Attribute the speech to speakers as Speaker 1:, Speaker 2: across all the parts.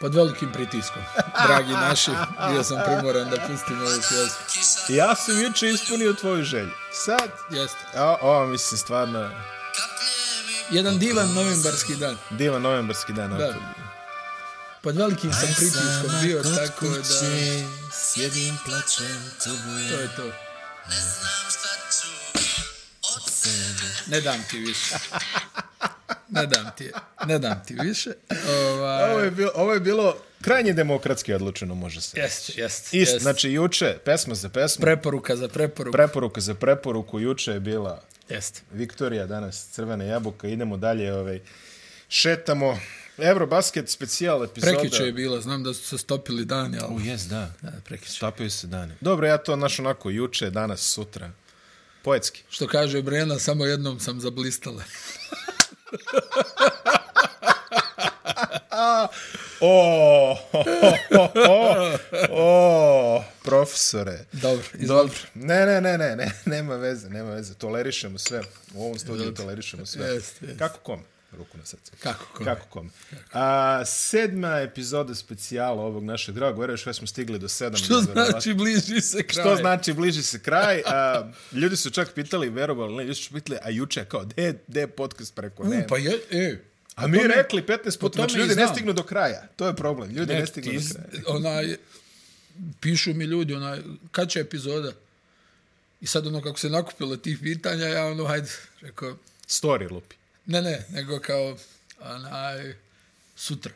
Speaker 1: Pod velikim pritiskom. Dragi naši, bio sam primoran da pustim ovu pjesmu.
Speaker 2: Ja sam juče ispunio tvoju želju. Sad,
Speaker 1: Jeste.
Speaker 2: o, o mislim, stvarno,
Speaker 1: Jedan divan novembarski dan.
Speaker 2: divan novembarski dan.
Speaker 1: Da.
Speaker 2: Antoni.
Speaker 1: Pod velikim sam pritiskom
Speaker 3: Sama
Speaker 1: bio,
Speaker 3: kod
Speaker 1: tako da...
Speaker 3: kuće, Sjedim, plačem,
Speaker 1: To
Speaker 3: tugujem
Speaker 1: je to.
Speaker 3: od sebe
Speaker 1: Ne dam ti više. Ne dam ti, je. ne dam ti više. Ovaj,
Speaker 2: Ovo je, bilo, ovo je bilo krajnje demokratski odlučeno, može se.
Speaker 1: Jeste, jeste.
Speaker 2: Ist,
Speaker 1: jeste.
Speaker 2: znači, juče, pesma za pesmu,
Speaker 1: preporuka za preporuku.
Speaker 2: preporuka za preporuku, juče je bila
Speaker 1: Jeste.
Speaker 2: Viktorija, danas crvene jabuka, idemo dalje, ovaj, šetamo. Eurobasket specijal epizoda.
Speaker 1: Prekiče je bila, znam da su se stopili dani, ali...
Speaker 2: Jes, da.
Speaker 1: Da, prekiče.
Speaker 2: Stapaju se dani. Dobro, ja to naš onako juče, danas, sutra. Poetski.
Speaker 1: Što kaže Brena, samo jednom sam zablistala.
Speaker 2: O, o, o, o, o, profesore.
Speaker 1: Dobro,
Speaker 2: Dobro.
Speaker 1: izvolite.
Speaker 2: Ne, ne, ne, ne, ne, nema veze, nema veze. Tolerišemo sve. U ovom studiju tolerišemo sve.
Speaker 1: Jeste, jeste.
Speaker 2: Kako kom? Ruku na srce.
Speaker 1: Kako kome?
Speaker 2: Kako kom? A, sedma epizoda specijala ovog našeg dragog. Vjeruješ, sve smo stigli do sedam.
Speaker 1: Što
Speaker 2: Verovatno.
Speaker 1: znači bliži se kraj?
Speaker 2: Što znači bliži se kraj. A, ljudi su čak pitali, verovali, ne, ljudi su pitali, a juče kao, de, de podcast preko, ne.
Speaker 1: U, Pa je, e,
Speaker 2: a mi
Speaker 1: tome-
Speaker 2: rekli 15 puta,
Speaker 1: tome
Speaker 2: znači
Speaker 1: i
Speaker 2: ljudi ne
Speaker 1: znam.
Speaker 2: stignu do kraja. To je problem, ljudi ne, stignu
Speaker 1: e, ti
Speaker 2: do
Speaker 1: iz-
Speaker 2: kraja.
Speaker 1: onaj, pišu mi ljudi, onaj, kad će epizoda? I sad ono, kako se nakupilo tih pitanja, ja ono, hajde, rekao,
Speaker 2: Story lupi.
Speaker 1: ne, ne, nego kao, onaj, sutra.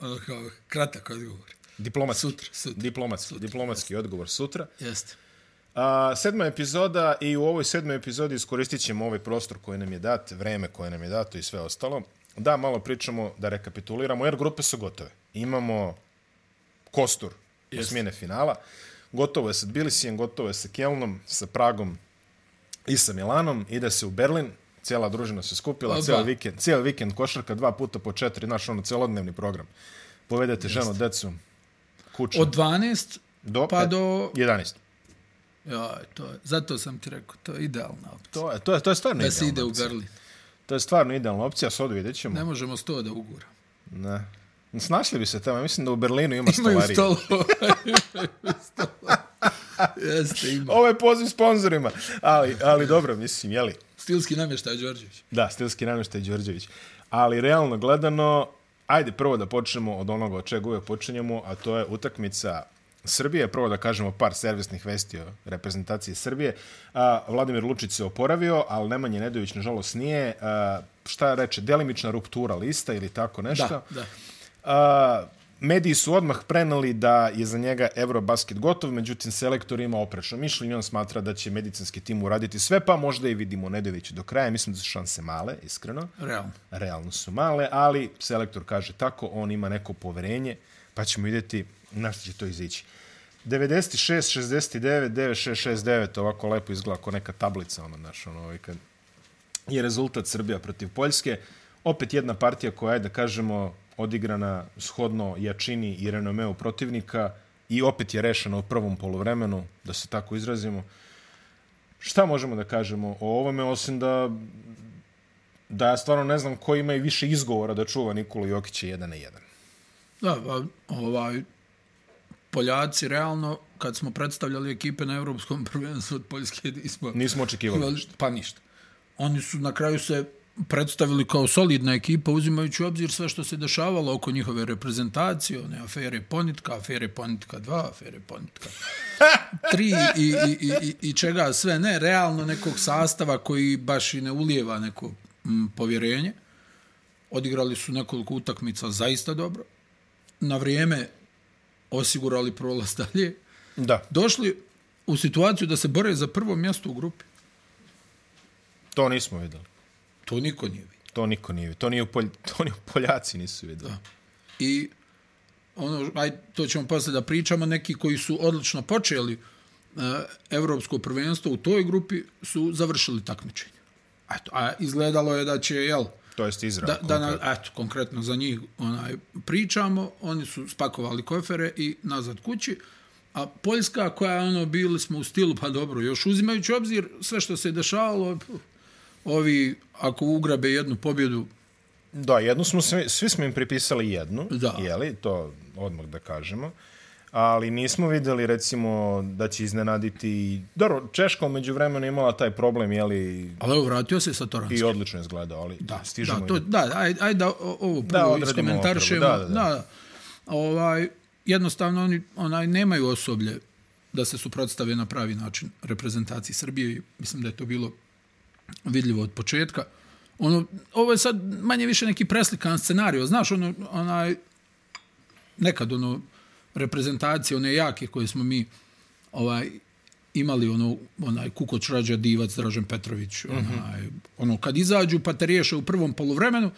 Speaker 1: Ono kao, kratak odgovor.
Speaker 2: Diplomatski.
Speaker 1: Sutra, sutra.
Speaker 2: Diplomatski, diplomatski odgovor sutra.
Speaker 1: Jeste.
Speaker 2: A, sedma epizoda i u ovoj sedmoj epizodi iskoristit ćemo ovaj prostor koji nam je dat, vreme koje nam je dato i sve ostalo. Da, malo pričamo, da rekapituliramo, jer grupe su gotove. Imamo kostur osmine finala. Gotovo je sa Tbilisijem, gotovo je sa Kjelnom, sa Pragom i sa Milanom. Ide se u Berlin, cijela družina se skupila,
Speaker 1: Oba.
Speaker 2: cijeli vikend, cijeli vikend košarka, dva puta po četiri, naš ono celodnevni program. Povedete ženu, decu, kuću.
Speaker 1: Od 12
Speaker 2: do, e,
Speaker 1: pa do...
Speaker 2: 11.
Speaker 1: Ja, to je, zato sam ti rekao, to je idealna opcija.
Speaker 2: To je, to je, to je stvarno
Speaker 1: Da se
Speaker 2: idealna
Speaker 1: ide u
Speaker 2: opcija.
Speaker 1: Berlin.
Speaker 2: To je stvarno idealna opcija, sad vidjet ćemo.
Speaker 1: Ne možemo sto da ugura.
Speaker 2: Ne. Snašli bi se tamo, ja mislim da u Berlinu ima
Speaker 1: Imaju
Speaker 2: stolarije.
Speaker 1: stolo. Imaju stolo. Jeste, ima.
Speaker 2: Ovo je poziv sponzorima, ali, ali dobro, mislim, jeli?
Speaker 1: Stilski namještaj, Đorđević.
Speaker 2: Da, stilski namještaj Đorđević. Ali realno gledano, ajde prvo da počnemo od onoga od čega uvek počinjemo, a to je utakmica Srbije. Prvo da kažemo par servisnih vesti o reprezentaciji Srbije. A, Vladimir Lučić se oporavio, ali Nemanja Nedović nažalost nije. A, šta reče, delimična ruptura lista ili tako nešto.
Speaker 1: Da, da.
Speaker 2: A, mediji su odmah prenali da je za njega Eurobasket gotov, međutim selektor ima oprečno mišljenje, on smatra da će medicinski tim uraditi sve, pa možda i vidimo Nedovića do kraja, mislim da su šanse male, iskreno.
Speaker 1: Realno.
Speaker 2: Realno su male, ali selektor kaže tako, on ima neko poverenje, pa ćemo vidjeti na što će to izići. 96, 69, 96, 69, ovako lepo izgleda kao neka tablica, ono, znaš, ono, ovaj kad je rezultat Srbija protiv Poljske. Opet jedna partija koja je, da kažemo, odigrana shodno jačini i renomeu protivnika i opet je rešena u prvom polovremenu, da se tako izrazimo. Šta možemo da kažemo o ovome, osim da, da ja stvarno ne znam ko ima i više izgovora da čuva Nikolu Jokića jedan na jedan.
Speaker 1: Da, pa, ovaj, Poljaci, realno, kad smo predstavljali ekipe na Europskom prvenstvu od Poljske, nismo...
Speaker 2: Nismo očekivali.
Speaker 1: ništa. Pa ništa. Oni su na kraju se predstavili kao solidna ekipa, uzimajući u obzir sve što se dešavalo oko njihove reprezentacije, one afere Ponitka, afere Ponitka 2, afere Ponitka 3 i, i, i, i- i čega sve ne, realno nekog sastava koji baš i ne ulijeva neko mm, povjerenje. Odigrali su nekoliko utakmica zaista dobro. Na vrijeme osigurali prolaz dalje.
Speaker 2: Da,
Speaker 1: Došli u situaciju da se bore za prvo mjesto u grupi.
Speaker 2: to nismo videli.
Speaker 1: To niko nije vidio.
Speaker 2: To niko nije vidio. To, nije u Polj... to ni u Poljaci nisu videli.
Speaker 1: I ono, aj, to ćemo posle da pričamo, neki koji su odlično počeli e, evropsko prvenstvo u toj grupi su završili takmičenje. Eto, a izgledalo je da će, jel,
Speaker 2: To jest Izrael.
Speaker 1: da, da na,
Speaker 2: konkretno.
Speaker 1: eto, konkretno za njih onaj, pričamo, oni su spakovali kofere i nazad kući, a Poljska koja je ono, bili smo u stilu, pa dobro, još uzimajući obzir sve što se je dešavalo, pf, ovi, ako ugrabe jednu pobjedu,
Speaker 2: Da, jednu smo, svi, svi smo im pripisali jednu,
Speaker 1: Da.
Speaker 2: jeli, to odmah da kažemo. Ali nismo videli, recimo, da će iznenaditi... Dobro, Češka umeđu vremena imala taj problem, jeli,
Speaker 1: Ali evo, vratio se sa Toranski.
Speaker 2: i odlično je izgledao, ali
Speaker 1: Da,
Speaker 2: stižemo...
Speaker 1: da,
Speaker 2: i
Speaker 1: to,
Speaker 2: do-
Speaker 1: da, aj, aj da o- ovo prvo
Speaker 2: odradimo
Speaker 1: iskomentarišemo.
Speaker 2: ovo prvo, da, da,
Speaker 1: Ovaj, jednostavno oni onaj, nemaju osoblje da se suprotstave na pravi način reprezentaciji Srbije i mislim da je to bilo vidljivo od početka. Ono, ovo je sad manje više neki preslikan scenario. Znaš, ono, onaj, nekad ono reprezentacije one jake koje smo mi ovaj imali ono onaj Kukoč Rađa Divac Dražen Petrović
Speaker 2: Mhm.
Speaker 1: onaj ono kad izađu pa te riješe u prvom poluvremenu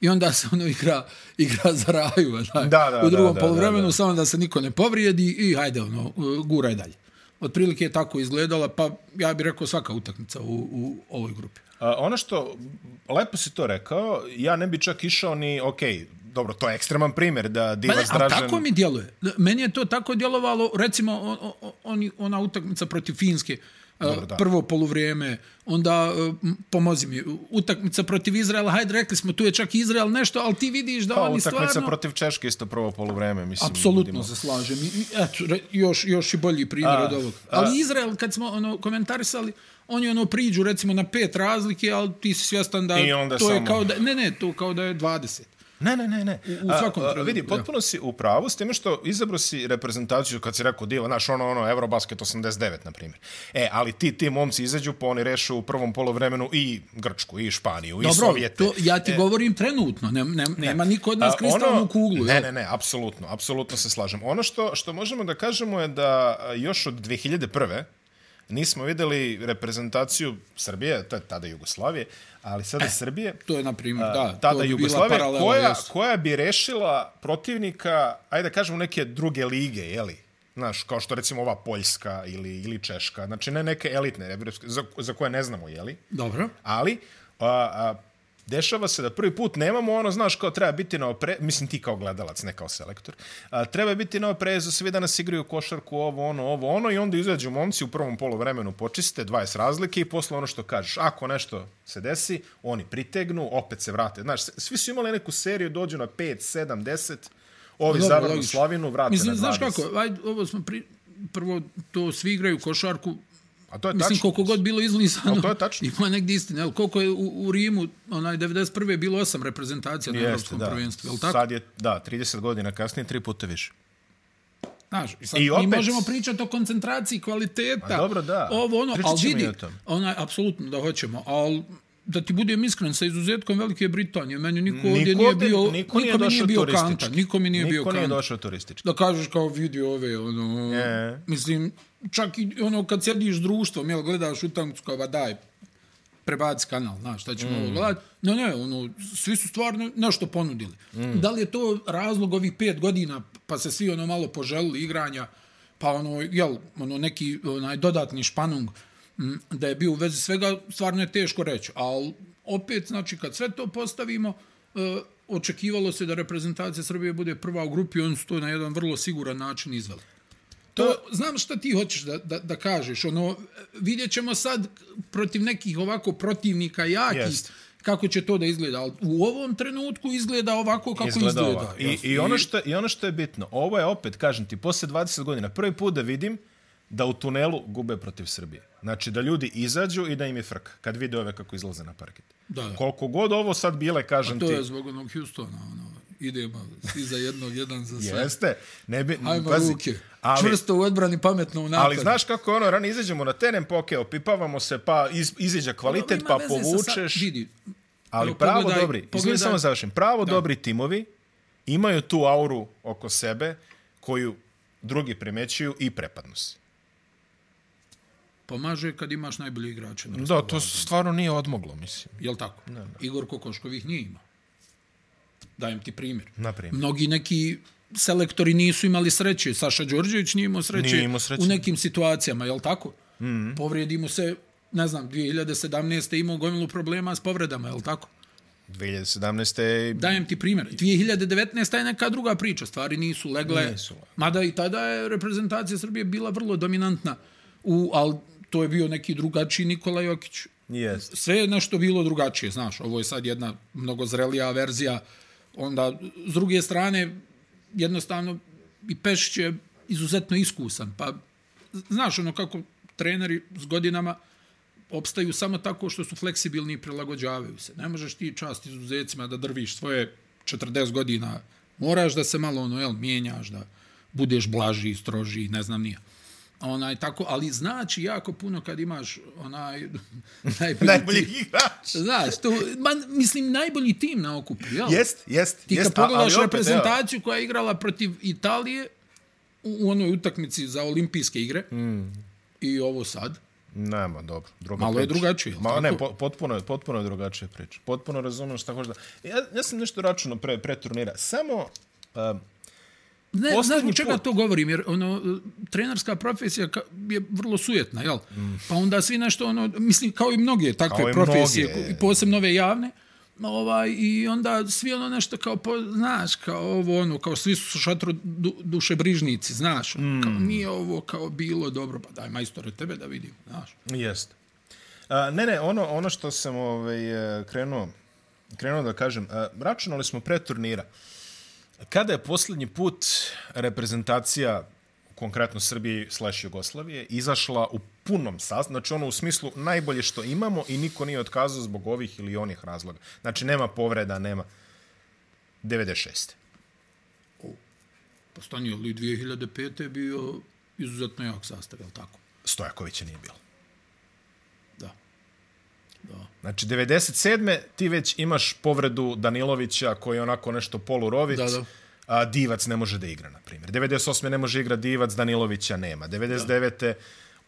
Speaker 1: i onda se ono igra igra za raju onaj,
Speaker 2: Da, da,
Speaker 1: u drugom
Speaker 2: da, da,
Speaker 1: poluvremenu
Speaker 2: da, da.
Speaker 1: samo da se niko ne povrijedi i ajde ono guraj dalje otprilike je tako izgledala pa ja bih rekao svaka utakmica u, u ovoj grupi
Speaker 2: A, ono što, lepo si to rekao, ja ne bi čak išao ni, ok, dobro, to je ekstreman primjer da
Speaker 1: Pa ne,
Speaker 2: Divac
Speaker 1: ali
Speaker 2: Dražen...
Speaker 1: tako mi djeluje. Meni je to tako djelovalo, recimo, o- o- o- oni, ona utakmica protiv Finske,
Speaker 2: Dobro,
Speaker 1: e,
Speaker 2: da.
Speaker 1: prvo polovrijeme, onda, e, m, pomozi mi, utakmica protiv Izraela, hajde, rekli smo, tu je čak Izrael nešto, ali ti vidiš da
Speaker 2: Pa,
Speaker 1: oni
Speaker 2: utakmica
Speaker 1: stvarno...
Speaker 2: protiv Češke isto prvo polovreme, mislim.
Speaker 1: Apsolutno
Speaker 2: vidimo.
Speaker 1: se slažem. I, i, eto, re, još, još i bolji primjer
Speaker 2: A,
Speaker 1: od ovog.
Speaker 2: a-
Speaker 1: Ali Izrael, kad smo ono, komentarisali, oni ono priđu recimo na pet razlike, ali ti si svjestan da
Speaker 2: I onda
Speaker 1: to je
Speaker 2: samo-
Speaker 1: kao da... Ne, ne, to kao da je 20.
Speaker 2: Ne, ne, ne, ne.
Speaker 1: u
Speaker 2: A,
Speaker 1: svakom
Speaker 2: a,
Speaker 1: trenutku,
Speaker 2: Vidi,
Speaker 1: da.
Speaker 2: potpuno si u pravu s time što izabro si reprezentaciju kad si rekao diva, znaš, ono, ono, Eurobasket 89, na primjer. E, ali ti, ti momci izađu, pa oni rešu u prvom polovremenu i Grčku, i Španiju, i Sovjete.
Speaker 1: to ja ti govorim trenutno, ne, ne, nema niko od nas
Speaker 2: E. A, ono-
Speaker 1: kristalnu kuglu.
Speaker 2: Ne,
Speaker 1: jel?
Speaker 2: ne, ne, apsolutno, apsolutno se slažem. Ono što, što možemo da kažemo je da a, još od 2001. nismo videli reprezentaciju Srbije, to je tada Jugoslavije, ali sada Srbije,
Speaker 1: To je, na primjer, E, da, to
Speaker 2: tada
Speaker 1: bi bila
Speaker 2: Jugoslavije,
Speaker 1: paralela,
Speaker 2: koja,
Speaker 1: jest.
Speaker 2: koja bi rešila protivnika, ajde da kažemo, neke druge lige, jeli? Znaš, kao što recimo ova Poljska ili, ili Češka, znači ne neke elitne, evropske, za, za koje ne znamo, jeli?
Speaker 1: Dobro.
Speaker 2: Ali, a, a, dešava se da prvi put nemamo ono, znaš, kao treba biti na opre... Mislim, ti kao gledalac, ne kao selektor. A, treba biti na oprezu, svi danas igraju košarku, ovo, ono, ovo, ono, i onda izađu momci u prvom polovremenu počiste, 20 razlike i posle ono što kažeš. Ako nešto se desi, oni pritegnu, opet se vrate. Znaš, s- svi su imali neku seriju, dođu na 5, 7, 10, ovi
Speaker 1: Dobro,
Speaker 2: zavrnu
Speaker 1: logično.
Speaker 2: slavinu, vrate
Speaker 1: Mislim,
Speaker 2: na 20.
Speaker 1: znaš kako, ajde, ovo smo pri, prvo, to svi igraju košarku,
Speaker 2: A to je
Speaker 1: mislim,
Speaker 2: tačno.
Speaker 1: koliko god bilo izlisano,
Speaker 2: Ali to je tačno.
Speaker 1: ima negdje istine, jel, koliko je u, u Rimu, onaj, 91. bilo osam reprezentacija na
Speaker 2: Jeste,
Speaker 1: Europskom
Speaker 2: da.
Speaker 1: prvenstvu, jel tako?
Speaker 2: Sad je, da, 30 godina kasnije, tri puta više.
Speaker 1: Znaš, i sad
Speaker 2: I
Speaker 1: I mi
Speaker 2: opet-
Speaker 1: možemo pričati o koncentraciji kvaliteta.
Speaker 2: Ma dobro, da.
Speaker 1: Ovo ono,
Speaker 2: Pričat
Speaker 1: ali
Speaker 2: ćemo i
Speaker 1: vidi,
Speaker 2: o tom.
Speaker 1: onaj, apsolutno da hoćemo, ali da ti budem iskren, sa izuzetkom Velike Britanije, meni niko,
Speaker 2: Niko
Speaker 1: ovdje nije
Speaker 2: ovde-
Speaker 1: bio, niko,
Speaker 2: niko nije
Speaker 1: mi nije
Speaker 2: došao
Speaker 1: bio
Speaker 2: turistički.
Speaker 1: kanta, niko mi nije bio
Speaker 2: Niko nije
Speaker 1: kanta.
Speaker 2: došao turistički.
Speaker 1: Da kažeš kao vidi ove, ono,
Speaker 2: E.
Speaker 1: mislim, čak i ono kad sjediš društvom, jel, gledaš utakmicu kao, ba daj, prebaci kanal, znaš, šta ćemo mm. ovo gledati. Ne, ne, ono, svi su stvarno nešto ponudili. Mm. Da li je to razlog ovih pet godina, pa se svi ono malo poželili igranja, pa ono, jel, ono, neki onaj, dodatni španung, m, da je bio u vezi svega, stvarno je teško reći. Ali opet, znači, kad sve to postavimo, e, očekivalo se da reprezentacija Srbije bude prva u grupi, oni su to na jedan vrlo siguran način izveli. To, znam šta ti hoćeš da, da, da kažeš. Ono, vidjet ćemo sad protiv nekih ovako protivnika jakih
Speaker 2: Jest.
Speaker 1: kako će to da izgleda. Ali u ovom trenutku izgleda ovako kako izgleda. izgleda.
Speaker 2: ovako. I, i, ono što, I ono što je bitno, ovo je opet, kažem ti, posle 20 godina, prvi put da vidim da u tunelu gube protiv Srbije. Znači da ljudi izađu i da im je frka kad vide ove kako izlaze na parket.
Speaker 1: Da, da.
Speaker 2: Koliko god ovo sad bile, kažem
Speaker 1: To
Speaker 2: ti,
Speaker 1: je zbog onog Houstona. Ono, idemo svi za jednog, jedan za sve.
Speaker 2: jeste, ne bi,
Speaker 1: Ajmo
Speaker 2: pazi,
Speaker 1: ruke.
Speaker 2: ali,
Speaker 1: Čvrsto u odbrani, pametno u napadu.
Speaker 2: ali znaš kako je ono, rano izađemo na teren, pa okej, opipavamo se, pa iz, izađa kvalitet,
Speaker 1: Ima
Speaker 2: pa
Speaker 1: veze sa sa-
Speaker 2: povučeš.
Speaker 1: Vidi,
Speaker 2: Ali
Speaker 1: Evo,
Speaker 2: pravo
Speaker 1: pogledaj-
Speaker 2: dobri, izgleda
Speaker 1: pogledaj-
Speaker 2: samo završim, pravo dobri timovi imaju tu auru oko sebe koju drugi primećuju i prepadnu se.
Speaker 1: pomaže kad imaš najbolji igrače. na
Speaker 2: Da, to stvarno nije odmoglo, mislim.
Speaker 1: Jel tako? Ne, ne. Igor Kokošković nije imao. Dajem ti primjer.
Speaker 2: Na primjer.
Speaker 1: Mnogi neki selektori nisu imali sreće. Saša Đorđević nije imao sreće,
Speaker 2: Nije imao sreće. Mhm.
Speaker 1: u nekim situacijama, jel tako? Mm -hmm. Povrijedi mu se, ne znam, 2017. imao gomilu problema s povredama, jel tako?
Speaker 2: 2017. Da.
Speaker 1: Dajem ti primjer. 2019. je neka druga priča. Stvari nisu legle.
Speaker 2: Nisu.
Speaker 1: Mada i tada je reprezentacija Srbije bila vrlo dominantna. U, ali to je bio neki drugačiji Nikola Jokić.
Speaker 2: Jeste.
Speaker 1: Sve je nešto bilo drugačije, znaš. Ovo je sad jedna mnogo zrelija verzija. Onda, s druge strane, jednostavno, i Pešić je izuzetno iskusan. Pa, znaš, ono kako treneri s godinama opstaju samo tako što su fleksibilni i prilagođavaju se. Ne možeš ti čast izuzecima da drviš svoje 40 godina. Moraš da se malo ono, jel, mijenjaš, da budeš blaži, stroži, ne znam nije. Onaj, tako, ali znači jako puno kad imaš onaj najbolji,
Speaker 2: Najbolji
Speaker 1: tim.
Speaker 2: igrač.
Speaker 1: Znaš, to, ma, mislim, najbolji tim na okupu, jel?
Speaker 2: Jest, jest.
Speaker 1: Ti kad
Speaker 2: jest, a- ali
Speaker 1: pogledaš
Speaker 2: opet,
Speaker 1: reprezentaciju koja je igrala protiv Italije u, u onoj utakmici za olimpijske igre mm. i ovo sad,
Speaker 2: Evo, nema, dobro. Druga
Speaker 1: Malo je
Speaker 2: priča.
Speaker 1: drugačije, jel
Speaker 2: Ma,
Speaker 1: tako?
Speaker 2: ne, po, potpuno, je, potpuno je drugačija priča. Potpuno razumijem šta hoćeš da... Ja, ja sam nešto računao pre, pre turnira. Samo... Um,
Speaker 1: Ne,
Speaker 2: Posljednji
Speaker 1: znaš zbog čega
Speaker 2: put.
Speaker 1: to govorim, jer ono, e, trenerska profesija ka- je vrlo sujetna, jel? Mm. Pa onda svi nešto, ono, mislim, kao i mnoge takve
Speaker 2: Kao i
Speaker 1: profesije,
Speaker 2: mnoge.
Speaker 1: ko- i posebno ove javne, ovaj, i onda svi ono nešto kao, po, znaš, kao ovo, ono, kao svi su šatro du, dušebrižnici, znaš, mm. kao nije ovo kao bilo dobro, pa daj majstore tebe da vidim, znaš.
Speaker 2: Jeste. A, ne, ne, ono, ono što sam ovaj, e, krenuo, krenuo da kažem, a, računali smo pre turnira. Kada je posljednji put reprezentacija, konkretno Srbije slash Jugoslavije, izašla u punom sastavu, znači ono u smislu najbolje što imamo i niko nije otkazao zbog ovih ili onih razloga. Znači nema povreda, nema 96.
Speaker 1: Postanio li 2005. je bio izuzetno jak sastav, jel tako?
Speaker 2: Stojakovića nije bilo.
Speaker 1: Da.
Speaker 2: Znači, 97. ti već imaš povredu Danilovića koji je onako nešto polurovic.
Speaker 1: Da, da.
Speaker 2: A Divac ne može da igra, na primjer. 98. ne može igra Divac, Danilovića nema. 99.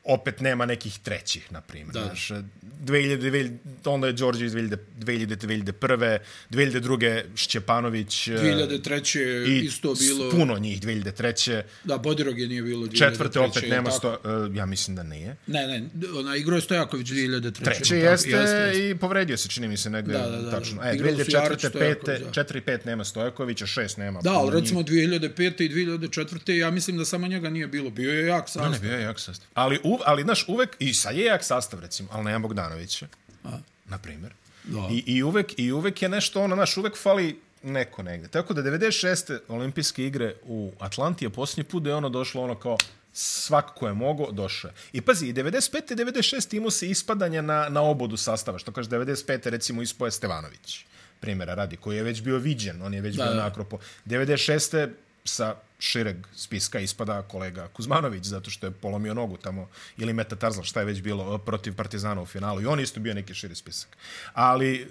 Speaker 2: opet nema nekih trećih, na primjer.
Speaker 1: Da.
Speaker 2: Znaš, 2000, 2000, onda je Đorđe iz 2000, 2000, 2001. 2002. Šćepanović. e,
Speaker 1: 2003.
Speaker 2: i
Speaker 1: isto bilo...
Speaker 2: Puno njih, 2003.
Speaker 1: Da, Bodirog je nije bilo 2003.
Speaker 2: Četvrte opet
Speaker 1: jel
Speaker 2: nema
Speaker 1: tako?
Speaker 2: sto, e, ja mislim da nije.
Speaker 1: Ne, ne, ona igro je Stojaković 2003.
Speaker 2: Treće
Speaker 1: Tako,
Speaker 2: Znači, jeste, i povredio se, čini mi se, negde
Speaker 1: Da, da, da,
Speaker 2: tačno.
Speaker 1: da.
Speaker 2: E,
Speaker 1: Igrali su
Speaker 2: 2004.
Speaker 1: Jarić,
Speaker 2: 5.
Speaker 1: Stojaković,
Speaker 2: 4 i 5 nema Stojakovića, 6 nema.
Speaker 1: Da,
Speaker 2: Puno
Speaker 1: ali recimo 2005. i 2004. ja mislim da samo njega nije bilo. Bio je jak
Speaker 2: njih- Ne,
Speaker 1: sastav.
Speaker 2: bio je jak sastav. Ali, u, ali znaš, uvek, i sad je jak sastav, recimo, ali nema Bogdanovića, na primjer.
Speaker 1: Da.
Speaker 2: I, i, uvek, I uvek je nešto, ono, znaš, uvek fali neko negde. Tako da 96. olimpijske igre u Atlanti je posljednji put da je ono došlo ono kao svak ko je mogo, došao je. I pazi, i 95. i 96. imao se ispadanja na, na obodu sastava, što kaže 95. recimo ispoje Stevanović, primjera radi, koji je već bio viđen, on je već da, bio
Speaker 1: da.
Speaker 2: na Akropo. 96. sa šireg spiska ispada kolega Kuzmanović, zato što je polomio nogu tamo, ili Meta Tarzan, šta je već bilo, eh, protiv Partizana u finalu, i on isto bio neki širi spisak. Ali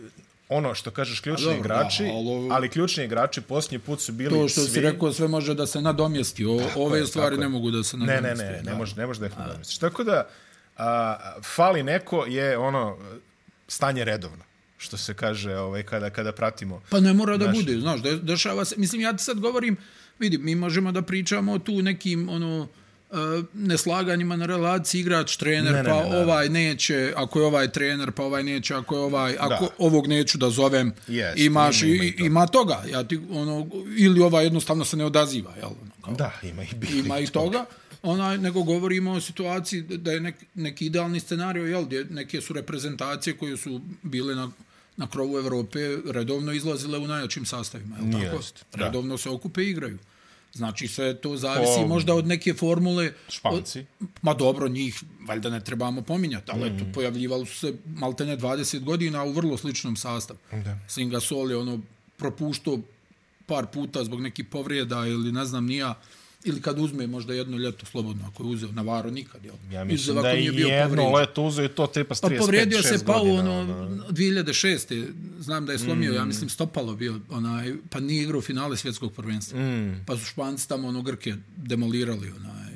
Speaker 2: ono što kažeš ključni
Speaker 1: dobro, da,
Speaker 2: igrači,
Speaker 1: ali ovo-
Speaker 2: ali ključni igrači posljednji put su bili
Speaker 1: To što
Speaker 2: svi...
Speaker 1: si rekao, sve može da se nadomjesti. O, ove
Speaker 2: je,
Speaker 1: stvari
Speaker 2: tako
Speaker 1: ne
Speaker 2: je.
Speaker 1: mogu da se
Speaker 2: Ne,
Speaker 1: nadomjesti.
Speaker 2: ne, ne, ne može, ne može da ih nadomestiš. Tako da, a, fali neko je ono, stanje redovno, što se kaže ovaj, kada, kada pratimo.
Speaker 1: Pa ne mora da bude, znaš, de, dešava se. Mislim, ja ti sad govorim, vidi, mi možemo da pričamo tu nekim, ono, e, neslaganjima na relaciji igrač trener
Speaker 2: Ne, ne,
Speaker 1: pa
Speaker 2: ne, ne, ne.
Speaker 1: ovaj neće ako je ovaj trener pa ovaj neće ako je ovaj ako ovog neću da zovem
Speaker 2: Jest,
Speaker 1: imaš
Speaker 2: ima,
Speaker 1: ima, ima,
Speaker 2: ima i to.
Speaker 1: ima toga ja ti ono ili ovaj jednostavno se ne odaziva jel ono, kao,
Speaker 2: Da, ima i bili.
Speaker 1: ima i toga, onaj, nego govorimo o situaciji da je nek, neki idealni scenario, jel, gdje neke su reprezentacije koje su bile na, na krovu Evrope redovno izlazile u najjačim sastavima, jel tako?
Speaker 2: Jest, da.
Speaker 1: redovno se okupe i igraju. Znači, sve to zavisi
Speaker 2: Po-
Speaker 1: možda od neke formule.
Speaker 2: Španci.
Speaker 1: Od, ma dobro, njih valjda ne trebamo pominjati, ali mm. eto, pojavljivali su se maltene 20 godina u vrlo sličnom sastavu.
Speaker 2: Da.
Speaker 1: Singasol je ono propuštao par puta zbog nekih povreda ili ne znam nija ili kad uzme možda jedno ljeto slobodno ako je uzeo Navaro nikad jel
Speaker 2: Ja
Speaker 1: Izuzev
Speaker 2: mislim
Speaker 1: ako
Speaker 2: da je
Speaker 1: nije bio
Speaker 2: jedno
Speaker 1: povrijeđen.
Speaker 2: leto uzeo i to tipa s 35-6
Speaker 1: pa
Speaker 2: godina.
Speaker 1: povrijedio se pa u ono
Speaker 2: ono.
Speaker 1: 2006 znam da je slomio ja mislim stopalo bio onaj pa nije igrao finale svjetskog prvenstva pa su Španci tamo ono Grke demolirali onaj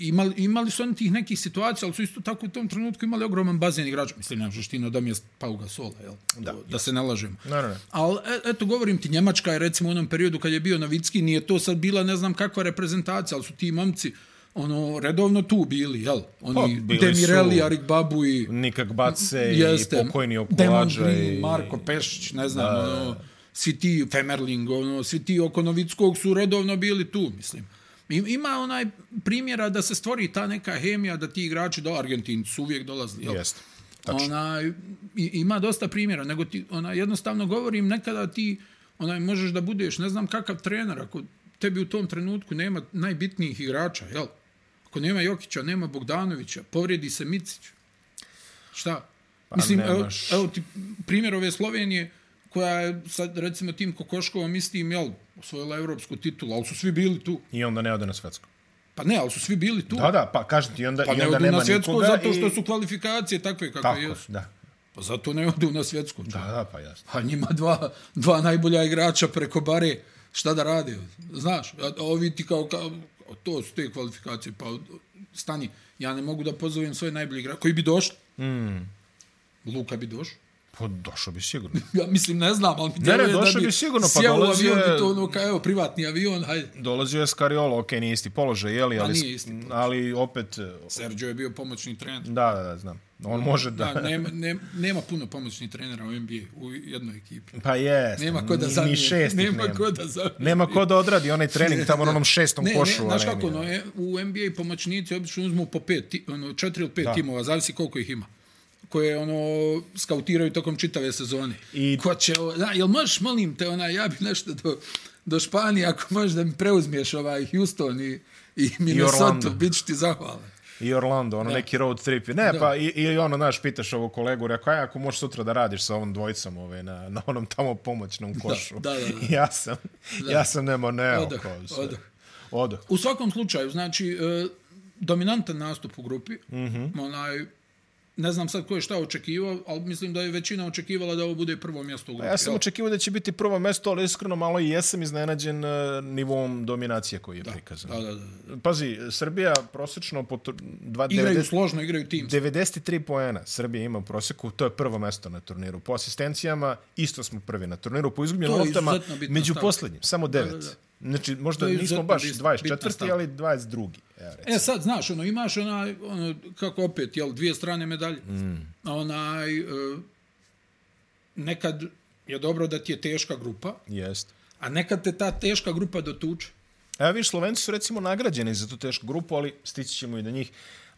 Speaker 1: imali, imali su oni tih nekih situacija, ali su isto tako u tom trenutku imali ogroman bazen igrača. Mislim, ne možeš ti na domjest Pau Gasola, jel? Da, da se ne lažemo.
Speaker 2: Ne, ne, ne.
Speaker 1: Ali, e- eto, govorim ti, Njemačka je recimo u onom periodu kad je bio Novicki, nije to sad bila ne znam kakva reprezentacija, ali su ti momci ono, redovno tu bili, jel? Oni
Speaker 2: Pa,
Speaker 1: pa,
Speaker 2: bili
Speaker 1: Demireli,
Speaker 2: su-
Speaker 1: Arik Babu i
Speaker 2: Nikak bace i
Speaker 1: jeste,
Speaker 2: pokojni
Speaker 1: Demon
Speaker 2: okulađa
Speaker 1: Green,
Speaker 2: i...
Speaker 1: Marko Pešić, ne znam, da, ono, svi ti Femerling, ono, svi ti oko Novickog su redovno bili tu, mislim. I- Ima onaj primjera da se stvori ta neka hemija da ti igrači do Argentinci su uvijek dolazili. Jel?
Speaker 2: Jeste. Tačno.
Speaker 1: Ona, ima dosta primjera, nego ti, ona, jednostavno govorim, nekada ti onaj, možeš da budeš, ne znam kakav trener, ako tebi u tom trenutku nema najbitnijih igrača, jel? Ako nema Jokića, nema Bogdanovića, povrijedi se Micić. Šta? Pa Mislim, evo,
Speaker 2: nemaš.
Speaker 1: evo ti primjer ove Slovenije, koja je sad, recimo, tim Kokoškovom istim, jel, osvojila evropsku titulu, ali su svi bili tu.
Speaker 2: I onda ne ode na svetsko.
Speaker 1: Pa ne, ali su svi bili tu.
Speaker 2: Da, da, pa kažem ti, onda,
Speaker 1: pa
Speaker 2: i
Speaker 1: ne
Speaker 2: onda
Speaker 1: odu
Speaker 2: nema
Speaker 1: na svjetsko
Speaker 2: nikoga
Speaker 1: zato
Speaker 2: i-
Speaker 1: što su kvalifikacije takve kakve
Speaker 2: Tako,
Speaker 1: jesu.
Speaker 2: da.
Speaker 1: Pa zato ne odu na svjetsko.
Speaker 2: Da, da, pa jasno.
Speaker 1: Pa njima dva, dva najbolja igrača preko bare, šta da rade? Znaš, a a ovi ti kao, kao a to su te kvalifikacije, pa stani, ja ne mogu da pozovem svoje najbolje igrače, koji bi došli?
Speaker 2: Hmm.
Speaker 1: Mm. Luka bi došao.
Speaker 2: Pa došao bi sigurno.
Speaker 1: Ja mislim, ne znam, ali mi
Speaker 2: ne,
Speaker 1: djeluje
Speaker 2: došao bi sigurno, pa
Speaker 1: sjeo u
Speaker 2: dolazio
Speaker 1: avion
Speaker 2: je-
Speaker 1: i to ono kao, evo, privatni avion, hajde.
Speaker 2: Dolazio je Skariolo, okej, nije isti položaj, jeli, ali,
Speaker 1: Pa nije isti
Speaker 2: ali opet, e,
Speaker 1: Sergio je bio pomoćni trener.
Speaker 2: da, da, da, znam. On može da...
Speaker 1: Da, nema, nema, nema puno pomoćnih trenera u NBA, u jednoj ekipi.
Speaker 2: Pa jest.
Speaker 1: Nema ko da
Speaker 2: ni-
Speaker 1: zamije.
Speaker 2: Ni šest
Speaker 1: nema,
Speaker 2: nema.
Speaker 1: ko da zamije.
Speaker 2: Nema ko da odradi onaj trening tamo na onom šestom
Speaker 1: Ne,
Speaker 2: košu.
Speaker 1: ne, znaš
Speaker 2: onaj,
Speaker 1: kako, no, e, u NBA pomoćnici obično uzmu po pet, ti- ono, četiri ili pet
Speaker 2: Da.
Speaker 1: timova, zavisi koliko ih ima koje ono skautiraju tokom čitave sezone.
Speaker 2: I-
Speaker 1: I... Ko će, ovo- da, jel možeš, molim te, ona, ja bi nešto do, do Španije, ako možeš da mi preuzmiješ ovaj Houston i, i
Speaker 2: Orlando.
Speaker 1: Minnesota, bit ću ti zahvalan.
Speaker 2: I Orlando, ono neki road trip. Ne, pa i, i ono, znaš, pitaš ovog kolegu, rekao, aj, ako možeš sutra da radiš sa ovom dvojicom ove, na, na onom tamo pomoćnom košu.
Speaker 1: da, da, da.
Speaker 2: ja sam, ja sam nema, ne,
Speaker 1: Odoh,
Speaker 2: oko, sve.
Speaker 1: odoh.
Speaker 2: Odoh.
Speaker 1: U svakom slučaju, znači, e, dominantan nastup u grupi. Mm
Speaker 2: Mhm.
Speaker 1: -hmm. Onaj, ne znam sad ko je šta očekivao, ali mislim da je većina očekivala da ovo bude prvo mjesto u grupi.
Speaker 2: Pa Ja sam
Speaker 1: jel?
Speaker 2: očekivao da će biti prvo mesto, ali iskreno malo i jesam iznenađen e, nivom dominacije koji je prikazan.
Speaker 1: Da, da, da.
Speaker 2: Pazi, Srbija prosečno po tur- dva-
Speaker 1: Igraju
Speaker 2: 90
Speaker 1: složno, igraju tim.
Speaker 2: 93 poena Srbija ima u proseku, to je prvo mesto na turniru. Po asistencijama isto smo prvi na turniru, po izgubljenim
Speaker 1: To je
Speaker 2: loptama
Speaker 1: izuzetno bitna
Speaker 2: među
Speaker 1: stavka.
Speaker 2: poslednjim, samo 9. Da, da, da. Znači, možda
Speaker 1: To je
Speaker 2: nismo
Speaker 1: izuzetno
Speaker 2: baš
Speaker 1: bitna-
Speaker 2: 24.
Speaker 1: bitna
Speaker 2: ali 22. Ja, recimo.
Speaker 1: E sad, znaš, ono, imaš onaj, ono, kako opet, jel, dvije strane medalje. Mm. Onaj, e, nekad je dobro da ti je teška grupa,
Speaker 2: Jeste.
Speaker 1: a nekad te ta teška grupa dotuče.
Speaker 2: Evo vidiš, Slovenci su recimo nagrađeni za tu tešku grupu, ali stići ćemo i do njih.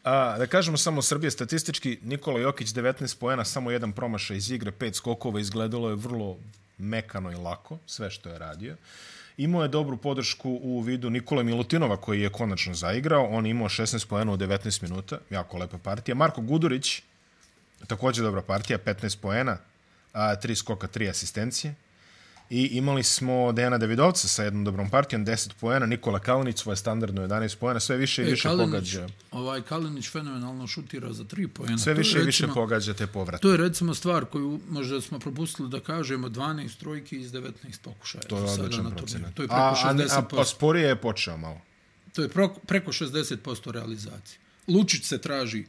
Speaker 2: A, da kažemo samo Srbije statistički, Nikola Jokić 19 poena, samo jedan promašaj iz igre, pet skokova, izgledalo je vrlo mekano i lako, sve što je radio. Imao je dobru podršku u vidu Nikola Milutinova koji je konačno zaigrao, on je imao 16 poena u 19 minuta, jako lepa partija. Marko Gudurić, takođe dobra partija, 15 poena, a, tri skoka, tri asistencije. I imali smo Dejana Davidovca sa jednom dobrom partijom, 10 poena, Nikola Kalinić svoje standardno 11 poena, sve više i više
Speaker 1: E, Kalinić,
Speaker 2: pogađa.
Speaker 1: Ovaj Kalinić fenomenalno šutira za tri pojena.
Speaker 2: Sve
Speaker 1: To je,
Speaker 2: više i više
Speaker 1: recimo,
Speaker 2: pogađa te povrate.
Speaker 1: To je recimo stvar koju možda smo propustili da kažemo 12 trojki iz 19 pokušaja.
Speaker 2: To je
Speaker 1: sada
Speaker 2: odličan
Speaker 1: na turniru.
Speaker 2: procenat.
Speaker 1: To je preko
Speaker 2: A, a,
Speaker 1: 60%.
Speaker 2: a, pa a sporije je počeo malo.
Speaker 1: To je preko, preko 60% realizacije. Lučić se traži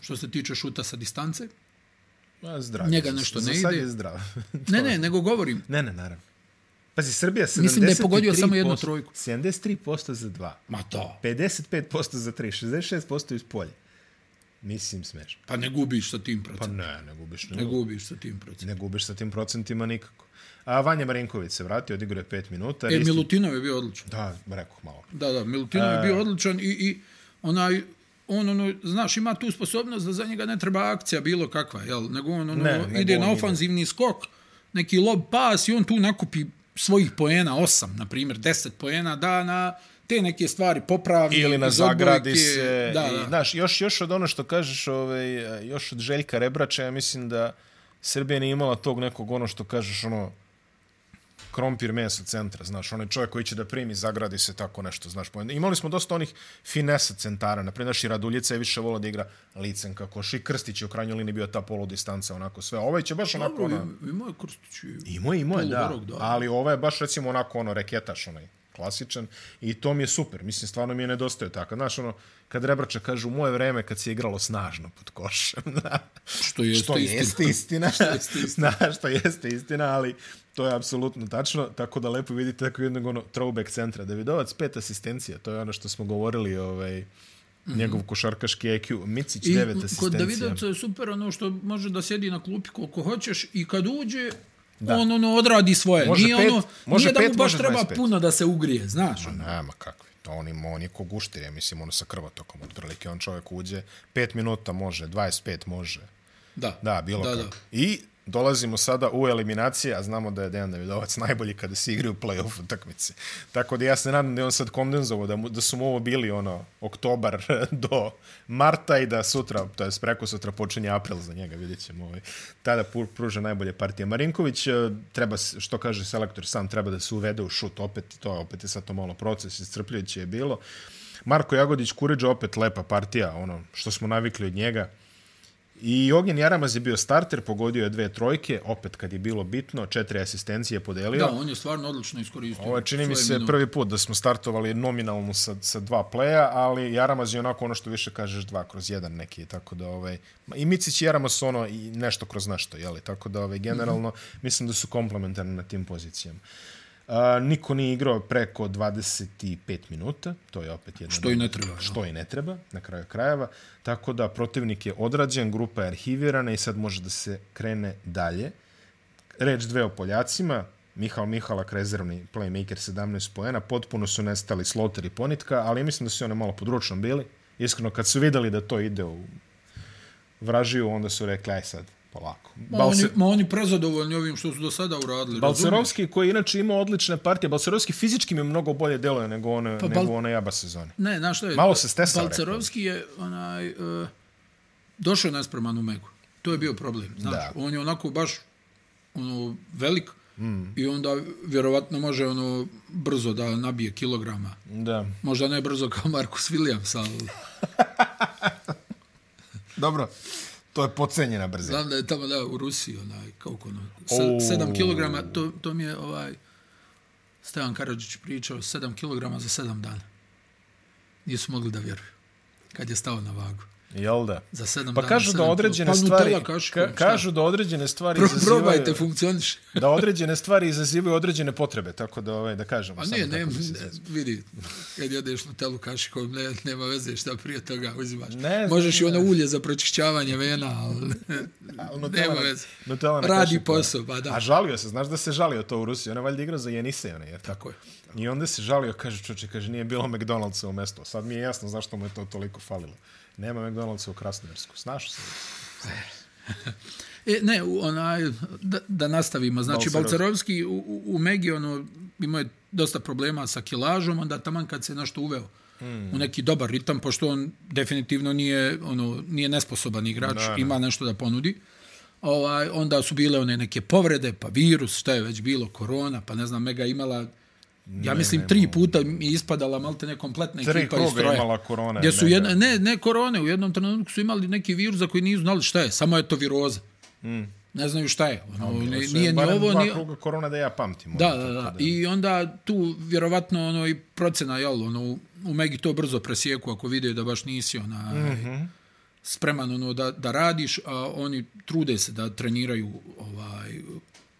Speaker 1: što se tiče šuta sa distance.
Speaker 2: A, zdrav. je.
Speaker 1: Njega nešto
Speaker 2: Za
Speaker 1: ne
Speaker 2: sad
Speaker 1: ide.
Speaker 2: je zdrav.
Speaker 1: Ne, ne, nego govorim.
Speaker 2: ne, ne, naravno. Pazi, Srbija 73%.
Speaker 1: Mislim da je pogodio samo jednu trojku.
Speaker 2: 73% za dva.
Speaker 1: Ma to.
Speaker 2: 55% za 3, 66% iz polja. Mislim, smešno.
Speaker 1: Pa ne gubiš sa tim
Speaker 2: Pa
Speaker 1: procentom.
Speaker 2: ne, ne gubiš.
Speaker 1: Ne gubiš sa tim procentom.
Speaker 2: Ne gubiš sa tim procentima nikako. A Vanja Marinković se vratio, odigrao je 5 minuta.
Speaker 1: E,
Speaker 2: Ristić-
Speaker 1: Milutinov je bio odličan.
Speaker 2: Da, rekoh malo.
Speaker 1: Da, da, Milutinov
Speaker 2: E.
Speaker 1: je bio odličan i, i onaj, on ono, znaš, ima tu sposobnost da za njega ne treba akcija bilo kakva, jel? Nego on ono,
Speaker 2: Ne, nego
Speaker 1: ne, ide
Speaker 2: on
Speaker 1: na
Speaker 2: ide.
Speaker 1: ofanzivni skok, neki lob pas i on tu nakupi svojih poena, osam, na primjer, deset poena, da na te neke stvari popravi.
Speaker 2: Ili na
Speaker 1: iz odbojke,
Speaker 2: zagradi se.
Speaker 1: Da,
Speaker 2: i,
Speaker 1: da.
Speaker 2: Znaš, još, još od ono što kažeš, ovaj, još od Željka Rebrača, ja mislim da Srbija nije imala tog nekog ono što kažeš ono krompir mesa centra, znaš, onaj čovjek koji će da primi, zagradi se tako nešto, znaš. poen- Imali smo dosta onih finesa centara, na primjer, naš i Raduljica je više volao da igra licen kako i Krstić je u krajnjoj liniji bio ta poludistanca, onako sve. Ovaj će baš onako...
Speaker 1: Dobro,
Speaker 2: Ono,
Speaker 1: i- imao je Krstić. i-
Speaker 2: Imao je, imao je, da.
Speaker 1: Poluvarog, da.
Speaker 2: Ali ovo je baš recimo onako ono reketaš onaj klasičan i to mi je super. Mislim, stvarno mi je nedostaje tako. Znaš, ono, kad Rebrača kaže u moje vreme kad se igralo snažno pod košem, da.
Speaker 1: Što jeste
Speaker 2: što
Speaker 1: istina.
Speaker 2: jeste istina, što jeste istina, znaš, što jeste istina, ali to je apsolutno tačno, tako da lepo vidite tako jednog ono throwback centra. Davidovac, pet asistencija, to je ono što smo govorili, ovaj, njegov košarkaški EQ, Micić,
Speaker 1: Mhm. I
Speaker 2: devet
Speaker 1: kod
Speaker 2: asistencija.
Speaker 1: Davidovca je super ono što može da sjedi na klupi koliko hoćeš i kad uđe Da. On ono odradi svoje.
Speaker 2: Može
Speaker 1: nije
Speaker 2: pet,
Speaker 1: ono,
Speaker 2: može
Speaker 1: nije da mu
Speaker 2: pet,
Speaker 1: baš
Speaker 2: može
Speaker 1: treba
Speaker 2: 25.
Speaker 1: puno da se ugrije, znaš. ono.
Speaker 2: Nema kakvi. On, ima, on je ko gušter, ja mislim, ono sa krvotokom otprilike. On čovjek uđe, 5 minuta može, 25 može.
Speaker 1: Da,
Speaker 2: Da, bilo da,
Speaker 1: da,
Speaker 2: kako.
Speaker 1: da.
Speaker 2: Da. I dolazimo sada u eliminacije, a znamo da je Dejan Davidovac najbolji kada se igra u play-off utakmici. Tako da ja se nadam da je on sad kondenzovao, da, mu, da su mu ovo bili ono, oktobar do marta i da sutra, to je preko sutra počinje april za njega, vidjet ćemo. Ovaj. Tada pu- pruža najbolje partije. Marinković, eh, treba, s- što kaže selektor sam, treba da se uvede u šut opet, i to je opet je sad to malo proces, iscrpljujuće je bilo. Marko Jagodić, Kuriđa, opet lepa partija, ono što smo navikli od njega. I Ognjen Jaramaz je bio starter, pogodio je dve trojke, opet kad je bilo bitno, četiri asistencije podelio.
Speaker 1: Da, on je stvarno odlično iskoristio.
Speaker 2: Ovo je, čini mi
Speaker 1: svoje
Speaker 2: se
Speaker 1: minute.
Speaker 2: prvi put da smo startovali nominalno sa, sa dva pleja, ali Jaramaz je onako ono što više kažeš dva kroz jedan neki, tako da ovaj, ma i Micić i Jaramaz su ono i nešto kroz nešto, jeli, tako da ovaj, generalno mm
Speaker 1: Mhm.
Speaker 2: -hmm. mislim da su komplementarni na tim pozicijama. Uh, niko nije igrao preko 25 minuta, to je opet jedna...
Speaker 1: Što i ne treba,
Speaker 2: Što i ne treba, na kraju krajeva. Tako da protivnik je odrađen, grupa je arhivirana i sad može da se krene dalje. Reč dve o Poljacima, Mihal Mihalak, rezervni playmaker, 17 poena, potpuno su nestali Sloter i Ponitka, ali mislim da su oni malo područno bili. Iskreno, kad su videli da to ide u vražiju, onda su rekli, aj sad, polako.
Speaker 1: Ma,
Speaker 2: Balse-
Speaker 1: Pa oni, ma oni prezadovoljni ovim što su do sada uradili. razumiješ?
Speaker 2: Balcerovski, koji je inače imao odlične partije, Balcerovski fizički mi mnogo bolje deluje nego one,
Speaker 1: Pa, Bal-
Speaker 2: nego one jaba sezone.
Speaker 1: Ne, znaš što je?
Speaker 2: Malo se stesao,
Speaker 1: Balcerovski je onaj, uh, došao nespreman u Megu. To je bio problem. Znaš,
Speaker 2: Da.
Speaker 1: on je onako baš ono, velik
Speaker 2: Hmm.
Speaker 1: mm. i onda vjerovatno može ono brzo da nabije kilograma.
Speaker 2: Da.
Speaker 1: Možda ne brzo kao Marcus Williams, ali
Speaker 2: Dobro, to je pocenjena brzina.
Speaker 1: znam da je tamo da, u Rusiji onaj, koliko ono,
Speaker 2: Ou.
Speaker 1: 7 kilograma, to, to mi je ovaj, Stojan Karadžić pričao, 7 kilograma za 7 dana. Nisu mogli da vjeruju kad je stao na vagu.
Speaker 2: Jel da?
Speaker 1: Za 7
Speaker 2: Pa
Speaker 1: dana,
Speaker 2: kažu da
Speaker 1: sedam
Speaker 2: određene
Speaker 1: kilo. Pa
Speaker 2: stvari
Speaker 1: Nutella kašikom,
Speaker 2: ka,
Speaker 1: šta?
Speaker 2: kažu da određene stvari
Speaker 1: Pro,
Speaker 2: izazivaju
Speaker 1: probajte, funkcioniš.
Speaker 2: da određene stvari izazivaju određene potrebe, tako da ovaj da kažemo
Speaker 1: A
Speaker 2: samo
Speaker 1: ne,
Speaker 2: tako
Speaker 1: ne,
Speaker 2: da se-
Speaker 1: ne, Pa vidi, kad jedeš Nutellu kašikom, ne, nema veze šta prije toga uzimaš.
Speaker 2: Ne znam,
Speaker 1: Možeš i ono
Speaker 2: ne.
Speaker 1: ulje za pročišćavanje vena, ali
Speaker 2: A,
Speaker 1: nema
Speaker 2: Nutella-
Speaker 1: veze.
Speaker 2: Nutella na
Speaker 1: Radi
Speaker 2: kašiku.
Speaker 1: posao, pa da.
Speaker 2: A žalio se, znaš da se žalio to u Rusiji, on je valjda igrao za Jenisej, onaj, jer tako.
Speaker 1: Tako je.
Speaker 2: I onda se žalio, kaže čoče, kaže nije bilo McDonald'sa u mestu. Sad mi je jasno zašto mu je to toliko falilo. Nema McDonald'sa u Krasnojarsku. Snašao se.
Speaker 1: E, ne, u- onaj, da, da nastavimo. Znači,
Speaker 2: Balcerovski.
Speaker 1: Balcerovski u, u- u Megi, ono, imao je dosta problema sa kilažom, onda taman kad se nešto uveo
Speaker 2: Hmm.
Speaker 1: mm. u neki dobar ritam, pošto on definitivno nije, ono, nije nesposoban igrač,
Speaker 2: Da,
Speaker 1: da,
Speaker 2: da.
Speaker 1: ima nešto da ponudi. Ovaj, onda su bile one neke povrede, pa virus, šta je već bilo, korona, pa ne znam, Mega je imala Ja mislim ne, tri puta mi je ispadala malte ne kompletna
Speaker 2: Tri
Speaker 1: ekipa iz
Speaker 2: kruga je
Speaker 1: stroja.
Speaker 2: imala korona,
Speaker 1: Gdje su
Speaker 2: Mega.
Speaker 1: jedna, ne, ne korone, u jednom trenutku su imali neki virus za koji nisu znali šta je, samo je to viroza. Ne znaju šta je. Ono,
Speaker 2: Bilo
Speaker 1: ni,
Speaker 2: se
Speaker 1: nije ni
Speaker 2: barem
Speaker 1: ovo,
Speaker 2: dva
Speaker 1: ni...
Speaker 2: kruga korona da ja pamtim.
Speaker 1: Da,
Speaker 2: ono,
Speaker 1: da,
Speaker 2: tako
Speaker 1: da. I onda tu vjerovatno ono i procena, jel, ono, u- u Megi to brzo presijeku ako vide da baš nisi ona, mm -hmm. spreman ono, da, da radiš, a oni trude se da treniraju ovaj,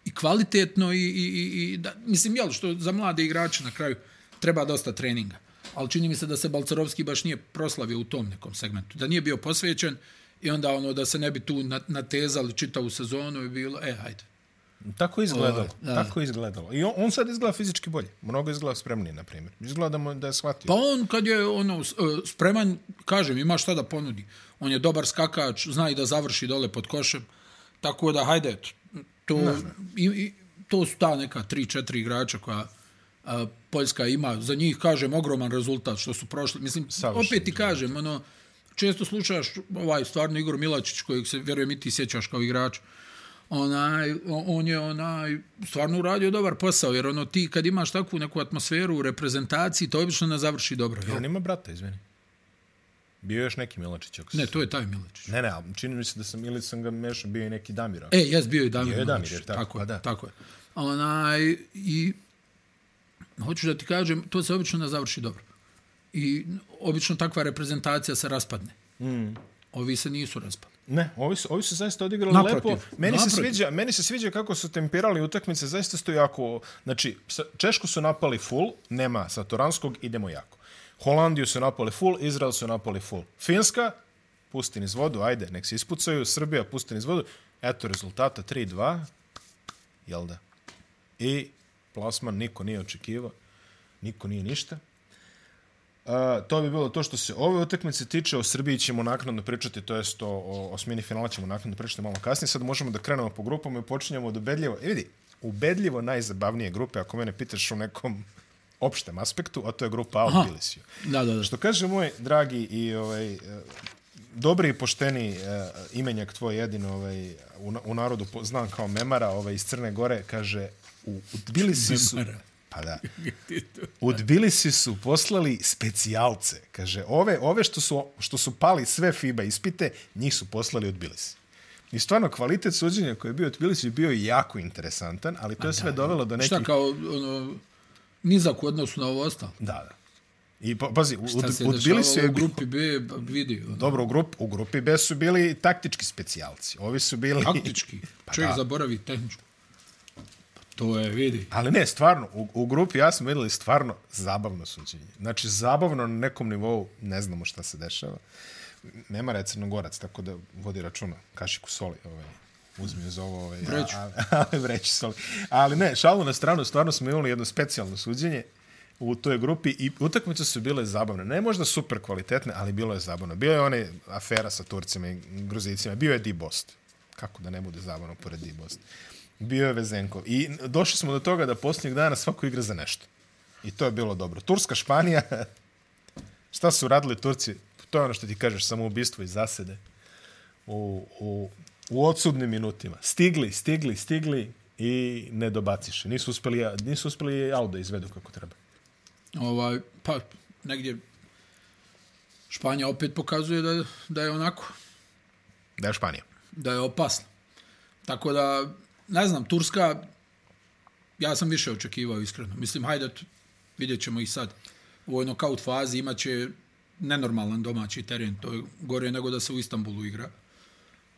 Speaker 1: i kvalitetno i, i, i- i da, mislim, jel, što za mlade igrače na kraju treba dosta treninga. Ali čini mi se da se Balcerovski baš nije proslavio u tom nekom segmentu. Da nije bio posvećen i onda ono da se ne bi tu na- natezali čitavu sezonu i bilo, e, hajde,
Speaker 2: Tako je izgledalo.
Speaker 1: da.
Speaker 2: Tako je izgledalo. I on, on sad izgleda fizički bolje. Mnogo izgleda spremniji, na primjer. Izgleda da mu- da je shvatio.
Speaker 1: Pa on kad je ono s- e, spreman, kažem, ima šta da ponudi. On je dobar skakač, zna i da završi dole pod košem. Tako da hajde, t- to i, i to su ta neka 3-4 igrača koja a, Poljska ima, za njih kažem ogroman rezultat što su prošli. Mislim
Speaker 2: Savršen
Speaker 1: opet ti kažem, ono često slušaš ovaj stvarno Igor Milačić kojeg se vjerujem i ti sjećaš kao igrač onaj, o- on je onaj stvarno uradio dobar posao, jer ono ti kad imaš takvu neku atmosferu u reprezentaciji, to obično ne završi dobro.
Speaker 2: Pa,
Speaker 1: Jel?
Speaker 2: on ima brata, izvini. Bio je još neki Milačić. ako se
Speaker 1: Ne, to je taj Milačić.
Speaker 2: Ne, ne, ali čini mi se da sam, ili sam ga mešao, bio i neki Damir.
Speaker 1: E, jes bio i Damir
Speaker 2: Bio je Damir,
Speaker 1: Milačić.
Speaker 2: jer tako,
Speaker 1: tako,
Speaker 2: pa
Speaker 1: je,
Speaker 2: da.
Speaker 1: tako je. Onaj, i hoću da ti kažem, to se obično ne završi dobro. I obično takva reprezentacija se raspadne. Mm. Ovi se nisu raspali.
Speaker 2: Ne, ovi su, ovi su zaista odigrali
Speaker 1: Naprotiv,
Speaker 2: lepo. Meni se
Speaker 1: naprotiv.
Speaker 2: sviđa, meni se sviđa kako su temperali utakmice, zaista su jako, znači sa- Češku su napali full, nema Satoranskog, idemo jako. Holandiju su napali full, Izrael su napali full. Finska pustin iz vodu, ajde, nek se ispucaju, Srbija pustin iz vodu. Eto rezultata 3-2. jel da? I plasman niko nije očekivao, niko nije ništa. A, to bi bilo to što se ove utakmice tiče, o Srbiji ćemo naknadno pričati, to jest o, o, o smini finala ćemo naknadno pričati malo kasnije. Sad možemo da krenemo po grupama i počinjemo od ubedljivo, e vidi, ubedljivo najzabavnije grupe, ako mene pitaš u nekom opštem aspektu, a to je grupa A od
Speaker 1: Aha.
Speaker 2: Bilisiju.
Speaker 1: Da, da, da.
Speaker 2: Što kaže moj dragi i ovaj eh, dobri i pošteni eh, imenjak tvoj jedin ovaj u, na- u narodu po- znan kao Memara, ovaj iz Crne Gore, kaže u, u Tbilisi su
Speaker 1: Memara.
Speaker 2: pa da. U Tbilisi su poslali specijalce. Kaže, ove, ove što, su, što su pali sve FIBA ispite, njih su poslali u Tbilisi. I stvarno, kvalitet suđenja koji je bio u Tbilisi bio je jako interesantan, ali to je sve dovelo do nekih...
Speaker 1: Šta kao, ono, nizak u odnosu na ovo ostalo?
Speaker 2: Da, da. I pa, pazi, u,
Speaker 1: Šta se
Speaker 2: u, u Tbilisi
Speaker 1: dešavalo
Speaker 2: je
Speaker 1: u grupi B, b- vidi, ono,
Speaker 2: Dobro, u, grup, u grupi B su bili taktički specijalci. Ovi su bili...
Speaker 1: taktički.
Speaker 2: Pa
Speaker 1: Čovjek
Speaker 2: da.
Speaker 1: zaboravi tehničku. Pa to je, vidi.
Speaker 2: Ali ne, stvarno, u, u grupi ja smo videli stvarno zabavno suđenje. Znači, zabavno na nekom nivou ne znamo šta se dešava. Memara je crnogorac, tako da vodi računa. Kašiku soli, ovaj, uzmi uz ovo... Ovaj,
Speaker 1: Vreću.
Speaker 2: a- a- Ali vreću soli. Ali ne, šalu na stranu, stvarno smo imali jedno specijalno suđenje u toj grupi i utakmice su bile zabavne. Ne možda super kvalitetne, ali bilo je zabavno. Bio je one afera sa Turcima i Gruzicima. Bio je Dibost. Kako da ne bude zabavno pored Dibost. Bio je Vezenkov. I došli smo do toga da posljednjeg dana svako igra za nešto. I to je bilo dobro. Turska, Španija, šta su radili Turci? To je ono što ti kažeš, samoubistvo i zasede u, u, u odsudnim minutima. Stigli, stigli, stigli i ne dobaciš. Nisu uspeli, nisu uspeli auto da izvedu kako treba.
Speaker 1: Ovaj, pa, negdje Španja opet pokazuje da, da je onako,
Speaker 2: Da je Španija.
Speaker 1: da je opasno. Tako da, ne znam, Turska, ja sam više očekivao iskreno. Mislim, hajde, t- vidjet ćemo ih sad. U ovoj nokaut fazi imaće nenormalan domaći teren. To je gore nego da se u Istanbulu igra.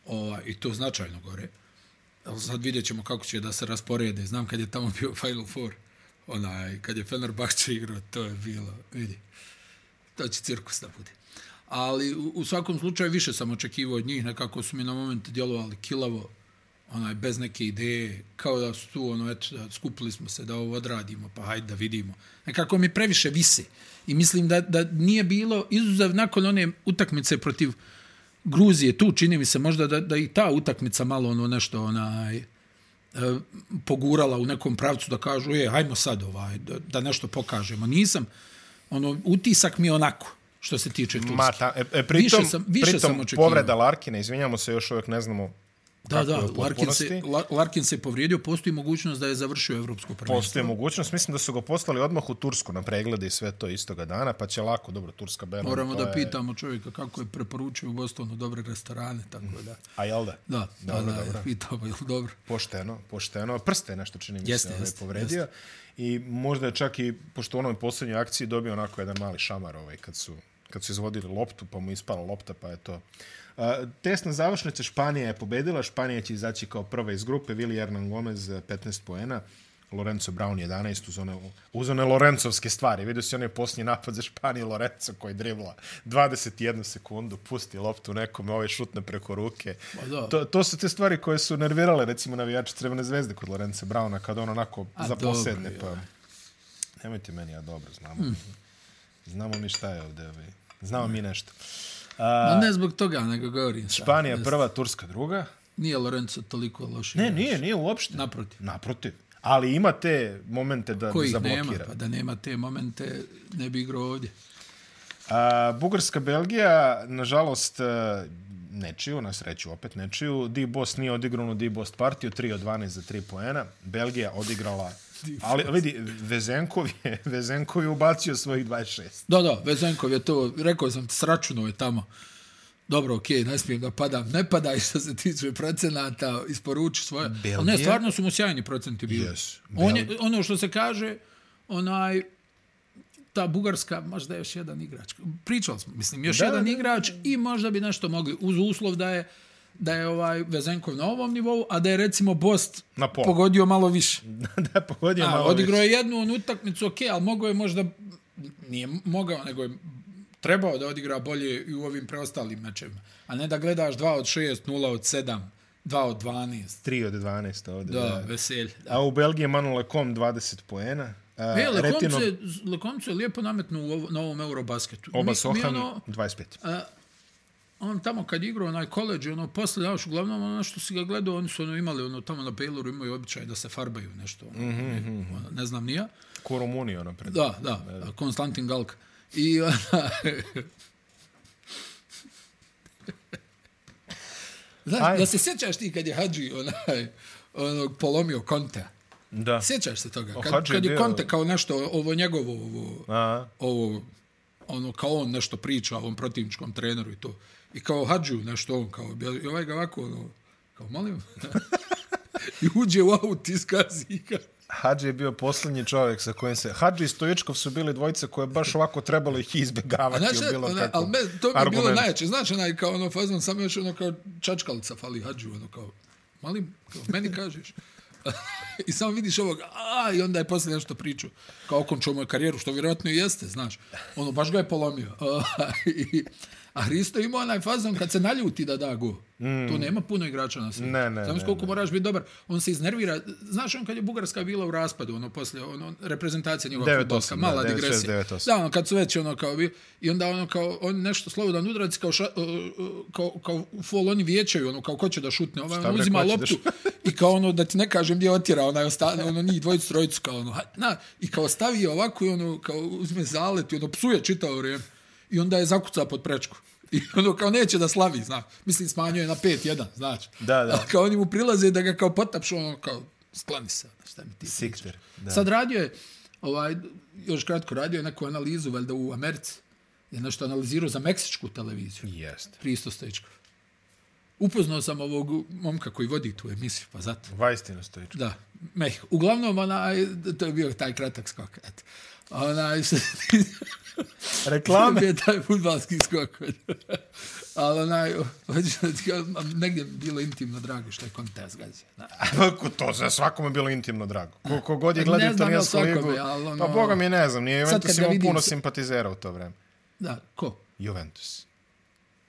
Speaker 1: O, I to značajno gore. Ali Sad vidjet ćemo kako će da se rasporede. Znam kad je tamo bio Final Four, onaj, kad je Fenerbahče igrao, to je bilo, vidi, to će cirkus da bude. Ali u, u svakom slučaju više sam očekivao od njih, nekako su mi na moment djelovali kilavo, onaj, bez neke ideje, kao da su tu, ono, eto, da skupili smo se da ovo odradimo, pa hajde da vidimo. Nekako mi previše vise. I mislim da, da nije bilo, izuzev nakon one utakmice protiv Gruzije, tu čini mi se možda da, da i ta utakmica malo ono nešto onaj, e, pogurala u nekom pravcu da kažu, je, hajmo sad ovaj, da, da nešto pokažemo. Nisam, ono, utisak mi je onako, što se tiče Turske.
Speaker 2: Ma, ta, e, e, pritom,
Speaker 1: Više sam- više
Speaker 2: pritom
Speaker 1: sam očekivao.
Speaker 2: povreda Larkina, izvinjamo se, još uvijek ne znamo
Speaker 1: Da, da,
Speaker 2: je u
Speaker 1: Larkin se,
Speaker 2: potpunosti.
Speaker 1: La- Larkin se povrijedio, postoji mogućnost da je završio evropsko prvenstvo.
Speaker 2: Postoje mogućnost, mislim da su ga poslali odmah u Tursku na preglede i sve to istoga dana, pa će lako, dobro, Turska Berlin.
Speaker 1: Moramo
Speaker 2: to
Speaker 1: da
Speaker 2: je-
Speaker 1: pitamo čovjeka kako je preporučio u Bostonu dobre restorane, tako da.
Speaker 2: A jel da?
Speaker 1: Da, da,
Speaker 2: Mm. Dobro,
Speaker 1: da,
Speaker 2: dobro.
Speaker 1: da pitamo, je li dobro?
Speaker 2: Pošteno, pošteno. Prste je nešto čini mi
Speaker 1: Jeste,
Speaker 2: se ovaj,
Speaker 1: jeste,
Speaker 2: povredio. I možda je čak i, pošto u onoj posljednjoj akciji dobio onako jedan mali šamar ovaj, kad su kad su izvodili loptu, pa mu je ispala lopta, pa je to. A, tesna završnica Španija je pobedila, Španija će izaći kao prva iz grupe, Vili Hernan Gomez 15 poena, Lorenzo Brown 11 uz one, uz one Lorenzovske stvari. Vidio si onaj posljednji napad za Španiju Lorenzo koji dribla 21 sekundu, pusti loptu nekome, ovaj šutne preko ruke.
Speaker 1: Pa da.
Speaker 2: To, to su te stvari koje su nervirale, recimo, navijače Crvene zvezde kod Lorenza Brauna, kad on onako
Speaker 1: A,
Speaker 2: zaposedne,
Speaker 1: dobro, Hm.
Speaker 2: pa... Nemojte meni, ja dobro, znamo. Znamo mi šta je ovde, ovaj. znamo mi nešto.
Speaker 1: Ma ne zbog toga, nego govorim sad.
Speaker 2: Španija prva, Turska druga.
Speaker 1: Nije Lorenzo toliko loš.
Speaker 2: Ne,
Speaker 1: igrač.
Speaker 2: nije, nije uopšte.
Speaker 1: Naprotiv.
Speaker 2: Naprotiv. Ali ima te momente da
Speaker 1: Kojih
Speaker 2: zablokira.
Speaker 1: nema, pa da nema te momente, ne bi igrao ovdje. pa.
Speaker 2: A, Bugarska, Belgija, nažalost, e, nečiju, na sreću opet nečiju. Di Bost nije odigrao na Di Bost partiju, 3 od 12 za 3 poena. Belgija odigrala... Ali vidi, Vezenkov je, Vezenkov je ubacio svojih 26.
Speaker 1: Da, da, Vezenkov je to, rekao sam, sračuno je tamo. Dobro, okej, ne smijem da padam. Ne padaj što se tiče procenata, isporuči svoje. Belgija?
Speaker 2: Belgija?
Speaker 1: Ne, stvarno su mu sjajni procenti bili.
Speaker 2: Yes,
Speaker 1: On je, ono što se kaže, onaj, ta Bugarska, možda još jedan igrač. Pričali smo, mislim, još
Speaker 2: Da,
Speaker 1: da, jedan
Speaker 2: da.
Speaker 1: da. igrač i možda bi nešto mogli, uz uslov da je da je ovaj Vezenkov na ovom nivou, a da je recimo Bost
Speaker 2: Na pola.
Speaker 1: pogodio malo više.
Speaker 2: da, pogodio
Speaker 1: A,
Speaker 2: malo
Speaker 1: odigrao je
Speaker 2: više.
Speaker 1: jednu onu utakmicu, ok, ali mogao je možda, nije mogao, nego je trebao da odigra bolje i u ovim preostalim mečevima. A ne da gledaš 2 od 6, 0 od 7, Dva od 12.
Speaker 2: 3 od 12 ovde.
Speaker 1: Da, veselje. Da.
Speaker 2: A u Belgiji je Manu Lecom 20 poena. A,
Speaker 1: E, Lekomcu
Speaker 2: Retinov
Speaker 1: je, Lekomcu je lijepo nametnu u ovo, na ovom Eurobasketu.
Speaker 2: Oba
Speaker 1: Mi- mi
Speaker 2: Sohan
Speaker 1: ono-
Speaker 2: 25.
Speaker 1: on tamo kad igrao onaj koleđ, ono, posle, ja još uglavnom, ono što si ga gledao, oni su ono imali, ono, tamo na Bayloru imaju običaj da se farbaju nešto, ono,
Speaker 2: Mhm,
Speaker 1: mm -hmm. ono, ne znam nija.
Speaker 2: Koromunio napred.
Speaker 1: Da, da, Konstantin Galk. I ona... Znaš,
Speaker 2: Ajde.
Speaker 1: da se sjećaš ti kad je Hadži onaj, onog polomio Konta?
Speaker 2: Da.
Speaker 1: Sjećaš se toga?
Speaker 2: O,
Speaker 1: Kad,
Speaker 2: Hadži je
Speaker 1: kad je
Speaker 2: bio-
Speaker 1: Konta kao nešto, ovo njegovo, ovo,
Speaker 2: A,
Speaker 1: ovo, ono, kao on nešto priča ovom protivničkom treneru i to. I kao Hadžiju nešto on, kao, i ovaj ga ovako, ono, kao, molim, i uđe u aut i skazi ga.
Speaker 2: Hadži je bio posljednji čovjek sa kojim se... Hadži i Stojičkov su bili dvojice koje baš ovako trebalo ih
Speaker 1: A
Speaker 2: izbjegavati.
Speaker 1: znaš,
Speaker 2: u bilo
Speaker 1: ona, ali
Speaker 2: kakvom
Speaker 1: me, to mi je bilo
Speaker 2: argumentu.
Speaker 1: najjače. Znaš, onaj, kao ono fazon, samo još ono kao čačkalica fali hađu, ono kao, malim, kao, meni kažeš. I samo vidiš ovog, a, i onda je poslije nešto pričao. Kao okončao moju karijeru, što vjerojatno i jeste, znaš. Ono, baš ga je polomio. I- a Hristo ima onaj fazon kad se naljuti da da go. Mm. Tu nema puno igrača na svijetu.
Speaker 2: Ne, ne,
Speaker 1: Samo
Speaker 2: ne,
Speaker 1: koliko moraš biti dobar. On se iznervira. Znaš, on kad je Bugarska bila u raspadu, ono, poslije, ono, reprezentacija njegova
Speaker 2: 9-8,
Speaker 1: futbolska,
Speaker 2: da,
Speaker 1: mala
Speaker 2: 9-6,
Speaker 1: digresija.
Speaker 2: 9-8.
Speaker 1: Da, ono, kad su već ono kao bi, i onda ono kao, on nešto slobodan udarac, kao, ša, uh, uh, kao, kao u fol oni vijećaju, ono kao ko će da šutne, ovaj
Speaker 2: Šta
Speaker 1: on
Speaker 2: bre,
Speaker 1: uzima
Speaker 2: ko će da
Speaker 1: loptu
Speaker 2: šut-
Speaker 1: i kao ono, da ti ne kažem gdje otjera, onaj ostane, ono njih dvojicu, trojicu, kao ono, ha- na, i kao stavi je ovako i ono, kao uzme zalet i ono psuje čitao vrijeme i onda je zakuca pod prečku. I ono kao neće da slavi, znaš. Mislim, smanjuje na 5-1, znači.
Speaker 2: Da, da.
Speaker 1: A kao oni mu prilaze da ga kao potapšu, ono kao, sklani se, ono, šta mi ti
Speaker 2: Sikter. Da.
Speaker 1: Da. Sad radio je, ovaj, još kratko, radio je neku analizu, valjda u Americi. Je nešto analizirao za meksičku televiziju.
Speaker 2: Jeste.
Speaker 1: Hristo Stojičkov. Upoznao sam ovog momka koji vodi tu emisiju, pa zato.
Speaker 2: Vajstino Stojičkov.
Speaker 1: Da, Mehiko. Uglavnom, onaj, to je bio taj kratak skok, eto. Onaj, što se tiče-
Speaker 2: Reklame.
Speaker 1: bio je taj futbalski skok. Ali onaj, hoću da ti kažem, a negdje mi je bilo intimno drago što je Konta zgazio. Da.
Speaker 2: Ko to, za svakome je bilo intimno drago. Ko, ko god je
Speaker 1: Ne
Speaker 2: gledao
Speaker 1: znam
Speaker 2: italijansku
Speaker 1: ja svakome,
Speaker 2: ligu,
Speaker 1: ali ono-
Speaker 2: pa boga mi ne znam, nije
Speaker 1: Sad kad
Speaker 2: Juventus
Speaker 1: ga
Speaker 2: imao
Speaker 1: vidim
Speaker 2: puno
Speaker 1: se-
Speaker 2: simpatizera u to vreme.
Speaker 1: da, ko?
Speaker 2: Juventus.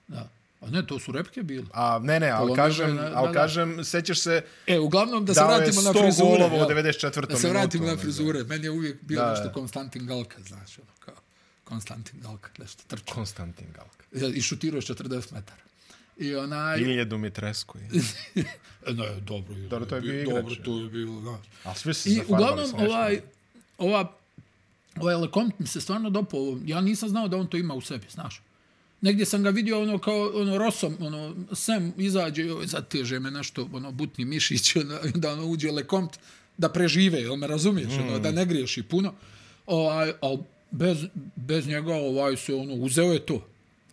Speaker 1: Da. A ne, to su repke bile.
Speaker 2: A ne, ne, ali
Speaker 1: Polomio
Speaker 2: kažem,
Speaker 1: ga je, da, da.
Speaker 2: ali kažem, sećaš se,
Speaker 1: E, uglavnom da se
Speaker 2: Dao je
Speaker 1: vratimo na
Speaker 2: 100
Speaker 1: frizure.
Speaker 2: golova u
Speaker 1: jel?
Speaker 2: 94.
Speaker 1: Da se vratimo
Speaker 2: minutu,
Speaker 1: na
Speaker 2: ono,
Speaker 1: frizure. Meni je uvijek bio
Speaker 2: Da,
Speaker 1: nešto
Speaker 2: da.
Speaker 1: Konstantin Galka, znaš, ono kao Konstantin Galka, nešto trče.
Speaker 2: Konstantin Galak.
Speaker 1: I šutirao je 40 metara. I onaj...
Speaker 2: Ili je Dumitrescu. i-
Speaker 1: E, Ne, dobro. je-
Speaker 2: Dobro, to je bio igrač,
Speaker 1: Dobro,
Speaker 2: je.
Speaker 1: to je bilo, znaš.
Speaker 2: Ali svi su se
Speaker 1: I
Speaker 2: zahvalili
Speaker 1: uglavnom,
Speaker 2: sa nešto.
Speaker 1: ovaj, ova, ovaj Lecomte mi se stvarno dopao. ovo. Ja nisam znao da on to ima u sebi, znaš. Negdje sam ga vidio ono kao ono Rosom, ono Sam izađe, joj, zateže me nešto, ono butni mišić, ono, i onda ono uđe Lecomte da prežive, jel me razumiješ, ono,
Speaker 2: Mm.
Speaker 1: da ne griješi puno. Ovaj, al bez, bez njega ovaj se ono uzeo je to.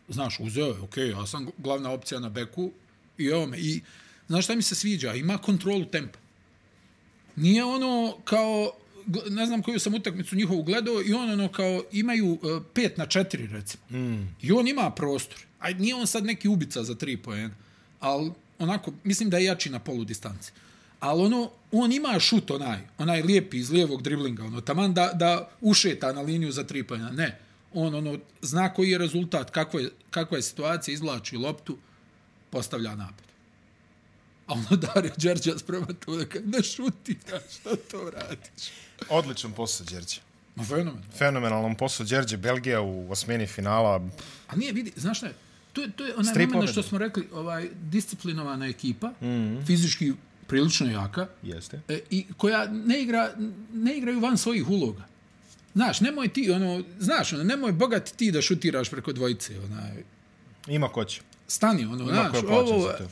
Speaker 1: Znaš, uzeo je, okej, ja sam glavna opcija na beku i evo me. I znaš šta mi se sviđa? Ima kontrolu tempa nije ono kao gl- ne znam koju sam utakmicu njihovu gledao i on ono kao imaju 5 na 4 recimo. Mm. I on ima prostor. Aj nije on sad neki ubica za 3 poena, al onako mislim da je jači na polu distanci. Al ono on ima šut onaj, onaj lijepi iz lijevog driblinga, ono taman da da ušeta na liniju za 3 poena. Ne. On ono zna koji je rezultat, kakva je kakva je situacija, izvlači loptu, postavlja napad. A ono Dario Đerđas prema to da kaže, ne šuti, da, šta to radiš?
Speaker 2: Odličan posao, Đerđe.
Speaker 1: Ma fenomen.
Speaker 2: Fenomenalan posao Đerđe Belgija u osmini finala.
Speaker 1: A nije, vidi, znaš šta je? To je, to je onaj
Speaker 2: Strip
Speaker 1: moment što
Speaker 2: pobjede. Mhm.
Speaker 1: smo rekli, ovaj, disciplinovana ekipa, mm -hmm. fizički prilično jaka,
Speaker 2: Jeste.
Speaker 1: e, i koja ne, igra, ne igraju van svojih uloga. Znaš, nemoj ti, ono, znaš, ono, nemoj bogati ti da šutiraš preko dvojice, onaj,
Speaker 2: Ima ko će.
Speaker 1: stani, ono,
Speaker 2: Ima
Speaker 1: znaš,
Speaker 2: ko je plaćen
Speaker 1: ovo,
Speaker 2: za to.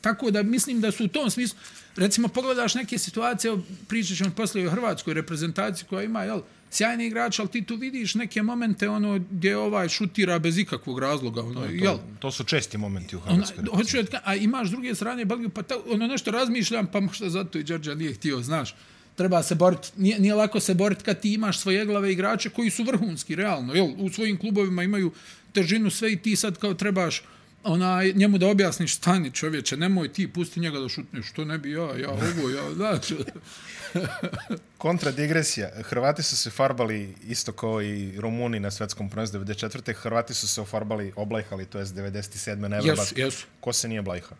Speaker 1: Tako da mislim da su u tom smislu, recimo pogledaš neke situacije, evo, pričat ćemo poslije o hrvatskoj reprezentaciji koja ima, jel, sjajni igrač, ali ti tu vidiš neke momente ono gdje ovaj šutira bez ikakvog razloga, ono, jel,
Speaker 2: To, to su česti momenti u
Speaker 1: Ona,
Speaker 2: Hrvatskoj.
Speaker 1: hoću da ti ka- a imaš s druge strane Belgiju, pa ta, ono nešto razmišljam, pa možda zato i Đorđa nije htio, znaš. Treba se boriti, nije, nije lako se boriti kad ti imaš svoje glave igrače koji su vrhunski, realno, jel, u svojim klubovima imaju težinu sve i ti sad kao trebaš ona, njemu da objasniš stani čovječe, nemoj ti, pusti njega da šutne, što ne bi ja, ja ovo, ja, znaš.
Speaker 2: Kontra digresija. Hrvati su se farbali isto kao i Rumuni na svetskom prvenstvu 94. Hrvati su se ofarbali, oblajhali, to je 97. na
Speaker 1: Jesu,
Speaker 2: Eurobasket.
Speaker 1: jesu.
Speaker 2: Ko se nije blajha?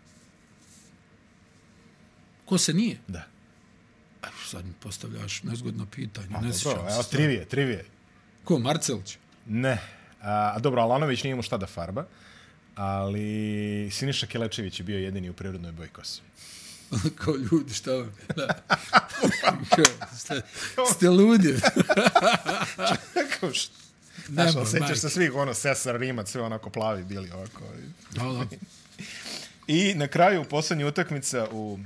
Speaker 1: Ko se nije?
Speaker 2: Da.
Speaker 1: Aj, sad mi postavljaš nezgodno pitanje. ne
Speaker 2: Pa, Dobro,
Speaker 1: sjećam
Speaker 2: evo,
Speaker 1: se.
Speaker 2: trivije, trivije.
Speaker 1: Ko, Marcelić?
Speaker 2: Ne. A, dobro, Alanović nije imao šta da farba, ali Siniša Kelečević je bio jedini u prirodnoj bojkosi.
Speaker 1: Kao ljudi, šta vam je? Da. Kao, ste, ste ludi?
Speaker 2: Kako što? Znaš,
Speaker 1: Nemoj,
Speaker 2: ali sećaš
Speaker 1: Mark.
Speaker 2: se svih, ono, Sesar, Rimac, sve onako plavi bili ovako.
Speaker 1: Da, da.
Speaker 2: I na kraju, posljednja utakmica u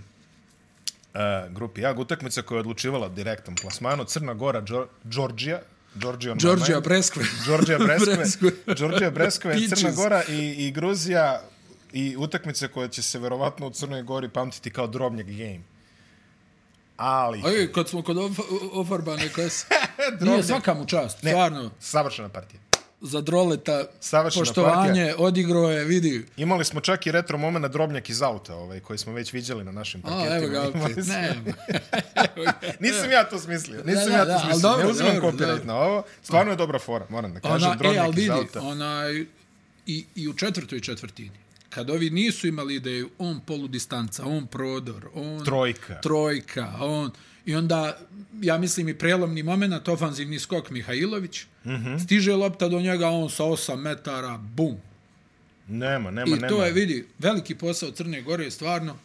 Speaker 2: uh, grupi A, utakmica koja je odlučivala direktnom plasmanu, Crna Gora, Đor- Đorđija, Đorđion
Speaker 1: Đorđija Breskve.
Speaker 2: Đorđija Breskve,
Speaker 1: Breskve.
Speaker 2: Đorđija Breskve,
Speaker 1: Peaches.
Speaker 2: Crna Gora i, i Gruzija i utakmice koja će se verovatno u Crnoj Gori pamtiti kao drobnjak game. Ali,
Speaker 1: Ej, kad smo kod of, ofarbane kose.
Speaker 2: Drobnjak.
Speaker 1: Nije svaka mu čast,
Speaker 2: Ne.
Speaker 1: stvarno.
Speaker 2: savršena partija.
Speaker 1: Za droleta,
Speaker 2: Savršena
Speaker 1: poštovanje,
Speaker 2: partija.
Speaker 1: odigrao je, vidi.
Speaker 2: Imali smo čak i retro moment drobnjak iz auta, ovaj, koji smo već viđali na našim
Speaker 1: A,
Speaker 2: parketima.
Speaker 1: evo ga,
Speaker 2: Imali
Speaker 1: opet.
Speaker 2: smo-
Speaker 1: Ne,
Speaker 2: Nisam ja to smislio. Nisam
Speaker 1: da,
Speaker 2: ja
Speaker 1: da,
Speaker 2: to
Speaker 1: ali
Speaker 2: smislio.
Speaker 1: dobro,
Speaker 2: ne uzimam
Speaker 1: dobro,
Speaker 2: copyright
Speaker 1: dobro.
Speaker 2: na ovo. Stvarno je dobra fora, moram da kažem.
Speaker 1: ona, e, ali
Speaker 2: iz
Speaker 1: vidi,
Speaker 2: auta.
Speaker 1: onaj, i, i u četvrtoj četvrtini, kad ovi nisu imali ideju, on poludistanca, on prodor, on...
Speaker 2: Trojka.
Speaker 1: Trojka, on... I onda, ja mislim, i prelomni moment, ofanzivni skok Mihajlović,
Speaker 2: Mhm.
Speaker 1: stiže lopta do njega, on sa 8 metara, bum,
Speaker 2: Nema, nema,
Speaker 1: I
Speaker 2: nema.
Speaker 1: to je, vidi, veliki posao Crne Gore je stvarno,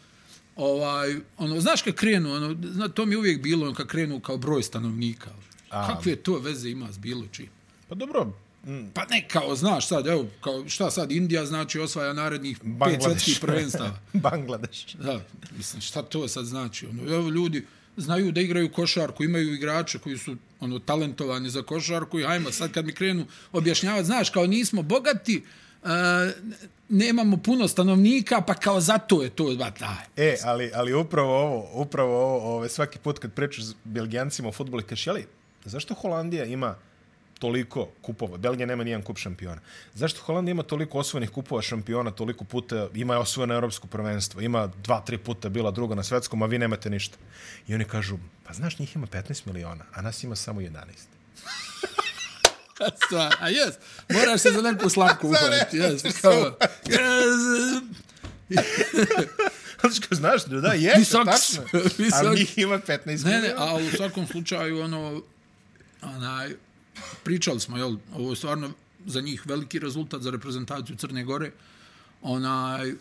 Speaker 1: ovaj, ono, znaš kad krenu, ono, zna, to mi je uvijek bilo, ono, kad krenu kao broj stanovnika.
Speaker 2: A.
Speaker 1: A, Kakve to veze ima s bilo čim?
Speaker 2: Pa dobro, mm,
Speaker 1: Pa ne, kao, znaš sad, evo, kao, šta sad, Indija znači osvaja narednih pet
Speaker 2: Bangladeš.
Speaker 1: svetskih prvenstava.
Speaker 2: Bangladeš.
Speaker 1: Da, mislim, šta to sad znači? Ono, evo, ljudi znaju da igraju košarku, imaju igrače koji su ono talentovani za košarku i hajmo, sad kad mi krenu objašnjavati, znaš, kao nismo bogati, e, nemamo puno stanovnika, pa kao zato je to, ba, da.
Speaker 2: E, ali, ali upravo ovo, upravo ovo, ove, svaki put kad pričaš s Belgijancima o futbolu, kažeš, jeli, zašto Holandija ima toliko kupova? Belgija nema nijedan kup šampiona. Zašto Holandija ima toliko osvojenih kupova šampiona, toliko puta, ima je osvojeno evropsko prvenstvo, ima dva, tri puta bila druga na svetskom, a vi nemate ništa. I oni kažu, pa znaš, njih ima 15 miliona, a nas ima samo 11.
Speaker 1: Stvar, pa, a jes, moraš se za neku slavku uhvatiti, jes, kao, e, jes,
Speaker 2: Znaš, kao, znaš, da, da, jeste,
Speaker 1: Visok-
Speaker 2: tačno. A
Speaker 1: visok-
Speaker 2: njih ima 15 miliona.
Speaker 1: Ne, ne, a u svakom slučaju, ono, onaj, pričali smo, jel, ovo je stvarno za njih veliki rezultat za reprezentaciju Crne Gore. Onaj,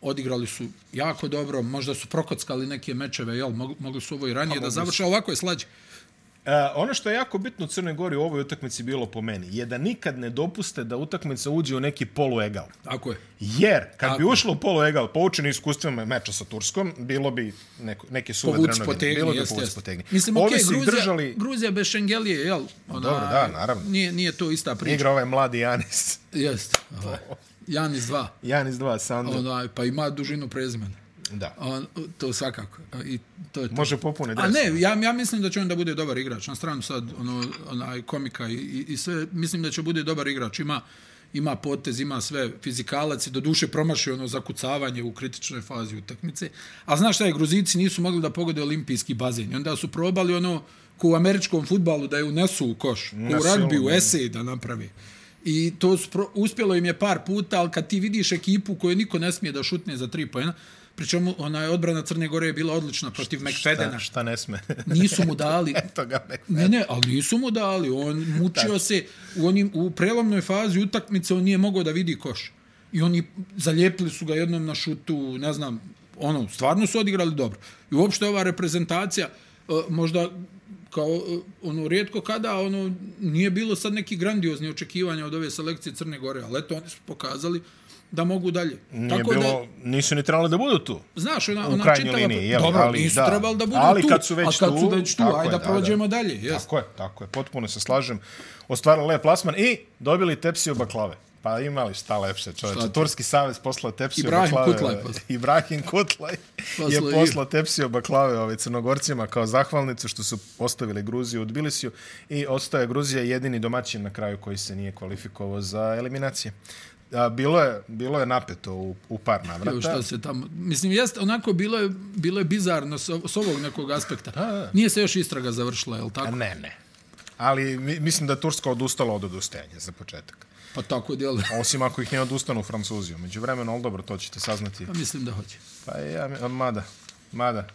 Speaker 1: odigrali su jako dobro, možda su prokockali neke mečeve, jel, mog- mogli su ovo i ranije da završe, a ovako je slađe.
Speaker 2: E, ono što je jako bitno u Crnoj Gori u ovoj utakmici bilo po meni je da nikad ne dopuste da utakmica uđe u neki poluegal.
Speaker 1: Tako je.
Speaker 2: Jer, kad
Speaker 1: Tako
Speaker 2: bi
Speaker 1: je.
Speaker 2: ušlo u poluegal, poučeni iskustvima meča sa Turskom, bilo bi neko, neke suvedreno
Speaker 1: Povuć, potegni,
Speaker 2: Bilo bi
Speaker 1: jeste,
Speaker 2: povuć,
Speaker 1: jeste.
Speaker 2: potegni.
Speaker 1: Mislim,
Speaker 2: Ovi
Speaker 1: okej,
Speaker 2: su ih
Speaker 1: Gruzija,
Speaker 2: držali,
Speaker 1: Gruzija bez Šengelije, jel? Ona,
Speaker 2: Dobro, da, naravno.
Speaker 1: Nije, nije to ista priča.
Speaker 2: igra ovaj mladi Janis.
Speaker 1: Jeste. Ovaj, Janis 2.
Speaker 2: Janis 2, Sandro.
Speaker 1: Onaj, pa ima dužinu prezimena.
Speaker 2: Da.
Speaker 1: On, to svakako. I to je to.
Speaker 2: Može popune
Speaker 1: A
Speaker 2: dres.
Speaker 1: ne, ja, ja mislim da će on da bude dobar igrač. Na stranu sad, ono, onaj komika i, i, i sve, mislim da će bude dobar igrač. Ima, ima potez, ima sve fizikalac i do duše promašio ono zakucavanje u kritičnoj fazi utakmice. A znaš šta je, Gruzici nisu mogli da pogode olimpijski bazen. I onda su probali ono, ko u američkom futbalu da je unesu u koš, ko
Speaker 2: Na
Speaker 1: u ragbi,
Speaker 2: silu,
Speaker 1: u
Speaker 2: da.
Speaker 1: esej da napravi. I to su pro, uspjelo im je par puta, ali kad ti vidiš ekipu koju niko ne smije da šutne za tri pojena, pričemu ona je odbrana Crne Gore je bila odlična protiv
Speaker 2: šta,
Speaker 1: McFedena.
Speaker 2: šta ne sme.
Speaker 1: Nisu mu dali...
Speaker 2: Eto ga, Mekfeden.
Speaker 1: Ne, ne, ali nisu mu dali. On mučio se u, onim, u prelomnoj fazi utakmice, on nije mogao da vidi koš. I oni zalijepili su ga jednom na šutu, ne znam, ono, stvarno su odigrali dobro. I uopšte ova reprezentacija, eh, možda kao eh, ono rijetko kada ono nije bilo sad neki grandiozni očekivanja od ove selekcije Crne Gore, ali eto oni su pokazali da mogu dalje.
Speaker 2: Nije bilo, nisu ni trebali da budu tu.
Speaker 1: Znaš, ona,
Speaker 2: u
Speaker 1: ona
Speaker 2: krajnjoj
Speaker 1: čitava...
Speaker 2: liniji, jeli,
Speaker 1: dobro,
Speaker 2: ali
Speaker 1: nisu
Speaker 2: da.
Speaker 1: trebali da budu
Speaker 2: Ali
Speaker 1: tu,
Speaker 2: kad su već
Speaker 1: a kad su
Speaker 2: tu,
Speaker 1: već tu,
Speaker 2: tako je,
Speaker 1: ajde
Speaker 2: da,
Speaker 1: da,
Speaker 2: da.
Speaker 1: prođemo dalje. Jes.
Speaker 2: Tako je, tako je. Potpuno se slažem. Ostvarili lep plasman i dobili tepsiju baklave. Pa imali šta lepše, čoveče.
Speaker 1: Šta ti?
Speaker 2: Turski savez poslao tepsiju
Speaker 1: Ibrahim
Speaker 2: baklave. ovaj,
Speaker 1: Kutlaj poslao.
Speaker 2: Ibrahim Kutlaj je
Speaker 1: Poslao i-
Speaker 2: poslao tepsiju baklave ove crnogorcima kao zahvalnicu što su ostavili Gruziju u Tbilisiju i ostaje Gruzija jedini domaćin na kraju koji se nije kvalifikovao za eliminacije. A, bilo, je, bilo je napeto u, u par
Speaker 1: Evo
Speaker 2: navrata.
Speaker 1: šta se tamo... Mislim, jeste, onako bilo je, bilo je bizarno s, s ovog nekog aspekta.
Speaker 2: da.
Speaker 1: Nije se još istraga završila, je li tako?
Speaker 2: Ne, ne. Ali mi- mislim da je Turska odustala od odustajanja za početak.
Speaker 1: Pa tako djelo.
Speaker 2: Osim ako ih ne odustanu
Speaker 1: Pa
Speaker 2: Francuzi. Među vremenu, ali dobro, to ćete saznati.
Speaker 1: Mislim da hoće.
Speaker 2: Pa ja, mada, mada.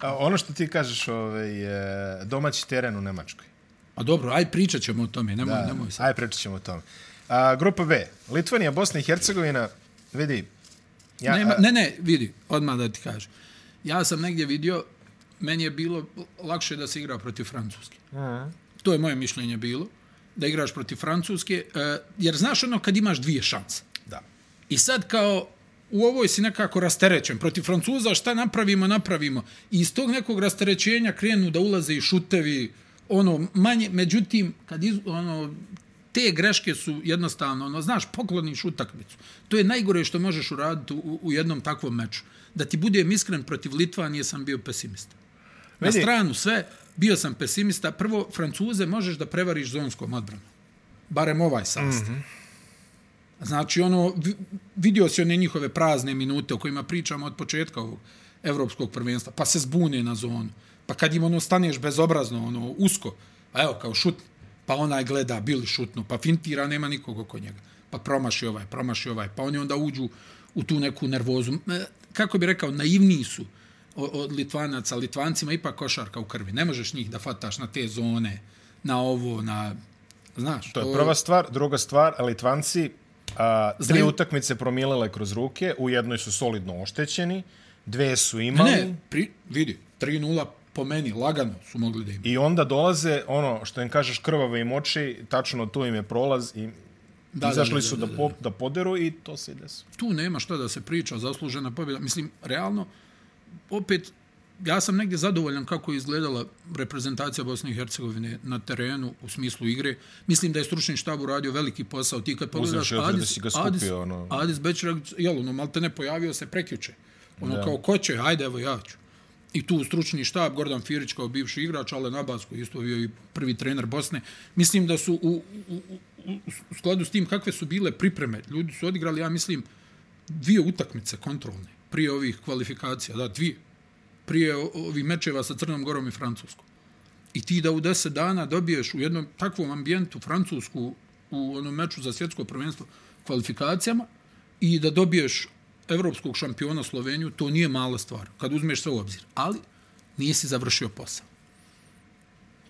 Speaker 2: A ono što ti kažeš, ovaj, e, domaći teren u Nemačkoj.
Speaker 1: A dobro, aj pričat ćemo o tome, nemoj,
Speaker 2: Da,
Speaker 1: nemoj sad.
Speaker 2: Ajde, pričat ćemo o tome. A, grupa B. Litvanija, Bosna i Hercegovina, vidi, ja,
Speaker 1: Nema,
Speaker 2: a-
Speaker 1: ne, ne, vidi, odmah da ti kažem. Ja sam negdje vidio, meni je bilo lakše da se igra protiv Francuske.
Speaker 2: Mhm.
Speaker 1: To je moje mišljenje bilo, da igraš protiv Francuske, e, jer znaš ono kad imaš dvije šanse.
Speaker 2: da.
Speaker 1: I sad kao u ovoj si nekako rasterećen. Protiv Francuza šta napravimo, napravimo. I iz tog nekog rasterećenja krenu da ulaze i šutevi, ono, manje, međutim, kad iz, ono, te greške su jednostavno, ono, znaš, pokloniš utakmicu. To je najgore što možeš uraditi u, u jednom takvom meču. Da ti budem iskren, protiv Litvanije sam bio pesimista. Na
Speaker 2: Vidi.
Speaker 1: stranu sve, bio sam pesimista. Prvo, Francuze možeš da prevariš zonskom odbranom. Barem ovaj sastav. Znači, ono, vi- vidio si one njihove prazne minute o kojima pričamo od početka ovog evropskog prvenstva, pa se zbune na zonu. Pa kad im ono staneš bezobrazno, ono, usko, a evo, kao šut, pa onaj gleda, bil šutnu, pa fintira, nema nikog oko njega. Pa promaši ovaj, promaši ovaj, pa oni onda uđu u tu neku nervozu. E, Kako bi rekao, naivniji su o- od Litvanaca. Litvancima je ipak košarka u krvi. Ne možeš njih da fataš na te zone, na ovo, na... Znaš,
Speaker 2: To je prva stvar. Druga stvar, Litvanci a, tri
Speaker 1: Znaju-
Speaker 2: utakmice promilele kroz ruke, u jednoj su solidno oštećeni, dve su imali.
Speaker 1: Ne, pri, vidi, 3-0 po meni, lagano su mogli da imaju.
Speaker 2: I onda dolaze, ono što im kažeš, krvave im oči, tačno tu im je prolaz i da, izašli da, da, su da, da, po, da poderu i to se i desu.
Speaker 1: Tu nema šta da se priča, zaslužena pobjeda. Mislim, realno, opet, ja sam negdje zadovoljan kako je izgledala reprezentacija Bosne i Hercegovine na terenu u smislu igre. Mislim da je stručni štab uradio veliki posao. Ti kad pogledaš
Speaker 2: je obzir da
Speaker 1: Adis,
Speaker 2: si ga skupio,
Speaker 1: Adis,
Speaker 2: ono.
Speaker 1: Adis Bečeragić, jel, ono, malte ne pojavio se prekjuče. Ono, da. kao, ko će, ajde, evo ja ću. I tu stručni štab, Gordan Firić kao bivši igrač, Alen Abbas koji je isto bio i prvi trener Bosne. Mislim da su u, u, u, u skladu s tim kakve su bile pripreme. Ljudi su odigrali, ja mislim, dvije utakmice kontrolne prije ovih kvalifikacija, da, dvije. Prije o- ovih mečeva sa Crnom Gorom i Francuskom. I ti da u 10 dana dobiješ u jednom takvom ambijentu Francusku u onom meču za svjetsko prvenstvo kvalifikacijama i da dobiješ evropskog šampiona Sloveniju, to nije mala stvar, kad uzmeš sve u obzir. Ali nisi završio posao.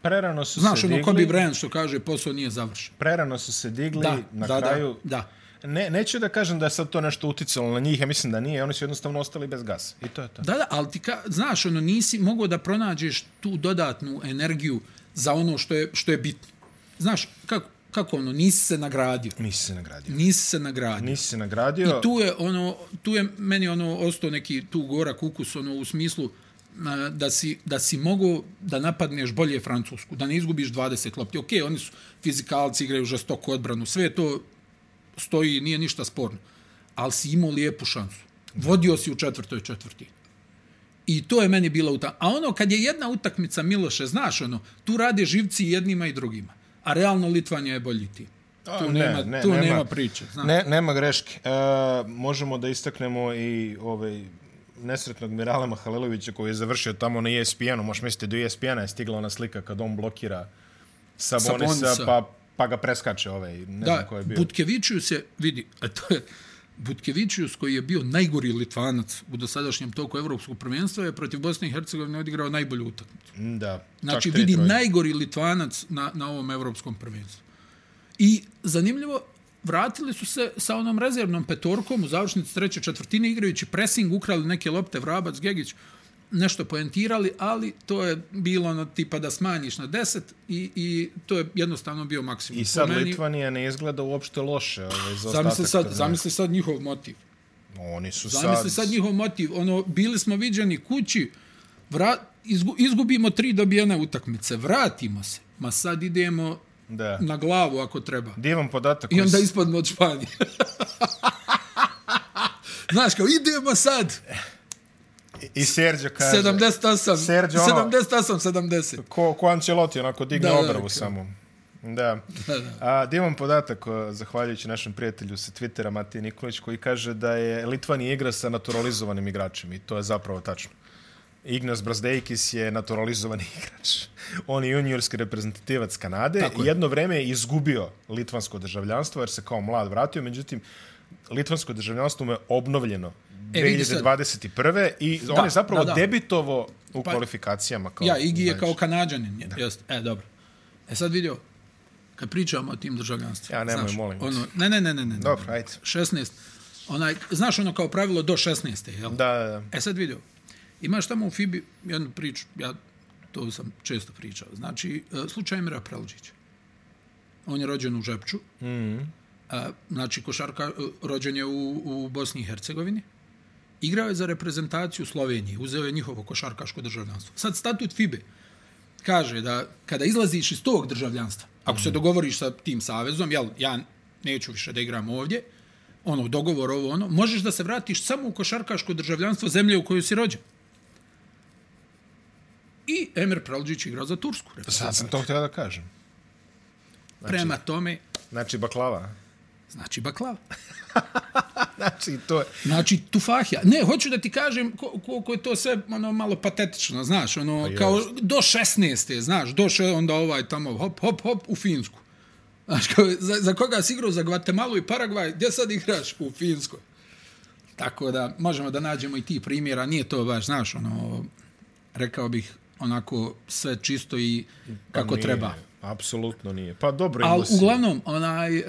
Speaker 2: Prerano su
Speaker 1: Znaš,
Speaker 2: se
Speaker 1: ono
Speaker 2: digli.
Speaker 1: Kobe Bryant što kaže, posao nije završen.
Speaker 2: Prerano su se digli
Speaker 1: Da,
Speaker 2: na
Speaker 1: da,
Speaker 2: kraju.
Speaker 1: da,
Speaker 2: Ne, neću da kažem da je sad to nešto uticalo na njih, ja mislim da nije, oni su jednostavno ostali bez gasa. I to je to.
Speaker 1: da. Da, da, ali ti ka, znaš, ono, nisi mogao da pronađeš tu dodatnu energiju za ono što je, što je bitno. Znaš, kako, kako ono, nisi se nagradio.
Speaker 2: Nisi se nagradio.
Speaker 1: Nisi se nagradio.
Speaker 2: Nisi se nagradio.
Speaker 1: I tu je ono tu je meni ono ostao neki tu gorak ukus ono u smislu a, da si, da si mogu da napadneš bolje Francusku, da ne izgubiš 20 lopti. Ok, oni su fizikalci, igraju žestoku odbranu, sve to stoji, nije ništa sporno. Ali si imao lijepu šansu. Vodio si u četvrtoj četvrti. I to je meni bila utakmica. A ono, kad je jedna utakmica Miloše, znaš ono, tu rade živci i jednima i drugima. A realno Litvanija je bolji tim.
Speaker 2: A,
Speaker 1: Tu,
Speaker 2: ne,
Speaker 1: nema,
Speaker 2: ne,
Speaker 1: tu
Speaker 2: nema.
Speaker 1: nema, priče. Znaš.
Speaker 2: Ne, nema greške. E, možemo da istaknemo i ovaj nesretnog Miralema Halelovića koji je završio tamo na E ESPN-u. Možeš misliti do ESPN-a je E stigla ona slika kad on blokira Sabonisa,
Speaker 1: Sabonisa.
Speaker 2: pa, pa ga preskače ovaj, ne da, znam ko
Speaker 1: Da,
Speaker 2: je bio.
Speaker 1: Butkevičius je, vidi, a to je, Butkevičius koji je bio najgori litvanac u dosadašnjem toku evropskog prvenstva je protiv Bosne i Hercegovine odigrao najbolju utakmicu.
Speaker 2: Mm, Da,
Speaker 1: Znači,
Speaker 2: čak tri
Speaker 1: vidi,
Speaker 2: trojke.
Speaker 1: najgori litvanac na, na ovom evropskom prvenstvu. I zanimljivo, vratili su se sa onom rezervnom petorkom u završnici treće četvrtine igrajući pressing, ukrali neke lopte Vrabac, Gegić, nešto poentirali, ali to je bilo ono tipa da smanjiš na 10 i, i to je jednostavno bio maksimum.
Speaker 2: I
Speaker 1: Po
Speaker 2: sad Litvanija ne izgleda uopšte loše. Ovaj, za
Speaker 1: Zamisli
Speaker 2: ostatak
Speaker 1: sad,
Speaker 2: turnira.
Speaker 1: zamisli sad njihov motiv.
Speaker 2: Oni su
Speaker 1: Zamisli
Speaker 2: sad...
Speaker 1: sad njihov motiv. Ono, bili smo viđeni kući, vra, izgu, izgubimo tri dobijene utakmice, vratimo se. Ma sad idemo
Speaker 2: Da.
Speaker 1: na glavu ako treba.
Speaker 2: Divan podatak.
Speaker 1: I
Speaker 2: koji
Speaker 1: onda
Speaker 2: s-
Speaker 1: ispadmo od Španije. Znaš, kao idemo sad,
Speaker 2: I Serđo kaže...
Speaker 1: 78,
Speaker 2: Serđo, ono-
Speaker 1: 78, 70.
Speaker 2: Ko, ko Ancelotti, onako digne
Speaker 1: Da, da,
Speaker 2: obrvu
Speaker 1: kao-
Speaker 2: samo. Da.
Speaker 1: Da, da.
Speaker 2: A, divan podatak, o, zahvaljujući našem prijatelju sa Twittera, Matije Nikolić, koji kaže da je Litvanija igra sa naturalizovanim igračem i to je zapravo tačno. Ignas Brasdeikis je naturalizovani igrač. On je juniorski reprezentativac Kanade.
Speaker 1: Tako je.
Speaker 2: Jedno vreme je izgubio litvansko državljanstvo jer se kao mlad vratio, međutim, litvansko državljanstvo mu je obnovljeno
Speaker 1: E, vidi sad.
Speaker 2: 2021. I on
Speaker 1: Da,
Speaker 2: je zapravo
Speaker 1: da, da.
Speaker 2: debitovo u
Speaker 1: Pa-
Speaker 2: kvalifikacijama. Kao, znači.
Speaker 1: Ja, Igi je
Speaker 2: znaš.
Speaker 1: kao kanadžanin. je- Jeste. E, dobro. E sad vidio, kad pričamo o tim državljanstvima.
Speaker 2: Ja, nemoj, molim vas.
Speaker 1: Ono, ne, ne, ne, ne, ne.
Speaker 2: Dobro,
Speaker 1: ne.
Speaker 2: ajde.
Speaker 1: 16. Onaj, znaš ono kao pravilo do 16. Jel?
Speaker 2: Da, da, da.
Speaker 1: E sad vidio, imaš tamo u FIBI jednu priču, ja to sam često pričao, znači e, slučaj Mira Prelđića. On je rođen u Žepču, mm -hmm. a, znači košarka, e, rođen je u, u Bosni i Hercegovini, igrao je za reprezentaciju Slovenije, uzeo je njihovo košarkaško državljanstvo. Sad statut FIBE kaže da kada izlaziš iz tog državljanstva, ako se dogovoriš sa tim savezom, jel, ja neću više da igram ovdje, ono, dogovor, ovo, ono, možeš da se vratiš samo u košarkaško državljanstvo zemlje u kojoj si rođen. I Emir Pralđić igrao za Tursku.
Speaker 2: Sad znači- sam to htio da znači. kažem.
Speaker 1: Prema tome,
Speaker 2: Znači, baklava.
Speaker 1: znači baklava.
Speaker 2: Znači, to je...
Speaker 1: Znači, tufahija. Ne, hoću da ti kažem ko- koliko je to sve ono, malo patetično, znaš, ono,
Speaker 2: Pa jest.
Speaker 1: kao do 16. znaš, do še, onda ovaj tamo, hop, hop, hop, u Finsku. Znaš, kao, za, za koga si igrao, za Gvatemalu i Paragvaj, gdje sad igraš? U Finskoj. Tako da, možemo da nađemo i ti primjera, nije to baš, znaš, ono, rekao bih, onako, sve čisto i kako
Speaker 2: Pa nije,
Speaker 1: treba.
Speaker 2: Apsolutno nije. Pa dobro,
Speaker 1: Ali
Speaker 2: imao si...
Speaker 1: uglavnom, onaj, uh,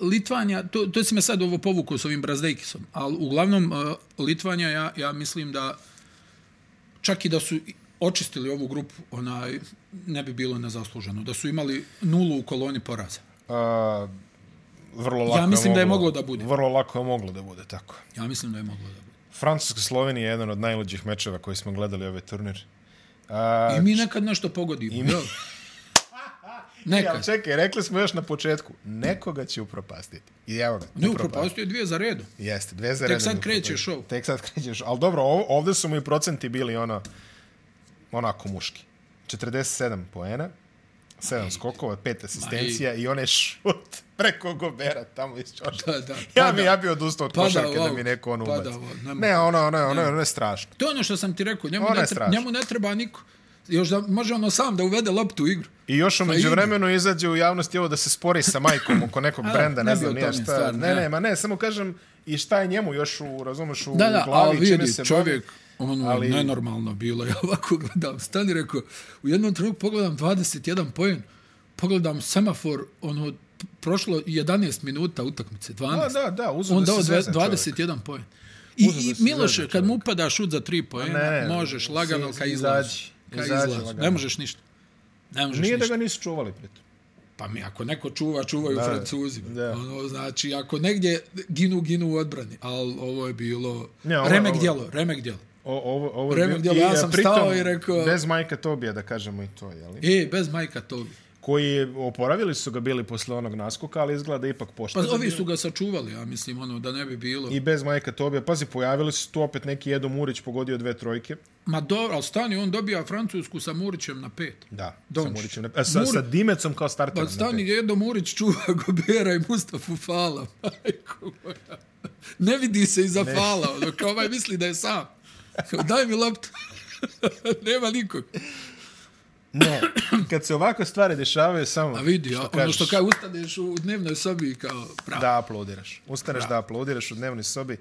Speaker 1: Litvanja, to, to si me sad ovo povukao s ovim Brazdejkisom, ali uglavnom uh, Litvanja, ja, ja mislim da čak i da su očistili ovu grupu, onaj, ne bi bilo nezasluženo. Da su imali nulu u koloni poraza.
Speaker 2: A, vrlo lako
Speaker 1: mislim da je
Speaker 2: moglo-
Speaker 1: moglo da bude.
Speaker 2: Vrlo lako je moglo da bude, tako.
Speaker 1: Ja mislim da je moglo da bude.
Speaker 2: Francuska Slovenija je jedan od najluđih mečeva koji smo gledali ovaj turnir. A,
Speaker 1: I mi nekad nešto pogodimo. Mi...
Speaker 2: ja,
Speaker 1: Nekad.
Speaker 2: čekaj, rekli smo još na početku, nekoga će upropastiti. I evo ga,
Speaker 1: Ne
Speaker 2: upropastio.
Speaker 1: upropastio dvije za redom.
Speaker 2: Jeste, dve za redom.
Speaker 1: sad
Speaker 2: je
Speaker 1: kreće
Speaker 2: upropastio.
Speaker 1: show.
Speaker 2: Tek sad krećeš. Ali dobro, ov- ovde su mu i procenti bili ono, onako muški. 47 poena, 7 skokova, 5 asistencija i onaj šut preko Gobera tamo iz Čoša.
Speaker 1: Da, Pa da.
Speaker 2: Ja
Speaker 1: Pada.
Speaker 2: bi, ja bi odustao od
Speaker 1: Pada
Speaker 2: košarke da
Speaker 1: u
Speaker 2: mi
Speaker 1: aut.
Speaker 2: neko ono
Speaker 1: Pada
Speaker 2: ubaci.
Speaker 1: u aut, Pa ne mogu.
Speaker 2: Ne, ono, ono, ono, ono je strašno.
Speaker 1: To je ono što sam ti rekao. Njemu,
Speaker 2: Ona
Speaker 1: ne,
Speaker 2: je
Speaker 1: treba,
Speaker 2: strašna.
Speaker 1: njemu ne treba niko. Još da može ono sam da uvede loptu u igru.
Speaker 2: I još
Speaker 1: Pa
Speaker 2: umeđu vremenu izađe u javnosti ovo da se spori sa majkom oko nekog brenda,
Speaker 1: ne
Speaker 2: ne
Speaker 1: bi o
Speaker 2: znam nije
Speaker 1: tome,
Speaker 2: šta.
Speaker 1: stvarno,
Speaker 2: ne,
Speaker 1: ja.
Speaker 2: ne, ma ne, samo kažem i šta je njemu još u, razumeš, u
Speaker 1: da, da,
Speaker 2: glavi,
Speaker 1: ali
Speaker 2: čime
Speaker 1: vidi,
Speaker 2: se bavi.
Speaker 1: čovjek, ono,
Speaker 2: ali-
Speaker 1: ali... nenormalno bilo, ja ovako gledam, stani, rekao, u jednom trenutku pogledam 21 poen, pogledam semafor, ono, p- prošlo 11 minuta utakmice, 12,
Speaker 2: Da, da, da, uzeo
Speaker 1: on
Speaker 2: da
Speaker 1: dao
Speaker 2: se
Speaker 1: dve-
Speaker 2: zvezda čovjek.
Speaker 1: 21 poen. I,
Speaker 2: Uzeo
Speaker 1: i
Speaker 2: da se
Speaker 1: Miloše,
Speaker 2: zvezda
Speaker 1: kad mu upada šut za 3 poena,
Speaker 2: Ne, ne,
Speaker 1: možeš lagano
Speaker 2: si-
Speaker 1: ka
Speaker 2: izađi,
Speaker 1: izlazi. Ka
Speaker 2: izađi
Speaker 1: izlazi, ne
Speaker 2: lagano.
Speaker 1: možeš ništa. Ne možeš
Speaker 2: Nije da
Speaker 1: ništa.
Speaker 2: ga nisu čuvali pritom.
Speaker 1: Pa mi, ako neko čuva, čuvaju
Speaker 2: Da,
Speaker 1: Francuzi.
Speaker 2: da.
Speaker 1: Ono, znači, ako negdje ginu, ginu u odbrani. Ali ovo je bilo...
Speaker 2: Ne, ovo je-
Speaker 1: remek
Speaker 2: ovo je-
Speaker 1: djelo, remek djelo.
Speaker 2: O, ovo, ovo je
Speaker 1: Vremen
Speaker 2: bio-
Speaker 1: djelo, ja
Speaker 2: e,
Speaker 1: sam
Speaker 2: pritom,
Speaker 1: stao i rekao-
Speaker 2: Bez Majka Tobija, da kažemo i to, jeli?
Speaker 1: E, bez majka to.
Speaker 2: Koji je, oporavili su ga bili posle onog naskoka, ali izgleda da ipak pošta.
Speaker 1: Pa ovi su ga sačuvali, ja mislim, ono, da ne bi bilo.
Speaker 2: I bez Majka Tobija, pazi, pojavili su tu opet neki Edo Murić pogodio dve trojke.
Speaker 1: Ma dobro, ali stani, on dobija Francusku sa Murićem na pet.
Speaker 2: Da, sa,
Speaker 1: Dončić.
Speaker 2: Murićem, na- e, sa,
Speaker 1: Mur-
Speaker 2: sa Dimecom kao starterom.
Speaker 1: Pa
Speaker 2: na
Speaker 1: stani,
Speaker 2: pet.
Speaker 1: jedno Murić čuva Gobera i Mustafu Fala. Majko moja. Ne vidi se iza Fala, ono, kao ovaj misli da je sam. Kao, Daj mi loptu. Nema nikog.
Speaker 2: Ne, kad se ovakve stvari dešavaju, samo...
Speaker 1: A vidi, što ono
Speaker 2: kažeš,
Speaker 1: što kao ustaneš u dnevnoj sobi i kao pravo.
Speaker 2: Da aplaudiraš. Ustaneš da aplaudiraš u dnevnoj sobi.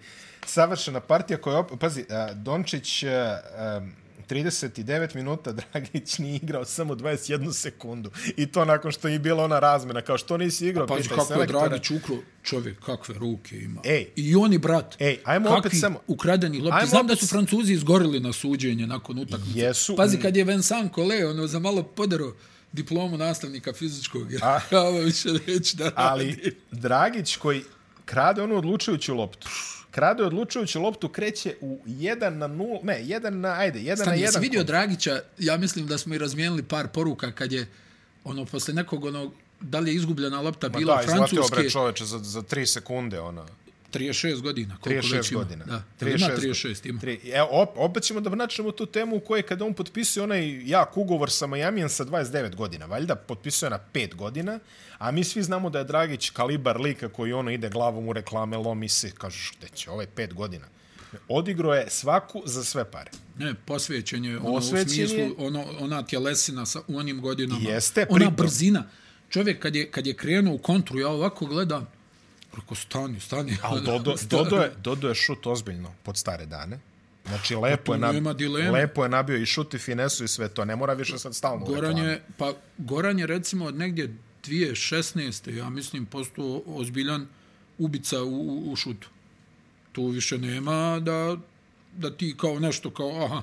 Speaker 2: Savršena partija koja... je op- Pazi, a, Dončić... a, em, 39 minuta Dragić nije igrao samo 21 sekundu. I to nakon što je bila ona razmena. Kao što nisi igrao,
Speaker 1: Pazi
Speaker 2: pitaj
Speaker 1: pa kako je
Speaker 2: selektora.
Speaker 1: Dragić ukro, čovjek kakve ruke ima.
Speaker 2: Ej.
Speaker 1: I oni, brat,
Speaker 2: Ej, ajmo
Speaker 1: kakvi
Speaker 2: opet samo-
Speaker 1: ukradeni lopti.
Speaker 2: Ajmo
Speaker 1: Znam
Speaker 2: opet
Speaker 1: da su
Speaker 2: s-
Speaker 1: Francuzi izgorili na suđenje nakon utakmice.
Speaker 2: Jesu. Mm.
Speaker 1: Pazi, kad je Vincent Kole, ono, za malo podero diplomu nastavnika fizičkog, jer
Speaker 2: A.
Speaker 1: ja ovo više neću da radi.
Speaker 2: Ali Dragić koji krade onu odlučujuću loptu. Krade odlučujuću loptu, kreće u 1 na 0, ne, 1 na, ajde, 1
Speaker 1: Stani,
Speaker 2: na
Speaker 1: jesi
Speaker 2: 1.
Speaker 1: vidio Dragića, ja mislim da smo i razmijenili par poruka kad je, ono, posle nekog, ono, da li je izgubljena lopta bila
Speaker 2: da,
Speaker 1: francuske...
Speaker 2: izletio bre čoveče za, za 3 sekunde, ono. ona.
Speaker 1: 36 godina. koliko
Speaker 2: 36
Speaker 1: već ima.
Speaker 2: godina.
Speaker 1: Da. 36 ima 36, ima.
Speaker 2: Tri, evo, op, opet ćemo da vraćamo tu temu u kojoj kada on potpisuje onaj jak ugovor sa Majamijem sa 29 godina, valjda potpisuje na 5 godina, a mi svi znamo da je Dragić kalibar lika koji ono ide glavom u reklame, lomi se, kažeš, gde će, ovaj 5 godina. Odigro je svaku za sve pare.
Speaker 1: Ne, posvećen je ono, u
Speaker 2: Posvećen je.
Speaker 1: smislu, ono, ona tjelesina sa, u onim godinama.
Speaker 2: Jeste,
Speaker 1: ona
Speaker 2: pritom.
Speaker 1: brzina. Čovjek kad je, kad je krenuo u kontru, ja ovako gledam, Preko stani, stani.
Speaker 2: Ali Dodo, Dodo, je, Dodo je šut ozbiljno pod stare dane. Znači, lepo je,
Speaker 1: tu nema dileme.
Speaker 2: nab... lepo je nabio i šut i finesu i sve to. Ne mora više sad stalno u
Speaker 1: Goran
Speaker 2: reklamu.
Speaker 1: je, pa Goran je recimo od negdje 2016. ja mislim postao ozbiljan ubica u, u, u šutu. Tu više nema da, da ti kao nešto kao aha,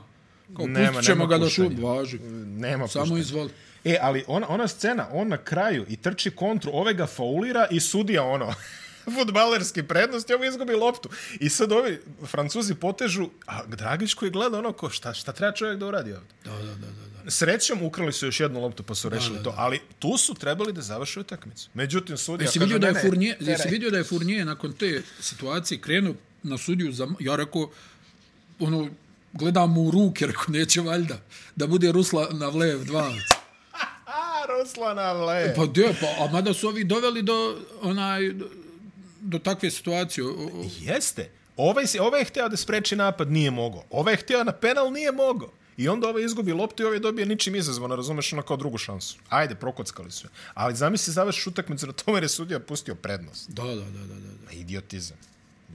Speaker 1: kao
Speaker 2: Nema-
Speaker 1: pustit ćemo
Speaker 2: nema
Speaker 1: ga da
Speaker 2: puštanja.
Speaker 1: šut, važi.
Speaker 2: Nema
Speaker 1: Samo
Speaker 2: puštanja.
Speaker 1: izvoli.
Speaker 2: E, ali ona, ona scena, on na kraju i trči kontru, ove ga faulira i sudija ono, futbalerski prednost i ovo izgubi loptu. I sad ovi francuzi potežu, a Dragić koji gleda ono ko, šta, šta treba čovjek da uradi ovdje?
Speaker 1: Da, da, da, da. da.
Speaker 2: Srećom ukrali su još jednu loptu pa su rešili to, ali tu su trebali da završe utakmicu. Međutim, sudija
Speaker 1: Jesi
Speaker 2: kaže,
Speaker 1: vidio da je
Speaker 2: ne, ne,
Speaker 1: Furnije, jesi
Speaker 2: teraj.
Speaker 1: vidio da je Furnije nakon te situacije krenuo na sudiju za ja rekao ono gledam mu u ruke, rekao neće valjda da bude Rusla na Vlev 2.
Speaker 2: A, Ruslana, vle.
Speaker 1: Pa de, pa, a mada su ovi doveli do, onaj, do, do takve situacije. O, o,
Speaker 2: Jeste. Ovaj, se, ovaj je hteo da spreči napad, nije mogao. Ovaj je hteo na penal, nije mogao. I onda ovaj izgubi loptu i ovaj dobije ničim izazvano, razumeš, ono kao drugu šansu. Ajde, prokockali su je. Ali zamisli, završiš utakmicu na tome jer je sudija pustio prednost.
Speaker 1: da, da, da, da, da.
Speaker 2: Pa idiotizam.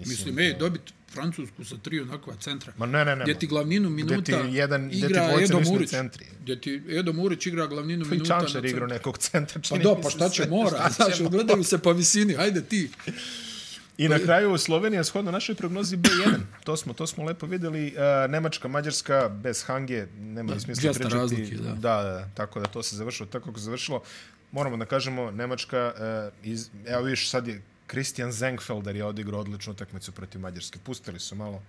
Speaker 1: Mislim, ej, dobit Francusku sa tri onakva centra.
Speaker 2: Ma ne, ne, ne.
Speaker 1: Gdje ti glavninu minuta
Speaker 2: ti jedan- gdje ti
Speaker 1: igra
Speaker 2: dvojica
Speaker 1: Edo
Speaker 2: nisu ni
Speaker 1: Murić.
Speaker 2: centri.
Speaker 1: Gdje ti Edo Murić igra glavninu
Speaker 2: I
Speaker 1: minuta na
Speaker 2: Čančar
Speaker 1: centra.
Speaker 2: igrao nekog centra.
Speaker 1: Pa
Speaker 2: čini
Speaker 1: da,
Speaker 2: mi
Speaker 1: pa
Speaker 2: se
Speaker 1: šta će
Speaker 2: sve.
Speaker 1: mora,
Speaker 2: Šta
Speaker 1: znaš,
Speaker 2: će
Speaker 1: gledaju se po visini, ajde ti.
Speaker 2: I na kraju Slovenija shodno našoj prognozi B1. To smo to smo lepo videli. E, Nemačka, Mađarska bez Hange nema da, smisla
Speaker 1: dvjesta razlike, da.
Speaker 2: da, da, tako da to se završilo tako kako se završilo. Moramo da kažemo Nemačka e, iz evo vidiš sad je Christian Zengfelder je odigrao odličnu utakmicu protiv Mađarske. Pustili su malo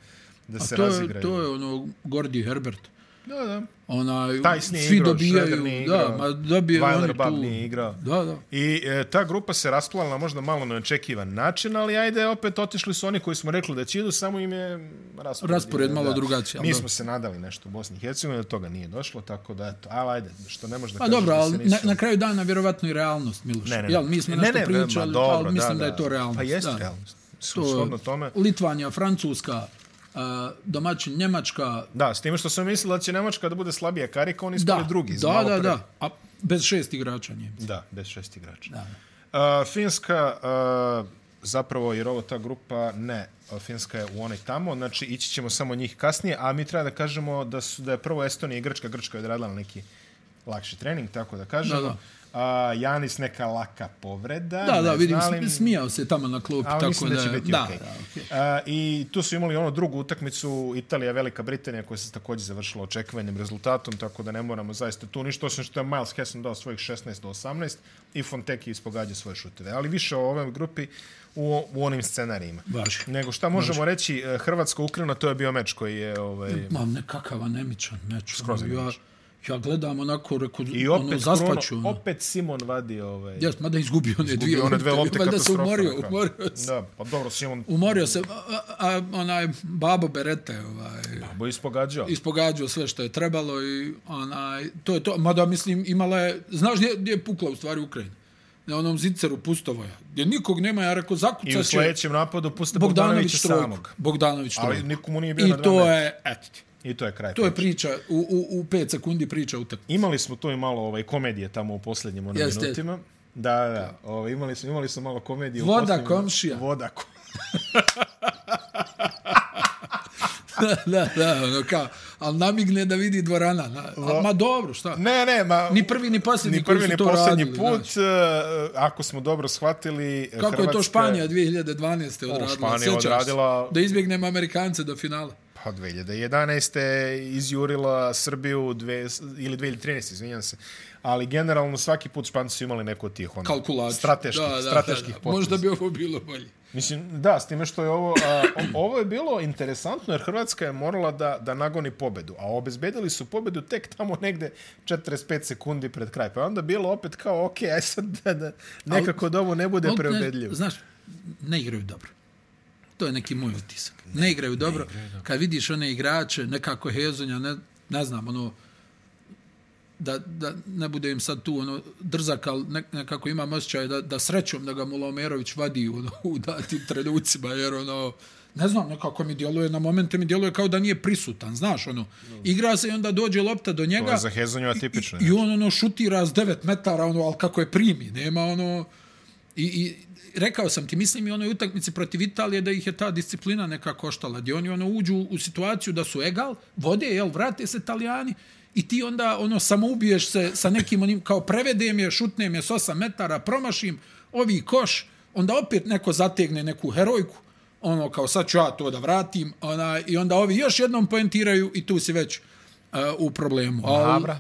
Speaker 2: da se
Speaker 1: To je,
Speaker 2: razigraju.
Speaker 1: to je ono, Gordi Herbert.
Speaker 2: Da, da.
Speaker 1: Onaj,
Speaker 2: Tajs nije
Speaker 1: svi
Speaker 2: igrao, Schroeder
Speaker 1: dobijaju,
Speaker 2: nije
Speaker 1: da,
Speaker 2: igrao,
Speaker 1: ma dobijaju
Speaker 2: Weiler
Speaker 1: oni tu.
Speaker 2: Bab nije igrao.
Speaker 1: Da, da.
Speaker 2: I e, ta grupa se rasplanila možda malo na očekivan način, ali ajde, opet otišli su oni koji smo rekli da će idu, samo im je raspored.
Speaker 1: Raspored
Speaker 2: Da.
Speaker 1: malo drugačiji, ali
Speaker 2: Mi
Speaker 1: dobro.
Speaker 2: smo se nadali nešto u Bosni i Hercegovini, do toga nije došlo, tako da, eto, ali ajde, što ne možda
Speaker 1: Pa dobro, ali
Speaker 2: da se
Speaker 1: na,
Speaker 2: nisu...
Speaker 1: na kraju dana vjerovatno i realnost, Miloš.
Speaker 2: Ne, ne, ne.
Speaker 1: Jel, mi smo
Speaker 2: Ne,
Speaker 1: nešto
Speaker 2: ne,
Speaker 1: pričali, dobro,
Speaker 2: ma, dobro,
Speaker 1: ali mislim da,
Speaker 2: da,
Speaker 1: je to
Speaker 2: da.
Speaker 1: realnost.
Speaker 2: Pa jeste
Speaker 1: da.
Speaker 2: realnost. Shodno
Speaker 1: To,
Speaker 2: tome.
Speaker 1: Litvanija, Francuska, uh, domaćin Njemačka,
Speaker 2: Da, s time što sam mislio da će Nemačka da bude slabija karika, oni
Speaker 1: da,
Speaker 2: ispali drugi. iz
Speaker 1: da,
Speaker 2: malo
Speaker 1: da,
Speaker 2: pre.
Speaker 1: da, a bez šest igrača Njemci.
Speaker 2: Da, bez šest igrača.
Speaker 1: Da.
Speaker 2: Uh, Finska, uh, zapravo, jer ovo ta grupa, ne, uh, Finska je u onoj tamo, znači ići ćemo samo njih kasnije, a mi treba da kažemo da su da je prvo Estonija i Grčka, Grčka je odradila neki lakši trening, tako da
Speaker 1: Da,
Speaker 2: kažemo. Da,
Speaker 1: da.
Speaker 2: da. Uh, Janis neka laka povreda.
Speaker 1: Da, da,
Speaker 2: ne
Speaker 1: vidim,
Speaker 2: znalim.
Speaker 1: smijao se tamo na klupi,
Speaker 2: Ali
Speaker 1: tako
Speaker 2: mislim
Speaker 1: da...
Speaker 2: da će biti
Speaker 1: da,
Speaker 2: okej.
Speaker 1: da, okej.
Speaker 2: A, I tu su imali ono drugu utakmicu Italija, Velika Britanija koja se također završila očekivanim rezultatom, tako da ne moramo zaista tu ništa, osim što je Miles Kesson dao svojih 16 do 18 i Fonteki ispogađa svoje šuteve. Ali više o ovoj grupi u, u onim scenarijima.
Speaker 1: Baš.
Speaker 2: Nego šta možemo reći, e, Hrvatska-Ukrajina, to je bio meč koji je... Ovaj,
Speaker 1: Ma, nekakav anemičan meč.
Speaker 2: Skroz
Speaker 1: ono, ja,
Speaker 2: anemičan.
Speaker 1: ja gledam onako, reko,
Speaker 2: I
Speaker 1: ono,
Speaker 2: opet,
Speaker 1: zaspaću.
Speaker 2: Krono,
Speaker 1: Ono.
Speaker 2: opet Simon vadi... Ovaj,
Speaker 1: Jes, mada izgubio one dvije,
Speaker 2: one dve lopte
Speaker 1: valjda se
Speaker 2: katastrofa.
Speaker 1: umorio,
Speaker 2: na kraju.
Speaker 1: umorio se.
Speaker 2: Da, pa dobro, Simon
Speaker 1: Umorio se, a, a, onaj babo Berete, ovaj,
Speaker 2: bo ispogađao.
Speaker 1: ispogađao sve što je trebalo i onaj, to je to. Mada, mislim, imala je, znaš gdje, gdje je pukla u stvari Ukrajina? Na onom ziceru Pustovoja, gdje nikog nema, ja rekao,
Speaker 2: I u
Speaker 1: zakucat će
Speaker 2: sljedećem napadu puste
Speaker 1: Bogdanović
Speaker 2: Bogdanovića
Speaker 1: trojku.
Speaker 2: samog.
Speaker 1: Bogdanović
Speaker 2: Ali
Speaker 1: trojku.
Speaker 2: nikomu nije bio
Speaker 1: I
Speaker 2: na Znači. dva
Speaker 1: to
Speaker 2: metra.
Speaker 1: je, eto ti,
Speaker 2: I to je kraj.
Speaker 1: to je priča, u, u, u pet sekundi priča utakmice.
Speaker 2: Imali smo tu i malo ovaj komedije tamo u posljednjim onim
Speaker 1: Jeste.
Speaker 2: minutima. Da, da, ovaj, imali smo imali smo malo komedije
Speaker 1: Voda
Speaker 2: u posljednjim-
Speaker 1: komšija.
Speaker 2: Voda ko...
Speaker 1: da, da, da, ono kao, ali namigne da vidi dvorana. Na, a, ma dobro, šta?
Speaker 2: Ne, ne, ma
Speaker 1: Ni prvi, ni posljednji
Speaker 2: ni
Speaker 1: koji
Speaker 2: prvi
Speaker 1: su
Speaker 2: ni
Speaker 1: to
Speaker 2: posljednji
Speaker 1: radili,
Speaker 2: put
Speaker 1: znaš.
Speaker 2: e, ako smo dobro shvatili eh,
Speaker 1: Kako je to Španija 2012. odradila?
Speaker 2: Španija
Speaker 1: Sjećaš se?
Speaker 2: odradila-
Speaker 1: Da izbjegnemo Amerikance do finala.
Speaker 2: Pa 2011. izjurila Srbiju dve, ili 2013. izvinjam se. Ali generalno svaki put Španci su imali neko od tih ono,
Speaker 1: Kalkulaciju.
Speaker 2: strateških,
Speaker 1: da, da,
Speaker 2: strateških
Speaker 1: da, da.
Speaker 2: poteza.
Speaker 1: Možda bi ovo bilo bolje.
Speaker 2: Mislim, da, s time što je ovo... A, o- ovo je bilo interesantno jer Hrvatska je morala da, da nagoni pobedu, a obezbedili su pobedu tek tamo negde 45 sekundi pred kraj. Pa je onda bilo opet kao, ok, aj sad da, da nekako da ovo ne bude
Speaker 1: Al,
Speaker 2: preobedljivo.
Speaker 1: Ne, znaš, ne igraju dobro. To je neki moj utisak. Ne igraju dobro. Kad vidiš one igrače, nekako hezonja, ne, ne znam, ono, da, da ne bude im sad tu ono drzak, ali ne, nekako imam osjećaj da, da srećom da ga Mulomerović vadi ono, u datim trenucima, jer ono, ne znam, nekako mi djeluje, na momente mi djeluje kao da nije prisutan, znaš, ono, igra se i onda dođe lopta do njega.
Speaker 2: To je za Hezonju atipično.
Speaker 1: I, i on ono šutira s 9 metara, ono, ali kako je primi, nema ono... I, i rekao sam ti, mislim i onoj utakmici protiv Italije da ih je ta disciplina neka koštala, gdje oni ono uđu u situaciju da su egal, vode, jel, vrate se Italijani, i ti onda ono samoubiješ se sa nekim onim, kao prevedem je, šutnem je s 8 metara, promašim, ovi koš, onda opet neko zategne neku herojku, ono kao sad ću ja to da vratim, ona, i onda ovi još jednom poentiraju i tu si već uh, u problemu. Al-
Speaker 2: Mavra.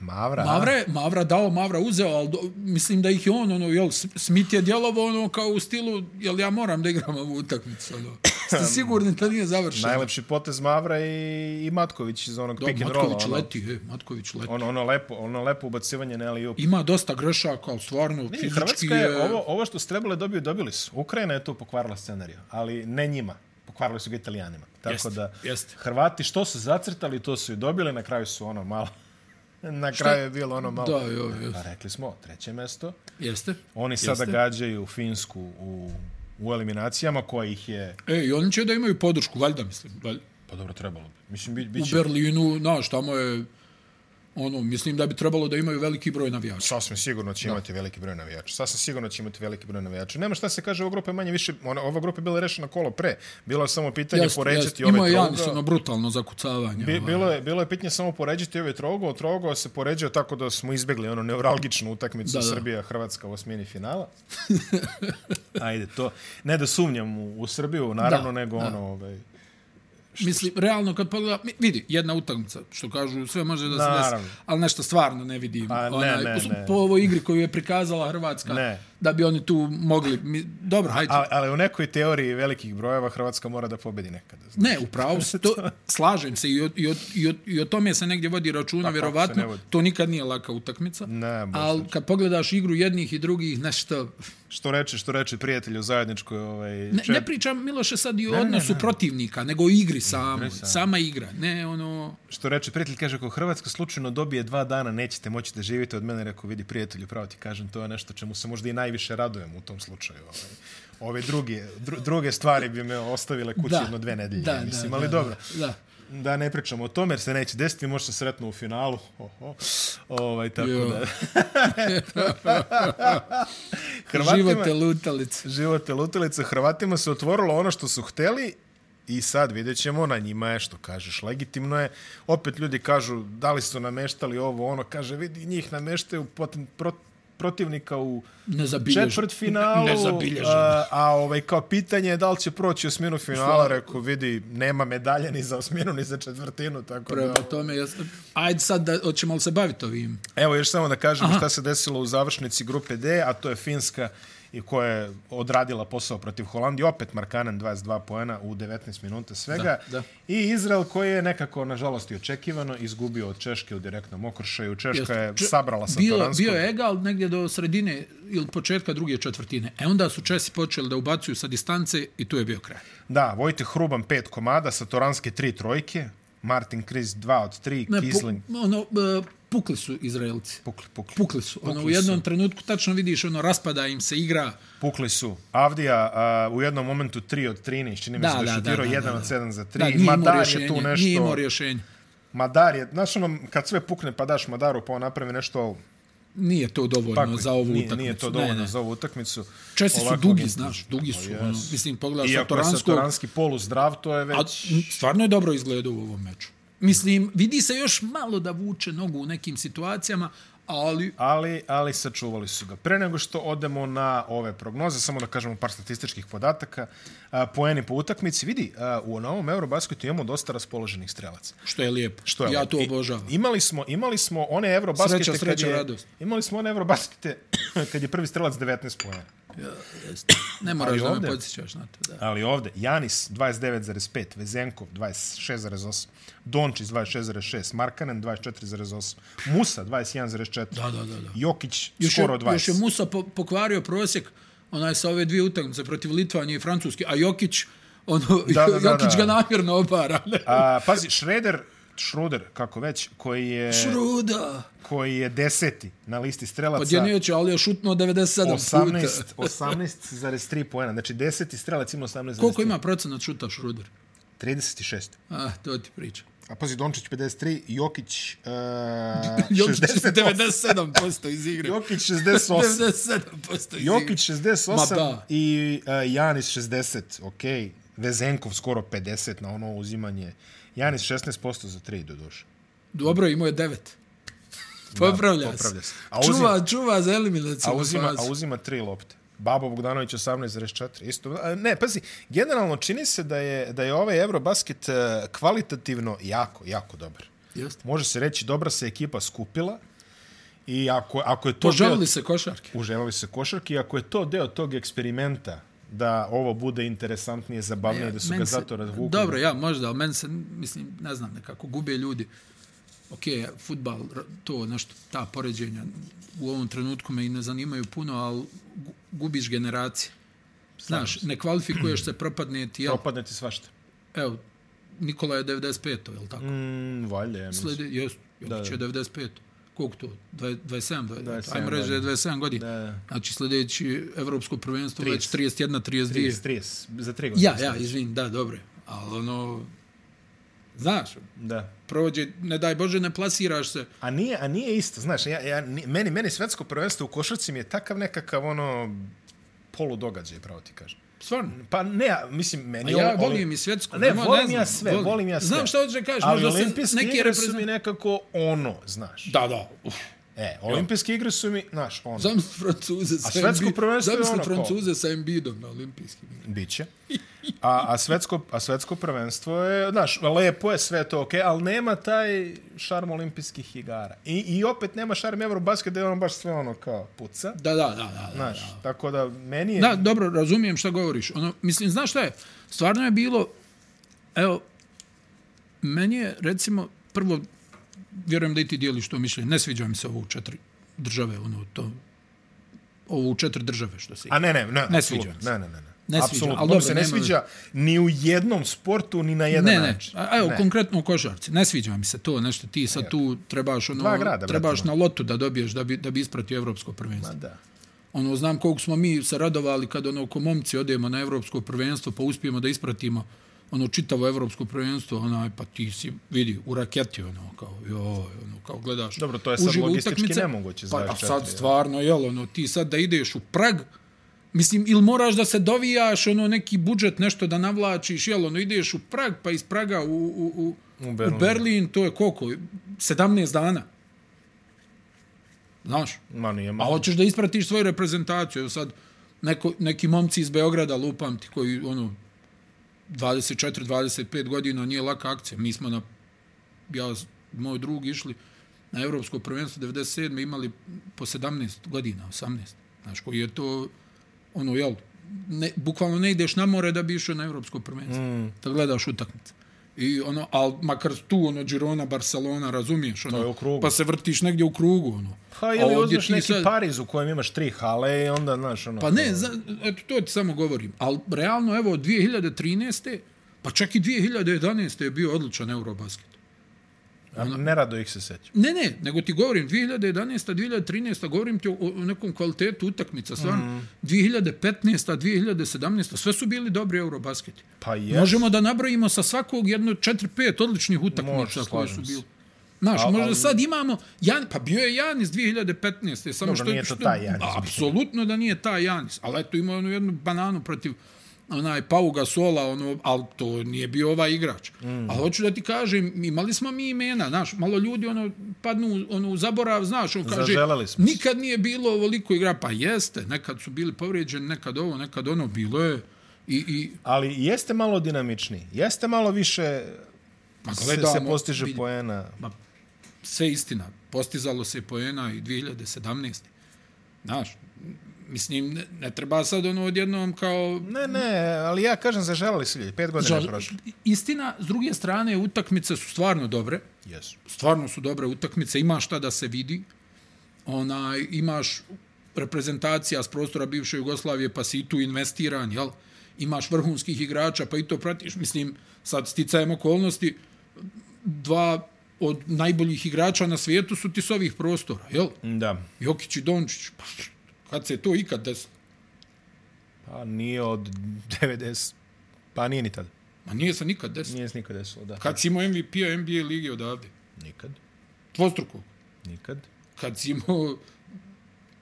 Speaker 2: Mavra. a?
Speaker 1: Mavra, je, Mavra dao, Mavra uzeo, ali do, mislim da ih je on, ono, jel, S- Smith je djelovo ono kao u stilu, jel ja moram da igram ovu utakmicu, ono. Ste sigurni da nije završeno?
Speaker 2: Najlepši potez Mavra i, i Matković iz onog
Speaker 1: Do,
Speaker 2: pick and rolla.
Speaker 1: Matković
Speaker 2: ono.
Speaker 1: leti, he, Matković leti.
Speaker 2: Ono, ono, lepo, ono lepo ubacivanje na Eliup.
Speaker 1: Ima dosta grešaka, ali stvarno ne,
Speaker 2: Nije,
Speaker 1: fizički
Speaker 2: Hrvatska je, ovo, ovo što su trebali dobiju, dobili su. Ukrajina je to pokvarila scenariju, ali ne njima. Pokvarili su ga italijanima. Tako
Speaker 1: Jeste,
Speaker 2: da,
Speaker 1: jeste.
Speaker 2: Hrvati što su zacrtali, to su i dobili. Na kraju su ono malo... Na kraju je bilo ono malo...
Speaker 1: Da, jo, jo,
Speaker 2: Pa rekli smo, treće mesto.
Speaker 1: jeste.
Speaker 2: Oni sada
Speaker 1: Jeste.
Speaker 2: gađaju Finsku u, u eliminacijama koja ih je...
Speaker 1: E, i oni će da imaju podršku, valjda, mislim. Valjda.
Speaker 2: Pa dobro, trebalo bi. Mislim, bi,
Speaker 1: U
Speaker 2: biće
Speaker 1: Berlinu, znaš, tamo je, ono, mislim da bi trebalo da imaju veliki broj navijača.
Speaker 2: Sasvim sigurno će imati veliki broj navijača. Sasvim sigurno će imati veliki broj navijača. Nema šta se kaže, ova grupa je manje više, ona, ova grupa je bila rešena kolo pre. Bilo je samo pitanje
Speaker 1: Jeste,
Speaker 2: poređati
Speaker 1: jeste.
Speaker 2: ove
Speaker 1: Ima je
Speaker 2: trougao.
Speaker 1: Janis, ono, brutalno zakucavanje.
Speaker 2: Bi,
Speaker 1: ovaj.
Speaker 2: bilo, je, bilo je pitanje samo poređati ove trougao. Trougao se poređao tako da smo izbjegli ono neuralgičnu utakmicu
Speaker 1: Da, da.
Speaker 2: Srbija-Hrvatska u osmini finala. Ajde, to. Ne da sumnjam u, u Srbiju,
Speaker 1: Da,
Speaker 2: naravno, nego ono... Ovaj,
Speaker 1: Mislim, realno kad pogleda, mi- vidi, jedna utakmica, što kažu, sve može da se
Speaker 2: Naravno.
Speaker 1: desi, ali nešto stvarno ne vidim.
Speaker 2: Pa, ne, ne,
Speaker 1: po-
Speaker 2: ne.
Speaker 1: Po ovoj igri koju je prikazala Hrvatska,
Speaker 2: Ne.
Speaker 1: da bi oni tu mogli, mi, dobro, hajde.
Speaker 2: ali, ali u nekoj teoriji velikih brojeva Hrvatska mora da pobedi nekada. znaš.
Speaker 1: Ne, upravo se to, slažem se i o, i, o, i, o, i o tome se negdje vodi računa,
Speaker 2: Pa, kako se ne
Speaker 1: vjerovatno,
Speaker 2: vodi.
Speaker 1: to nikad nije laka utakmica,
Speaker 2: Ne, baš
Speaker 1: ali kad pogledaš igru jednih i drugih, nešto,
Speaker 2: Što reče, što reče prijatelju zajedničkoj ovaj,
Speaker 1: ne,
Speaker 2: čet-
Speaker 1: ne pričam, Miloše, sad i o odnosu protivnika, nego o igri samoj, sama igra, ne ono,
Speaker 2: Što reče prijatelj, kaže, ako Hrvatska slučajno dobije dva dana, nećete moći da živite od mene, rekao, vidi prijatelju, pravo ti kažem, to je nešto čemu se možda i najviše radujem u tom slučaju. Ovaj. Ove druge, dru, druge stvari bi me ostavile kući
Speaker 1: da.
Speaker 2: jedno dve nedelje,
Speaker 1: Da,
Speaker 2: mislim,
Speaker 1: da,
Speaker 2: ali
Speaker 1: da,
Speaker 2: dobro.
Speaker 1: Da, da.
Speaker 2: Da, ne pričamo o tome, jer se neće desiti, možda se sretno u finalu. Oho. Ovaj, tako
Speaker 1: Jo.
Speaker 2: da...
Speaker 1: Živote lutalice.
Speaker 2: Živote lutalice Hrvatima se otvorilo ono što su hteli i sad vidjet ćemo, na njima je što kažeš, legitimno je. Opet ljudi kažu da li su nameštali ovo, ono, kaže vidi njih nameštaju potem, pro, protivnika u
Speaker 1: Nezabilježen.
Speaker 2: četvrt finalu,
Speaker 1: Nezabilježen.
Speaker 2: a, a ovaj, kao pitanje je da li će proći osminu finala, rekao vidi, nema medalje ni za osminu ni za četvrtinu, tako
Speaker 1: Prema
Speaker 2: da...
Speaker 1: tome, jes... ajde sad, da, hoćemo li se baviti ovim?
Speaker 2: Evo još samo da kažemo šta se desilo u završnici grupe D, a to je Finska i koja je odradila posao protiv Holandije. Opet Markanen 22 poena u 19 minuta svega.
Speaker 1: Da, da.
Speaker 2: I Izrael koji je nekako, nažalost, i očekivano izgubio od Češke u direktnom okršaju. Češka
Speaker 1: Jeste.
Speaker 2: je
Speaker 1: Če-
Speaker 2: sabrala sa
Speaker 1: bio,
Speaker 2: Toranskom.
Speaker 1: bio je egal negdje do sredine ili početka druge četvrtine. E onda su Česi počeli da ubacuju sa distance i tu je bio kraj.
Speaker 2: Da, Vojte Hruban pet komada, sa Toranske tri trojke, Martin Kriz 2 od 3,
Speaker 1: Ne,
Speaker 2: Kisling...
Speaker 1: pu, ono, e, pukli su Izraelci.
Speaker 2: Pukli, pukli.
Speaker 1: Pukli su. Ono,
Speaker 2: Pukli
Speaker 1: u jednom trenutku tačno vidiš, ono, raspada im se igra.
Speaker 2: Pukli su Avdija a, u jednom momentu 3 od 13, čini mi
Speaker 1: Da,
Speaker 2: se da
Speaker 1: da, da,
Speaker 2: je šutirao
Speaker 1: da,
Speaker 2: 1
Speaker 1: da,
Speaker 2: od
Speaker 1: da.
Speaker 2: 7 za 3.
Speaker 1: Da, nije imao
Speaker 2: Madar
Speaker 1: rješenje.
Speaker 2: je tu nešto...
Speaker 1: Nije imao rješenje.
Speaker 2: Madar je, znaš ono, kad sve pukne pa daš Madaru pa on napravi nešto,
Speaker 1: Nije to dovoljno
Speaker 2: tako,
Speaker 1: za ovu
Speaker 2: nije,
Speaker 1: utakmicu.
Speaker 2: nije to
Speaker 1: Ne,
Speaker 2: dovoljno
Speaker 1: ne.
Speaker 2: za ovu utakmicu.
Speaker 1: Česi su
Speaker 2: Ovako
Speaker 1: dugi,
Speaker 2: mi-
Speaker 1: znaš, dugi su.
Speaker 2: Pa
Speaker 1: Ono,
Speaker 2: jes.
Speaker 1: mislim, pogledaš sa
Speaker 2: Iako je
Speaker 1: Toranskog,
Speaker 2: Satoranski polu zdrav, to je
Speaker 1: A,
Speaker 2: već...
Speaker 1: m, stvarno je dobro izgledao u ovom meču. Mislim, vidi se još malo da vuče nogu u nekim situacijama, ali
Speaker 2: Ali, ali sačuvali su ga. Pre nego što odemo na ove prognoze, samo da kažemo par statističkih podataka, a, poeni po utakmici, vidi, a, u novom Eurobasketu imamo dosta raspoloženih strelaca.
Speaker 1: što je lijepo.
Speaker 2: Što je
Speaker 1: ja
Speaker 2: lepo.
Speaker 1: to
Speaker 2: I-
Speaker 1: obožavam.
Speaker 2: Imali smo, imali smo one Eurobaskete...
Speaker 1: Sreća,
Speaker 2: kad
Speaker 1: sreća,
Speaker 2: je-
Speaker 1: radost.
Speaker 2: Imali smo one Eurobaskete kad je prvi strelac 19 poena.
Speaker 1: ne moraš
Speaker 2: ali
Speaker 1: da
Speaker 2: ovdje-
Speaker 1: me podsjećaš na to. Da.
Speaker 2: Ali ovde, Janis 29,5, Vezenkov 26,8, Dončić 26,6, Markanen 24,8, Musa 21,4,
Speaker 1: Da, da, da, da.
Speaker 2: Jokić
Speaker 1: Još,
Speaker 2: skoro
Speaker 1: je,
Speaker 2: 20.
Speaker 1: još je Musa po, pokvario prosjek onaj sa ove dvije utakmice protiv Litvanije i Francuske, a Jokić ono,
Speaker 2: Da, da, da,
Speaker 1: Jokić
Speaker 2: da. E.
Speaker 1: ga namjerno obara.
Speaker 2: A, pazi, Šreder, Šruder, kako već, koji je,
Speaker 1: Šruda!
Speaker 2: koji je deseti na listi
Speaker 1: Pa
Speaker 2: strelaca.
Speaker 1: gdje neće, ali je šutno 97
Speaker 2: 18,
Speaker 1: puta. E,
Speaker 2: 18,3 poena. Znači, deseti strelac ima 18,3.
Speaker 1: Koliko ima procenat šuta Šruder?
Speaker 2: 36.
Speaker 1: Ah, to ti pričam.
Speaker 2: A pazi, Dončić 53, Jokić uh,
Speaker 1: Jokić
Speaker 2: 68.
Speaker 1: 97% iz igre.
Speaker 2: Jokić 68.
Speaker 1: 97% iz igre.
Speaker 2: Jokić 68
Speaker 1: Ma da.
Speaker 2: i uh, Janis 60, ok. Vezenkov skoro 50 na ono uzimanje. Janis 16% za 3 doduše.
Speaker 1: Dobro, imao je 9. Popravlja,
Speaker 2: popravlja se. A
Speaker 1: A
Speaker 2: uzim-
Speaker 1: čuva, čuva za
Speaker 2: A
Speaker 1: eliminaciju.
Speaker 2: uzima, a uzima 3 lopte. Babo Bogdanović 18,4. Isto, a, ne, pazi, generalno čini se da je, da je ovaj Eurobasket e, kvalitativno jako, jako dobar.
Speaker 1: Jeste.
Speaker 2: Može se reći, dobra se ekipa skupila i ako, ako je to... bio-
Speaker 1: Poželili se košarke.
Speaker 2: uževali se košarki, ako je to deo tog eksperimenta da ovo bude interesantnije, zabavnije, da su
Speaker 1: Meni
Speaker 2: ga
Speaker 1: se-
Speaker 2: zato razvukli.
Speaker 1: Dobro, ja možda, ali meni se, mislim, ne znam nekako, gube ljudi. Ok, futbal, r- to nešto, ta poređenja u ovom trenutku me i ne zanimaju puno, ali gu- gubiš generacije. Znaš, ne kvalifikuješ se, propadne ti, jel?
Speaker 2: Propadne ti svašta.
Speaker 1: Evo, Nikola je 95. jel tako?
Speaker 2: Mm, valje, ja mislim.
Speaker 1: Sledi, jes, Jokić je 95. Koliko to? Dvaj- 27, 27
Speaker 2: 27
Speaker 1: ajmo reći da je 27 godina.
Speaker 2: Da, da.
Speaker 1: Znači, sljedeći evropsko prvenstvo 30. već
Speaker 2: 30.
Speaker 1: 31, 32.
Speaker 2: 30, 30, za 3 godine.
Speaker 1: Ja, ja, izvin, da, dobro. je. Ali ono, znaš,
Speaker 2: Da.
Speaker 1: prođe, ne daj Bože, ne plasiraš se.
Speaker 2: A nije, a nije isto, znaš, ja, ja, ni- meni, meni svetsko prvenstvo u košarci mi je takav nekakav ono poludogađaj, pravo ti kažem.
Speaker 1: Stvarno.
Speaker 2: Pa ne, a, mislim, meni...
Speaker 1: A ja
Speaker 2: ovo-
Speaker 1: volim i svjetsko.
Speaker 2: Ne,
Speaker 1: nema-
Speaker 2: volim
Speaker 1: znam,
Speaker 2: ja sve, volim. ja sve.
Speaker 1: Znam šta hoćeš da kažeš,
Speaker 2: Ali
Speaker 1: možda se
Speaker 2: olimpijske
Speaker 1: neki
Speaker 2: igre su mi
Speaker 1: reprezent...
Speaker 2: nekako ono, znaš.
Speaker 1: Da, da. Uf.
Speaker 2: E, olimpijske igre su mi, znaš, ono.
Speaker 1: Zamisli Francuze sa
Speaker 2: svetsko
Speaker 1: Embi-
Speaker 2: prvenstvo je
Speaker 1: zamisli
Speaker 2: ono kao-
Speaker 1: Francuze sa Embidom na olimpijskim igrama.
Speaker 2: Biće. A, a, svetsko, a svetsko prvenstvo je, znaš, lepo je sve to, okej, okay, ali nema taj šarm olimpijskih igara. I, i opet nema šarm Eurobasket da je ono baš sve ono kao puca.
Speaker 1: Da, da, da, da. da.
Speaker 2: Znaš, tako da meni je...
Speaker 1: Da, dobro, razumijem šta govoriš. Ono, mislim, znaš šta je? Stvarno je bilo, evo, meni je, recimo, prvo, vjerujem da i ti dijeliš to mišljenje, ne sviđa mi se ovo u četiri države, ono, to, ovo u četiri države što se
Speaker 2: A ne, ne, ne,
Speaker 1: Ne
Speaker 2: apsolutno,
Speaker 1: sviđa mi se.
Speaker 2: Ne, ne, ne. ne.
Speaker 1: Ne sviđa,
Speaker 2: Apsolutno,
Speaker 1: ali
Speaker 2: meni
Speaker 1: dobro,
Speaker 2: se ne
Speaker 1: nema
Speaker 2: sviđa ni u jednom sportu, ni na jedan
Speaker 1: Ne, ne,
Speaker 2: način.
Speaker 1: a, evo, konkretno u košarci, ne sviđa mi se to, nešto ti sad tu trebaš,
Speaker 2: Dva
Speaker 1: ono,
Speaker 2: grada, brate,
Speaker 1: trebaš
Speaker 2: ono.
Speaker 1: na lotu da dobiješ, da bi, da bi ispratio evropsko prvenstvo.
Speaker 2: Ma Da.
Speaker 1: Ono, znam koliko smo mi se radovali kad ono, ko momci odemo na evropsko prvenstvo, pa uspijemo da ispratimo ono čitavo evropsko prvenstvo, onaj, pa ti si, vidi, u raketi, ono, kao, joj, ono, kao gledaš.
Speaker 2: Dobro, to je sad
Speaker 1: uživo
Speaker 2: logistički
Speaker 1: utakmice.
Speaker 2: nemoguće za
Speaker 1: Pa, a
Speaker 2: 24,
Speaker 1: sad
Speaker 2: jel?
Speaker 1: stvarno, jel, ono, ti sad da ideš u Prag, mislim, ili moraš da se dovijaš, ono, neki budžet, nešto da navlačiš, jel, ono, ideš u Prag, pa iz Praga u, u, u,
Speaker 2: U Berlin.
Speaker 1: u Berlin, to je koliko? 17 dana. Znaš?
Speaker 2: Ma nije
Speaker 1: A
Speaker 2: malo.
Speaker 1: hoćeš da ispratiš svoju reprezentaciju. Evo sad, neko, neki momci iz Beograda, lupam ti, koji, ono, 24-25 godina, nije laka akcija. Mi smo na, ja, s- moj drug išli na Evropsko prvenstvo 97. imali po 17 godina, 18. Znaš, koji je to, ono, jel, ne, bukvalno ne ideš na more da bi išao na Evropsko prvenstvo. Mm. Da gledaš utakmice. I ono, al makar tu, ono, Girona, Barcelona, razumiješ, ono,
Speaker 2: je u krugu.
Speaker 1: pa se vrtiš negdje u krugu, ono.
Speaker 2: Pa
Speaker 1: A
Speaker 2: ili
Speaker 1: ovdje
Speaker 2: uzmeš
Speaker 1: ti
Speaker 2: neki pa-
Speaker 1: sad-
Speaker 2: Pariz u kojem imaš tri hale i onda, znaš, ono...
Speaker 1: Pa ne, za, eto, to ti samo govorim. Ali realno, evo, od 2013. Pa čak i 2011. je bio odličan Eurobasket.
Speaker 2: a Nerado ih se sećam.
Speaker 1: Ne, ne, nego ti govorim 2011. 2013. govorim ti o, o nekom kvalitetu utakmica,
Speaker 2: Mhm.
Speaker 1: stvarno. Mm. 2015. 2017. Sve su bili dobri Eurobasketi.
Speaker 2: Pa jes.
Speaker 1: Možemo da nabrojimo sa svakog jedno 4-5 odličnih utakmica
Speaker 2: Može,
Speaker 1: koje su
Speaker 2: slažem se.
Speaker 1: bili. Znaš,
Speaker 2: Al-
Speaker 1: možda
Speaker 2: al-
Speaker 1: sad imamo, Jan, pa bio je Janis 2015. Samo
Speaker 2: Dobro,
Speaker 1: što,
Speaker 2: nije to
Speaker 1: što,
Speaker 2: taj Janis,
Speaker 1: a,
Speaker 2: mislim.
Speaker 1: Apsolutno da nije taj Janis, ali eto imao onu jednu bananu protiv onaj Pau Gasola, ono, ali to nije bio ovaj igrač. Mm. Ali hoću da ti kažem, imali smo mi imena, znaš, malo ljudi ono, padnu ono, u zaborav, znaš, on kaže,
Speaker 2: Zaželeli smo se.
Speaker 1: nikad nije bilo ovoliko igra, pa jeste, nekad su bili povrijeđeni, nekad ovo, nekad ono, bilo je, i, i
Speaker 2: Ali jeste malo dinamičniji, jeste malo više
Speaker 1: Ma,
Speaker 2: se,
Speaker 1: pa gledamo,
Speaker 2: se postiže
Speaker 1: vidi.
Speaker 2: poena.
Speaker 1: sve istina. Postizalo se poena i 2017. Znaš, mislim, ne, ne treba sad ono odjednom kao...
Speaker 2: Ne, ne, ali ja kažem zaželali se ljudi, pet godina je prošlo.
Speaker 1: Istina, s druge strane, utakmice su stvarno dobre.
Speaker 2: Jesu.
Speaker 1: Stvarno su dobre utakmice, ima šta da se vidi. Onaj, imaš reprezentacija s prostora bivše Jugoslavije, pa si i tu investiran, jel? Imaš vrhunskih igrača, pa i to pratiš. Mislim, sad sticajem okolnosti, dva od najboljih igrača na svijetu su ti s ovih prostora, jel?
Speaker 2: Da.
Speaker 1: Jokić i Dončić, pa kad se to ikad desilo?
Speaker 2: Pa nije od 90, pa nije ni tada.
Speaker 1: Ma nije se nikad desilo.
Speaker 2: Nije se nikad desilo, da.
Speaker 1: Kad si imao P-a, MVP-a NBA lige odavde?
Speaker 2: Nikad.
Speaker 1: Dvostruko.
Speaker 2: Nikad.
Speaker 1: Kad si imao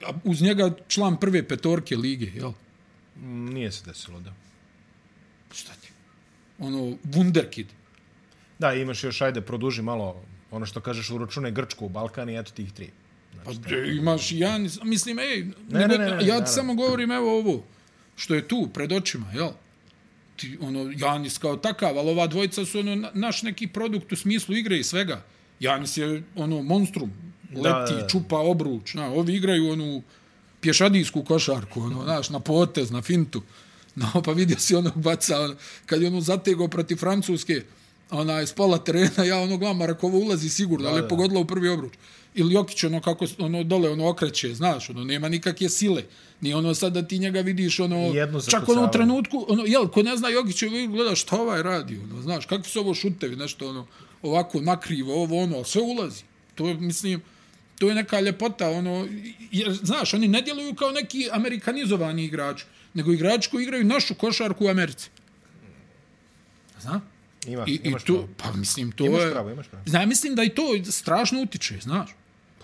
Speaker 1: a uz njega član prve petorke lige, jel?
Speaker 2: Mm, Nije se desilo, da.
Speaker 1: Šta ti? Ono, wunderkid.
Speaker 2: Da, imaš još, ajde, produži malo ono što kažeš, uračunaj Grčku u Balkan i eto tih tri.
Speaker 1: Pa
Speaker 2: Znači,
Speaker 1: de, imaš i ja, nis- mislim, ej, ne,
Speaker 2: ne,
Speaker 1: nego,
Speaker 2: ne, ne,
Speaker 1: ja
Speaker 2: naravno.
Speaker 1: ti samo govorim, evo ovo, što je tu, pred očima, jel? Ti, ono, Janis kao takav, ali ova dvojica su ono, na- naš neki produkt u smislu igre i svega. Janis je ono monstrum, leti,
Speaker 2: da,
Speaker 1: da,
Speaker 2: da.
Speaker 1: da. čupa obruč, na, ovi igraju onu pješadijsku košarku, ono, znaš, na potez, na fintu. No, pa vidio si onog baca, ono, kad je ono zategao protiv Francuske, onaj, s pola terena, ja ono gledam, Marakovo ulazi sigurno, ali
Speaker 2: da.
Speaker 1: je pogodila u prvi obruč. Ili Jokić, ono kako, ono dole, ono okreće, znaš, ono, nema nikakve sile. Ni ono sad da ti njega vidiš, ono,
Speaker 2: Jedno
Speaker 1: čak ono
Speaker 2: zakucavanje.
Speaker 1: u trenutku, ono, jel, ko ne zna Jokića, vi gledaš šta ovaj radi, ono, znaš, kakvi su ovo šutevi, nešto, ono, ovako, nakrivo, ovo, ono, ali sve ulazi. To je, mislim, to je neka ljepota, ono, jer, znaš, oni ne djeluju kao neki amerikanizovani igrači, nego igrači koji igraju našu košarku u Americi. Znaš?
Speaker 2: Ima,
Speaker 1: I, i
Speaker 2: imaš
Speaker 1: tu,
Speaker 2: pravo.
Speaker 1: pa mislim, to
Speaker 2: Imaš
Speaker 1: je...
Speaker 2: pravo, imaš pravo. Pa
Speaker 1: Zna, mislim da i to strašno utiče, znaš.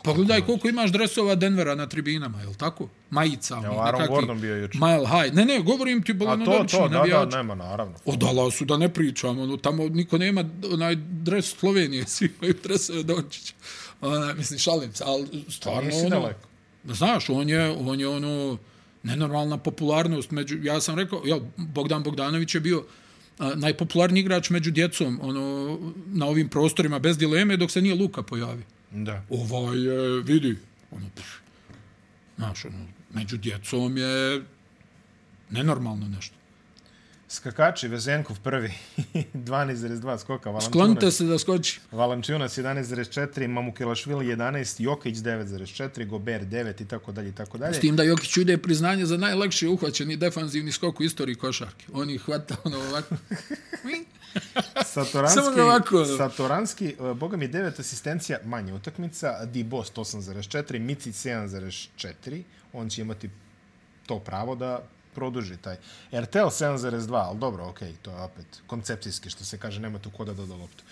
Speaker 1: Pogledaj koliko imaš dresova Denvera na tribinama, je li tako? Majica, onih
Speaker 2: Aaron
Speaker 1: nekakvih-
Speaker 2: Gordon bio juče.
Speaker 1: Mile high. Ne, ne, govorim ti
Speaker 2: A to,
Speaker 1: balonodorični
Speaker 2: to, da,
Speaker 1: navijači.
Speaker 2: da, nema, naravno.
Speaker 1: Odala su da ne pričam, ono, tamo niko nema onaj dres Slovenije, svi imaju dresove Dončića. Ona, mislim, šalim se, ali stvarno,
Speaker 2: nisi
Speaker 1: ono,
Speaker 2: daleko.
Speaker 1: znaš, on je, on je ono, nenormalna popularnost među, ja sam rekao, ja, Bogdan Bogdanović je bio a, najpopularniji igrač među djecom, ono, na ovim prostorima, bez dileme, dok se nije Luka pojavio
Speaker 2: Da.
Speaker 1: ovaj je, vidi, ono, pff, znaš, ono, među djecom je nenormalno nešto.
Speaker 2: Skakači, Vezenkov prvi, 12,2 skoka,
Speaker 1: Klonite
Speaker 2: Valančunas,
Speaker 1: se da skoči.
Speaker 2: Valančunas 11,4, Mamukelašvili 11, Jokić 9,4, Gober 9 i tako dalje i tako dalje.
Speaker 1: S tim da Jokić ude priznanje za najlakše uhvaćeni defanzivni skok u istoriji košarke. On ih hvata ono ovako.
Speaker 2: Satoranski,
Speaker 1: Samo ga ovako. ono.
Speaker 2: Satoranski, e, boga mi 9 asistencija, manje utakmica, Dibos 8,4, Micic 7,4, on će imati to pravo da produži taj. RTL 7,2, ali dobro, ok, to je opet koncepcijski, što se kaže, nema tu ko da doda loptu.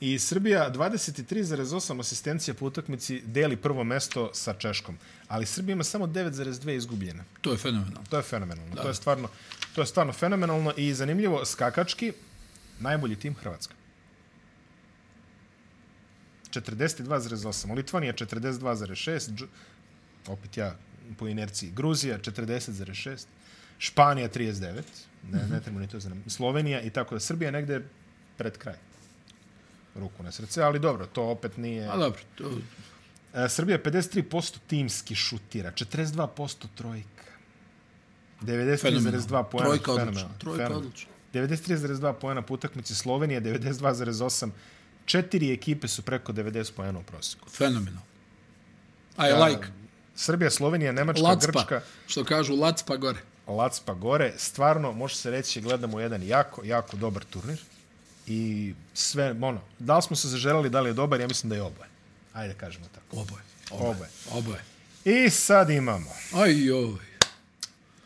Speaker 2: I Srbija 23,8 asistencija po utakmici deli prvo mesto sa Češkom, ali Srbija ima samo 9,2 izgubljena.
Speaker 1: To je fenomenalno.
Speaker 2: To je fenomenalno. Da. To je stvarno to je stvarno fenomenalno i zanimljivo skakački najbolji tim Hrvatska. 42,8. Litvanija 42,6. Dž- Opet ja po inerciji. Gruzija 40,6. Španija 39. Ne, ne treba ni to zanimati. Slovenija i tako da. Srbija je negde pred kraj. Ruku na srce, ali dobro, to opet nije...
Speaker 1: A dobro, to,
Speaker 2: E, Srbija 53% timski šutira, 42% trojka. 93,2
Speaker 1: fenomenalno.
Speaker 2: poena.
Speaker 1: Trojka odlična.
Speaker 2: fenomenalno,
Speaker 1: Trojka
Speaker 2: fenomenalno.
Speaker 1: odlična.
Speaker 2: 93,2 poena po utakmici Slovenija, 92,8. Četiri ekipe su preko 90 poena u prosjeku.
Speaker 1: Fenomenalno. I like.
Speaker 2: Srbija, Slovenija, Nemačka,
Speaker 1: Lacpa.
Speaker 2: Grčka,
Speaker 1: Što kažu, Lacpa gore.
Speaker 2: Lacpa gore. Stvarno, može se reći, gledamo jedan jako, jako dobar turnir. I sve, ono, da li smo se zaželjeli, da li je dobar, ja mislim da je oboje. Ajde, kažemo tako.
Speaker 1: Oboje.
Speaker 2: Oboje.
Speaker 1: Oboje.
Speaker 2: I sad imamo
Speaker 1: Aj, joj.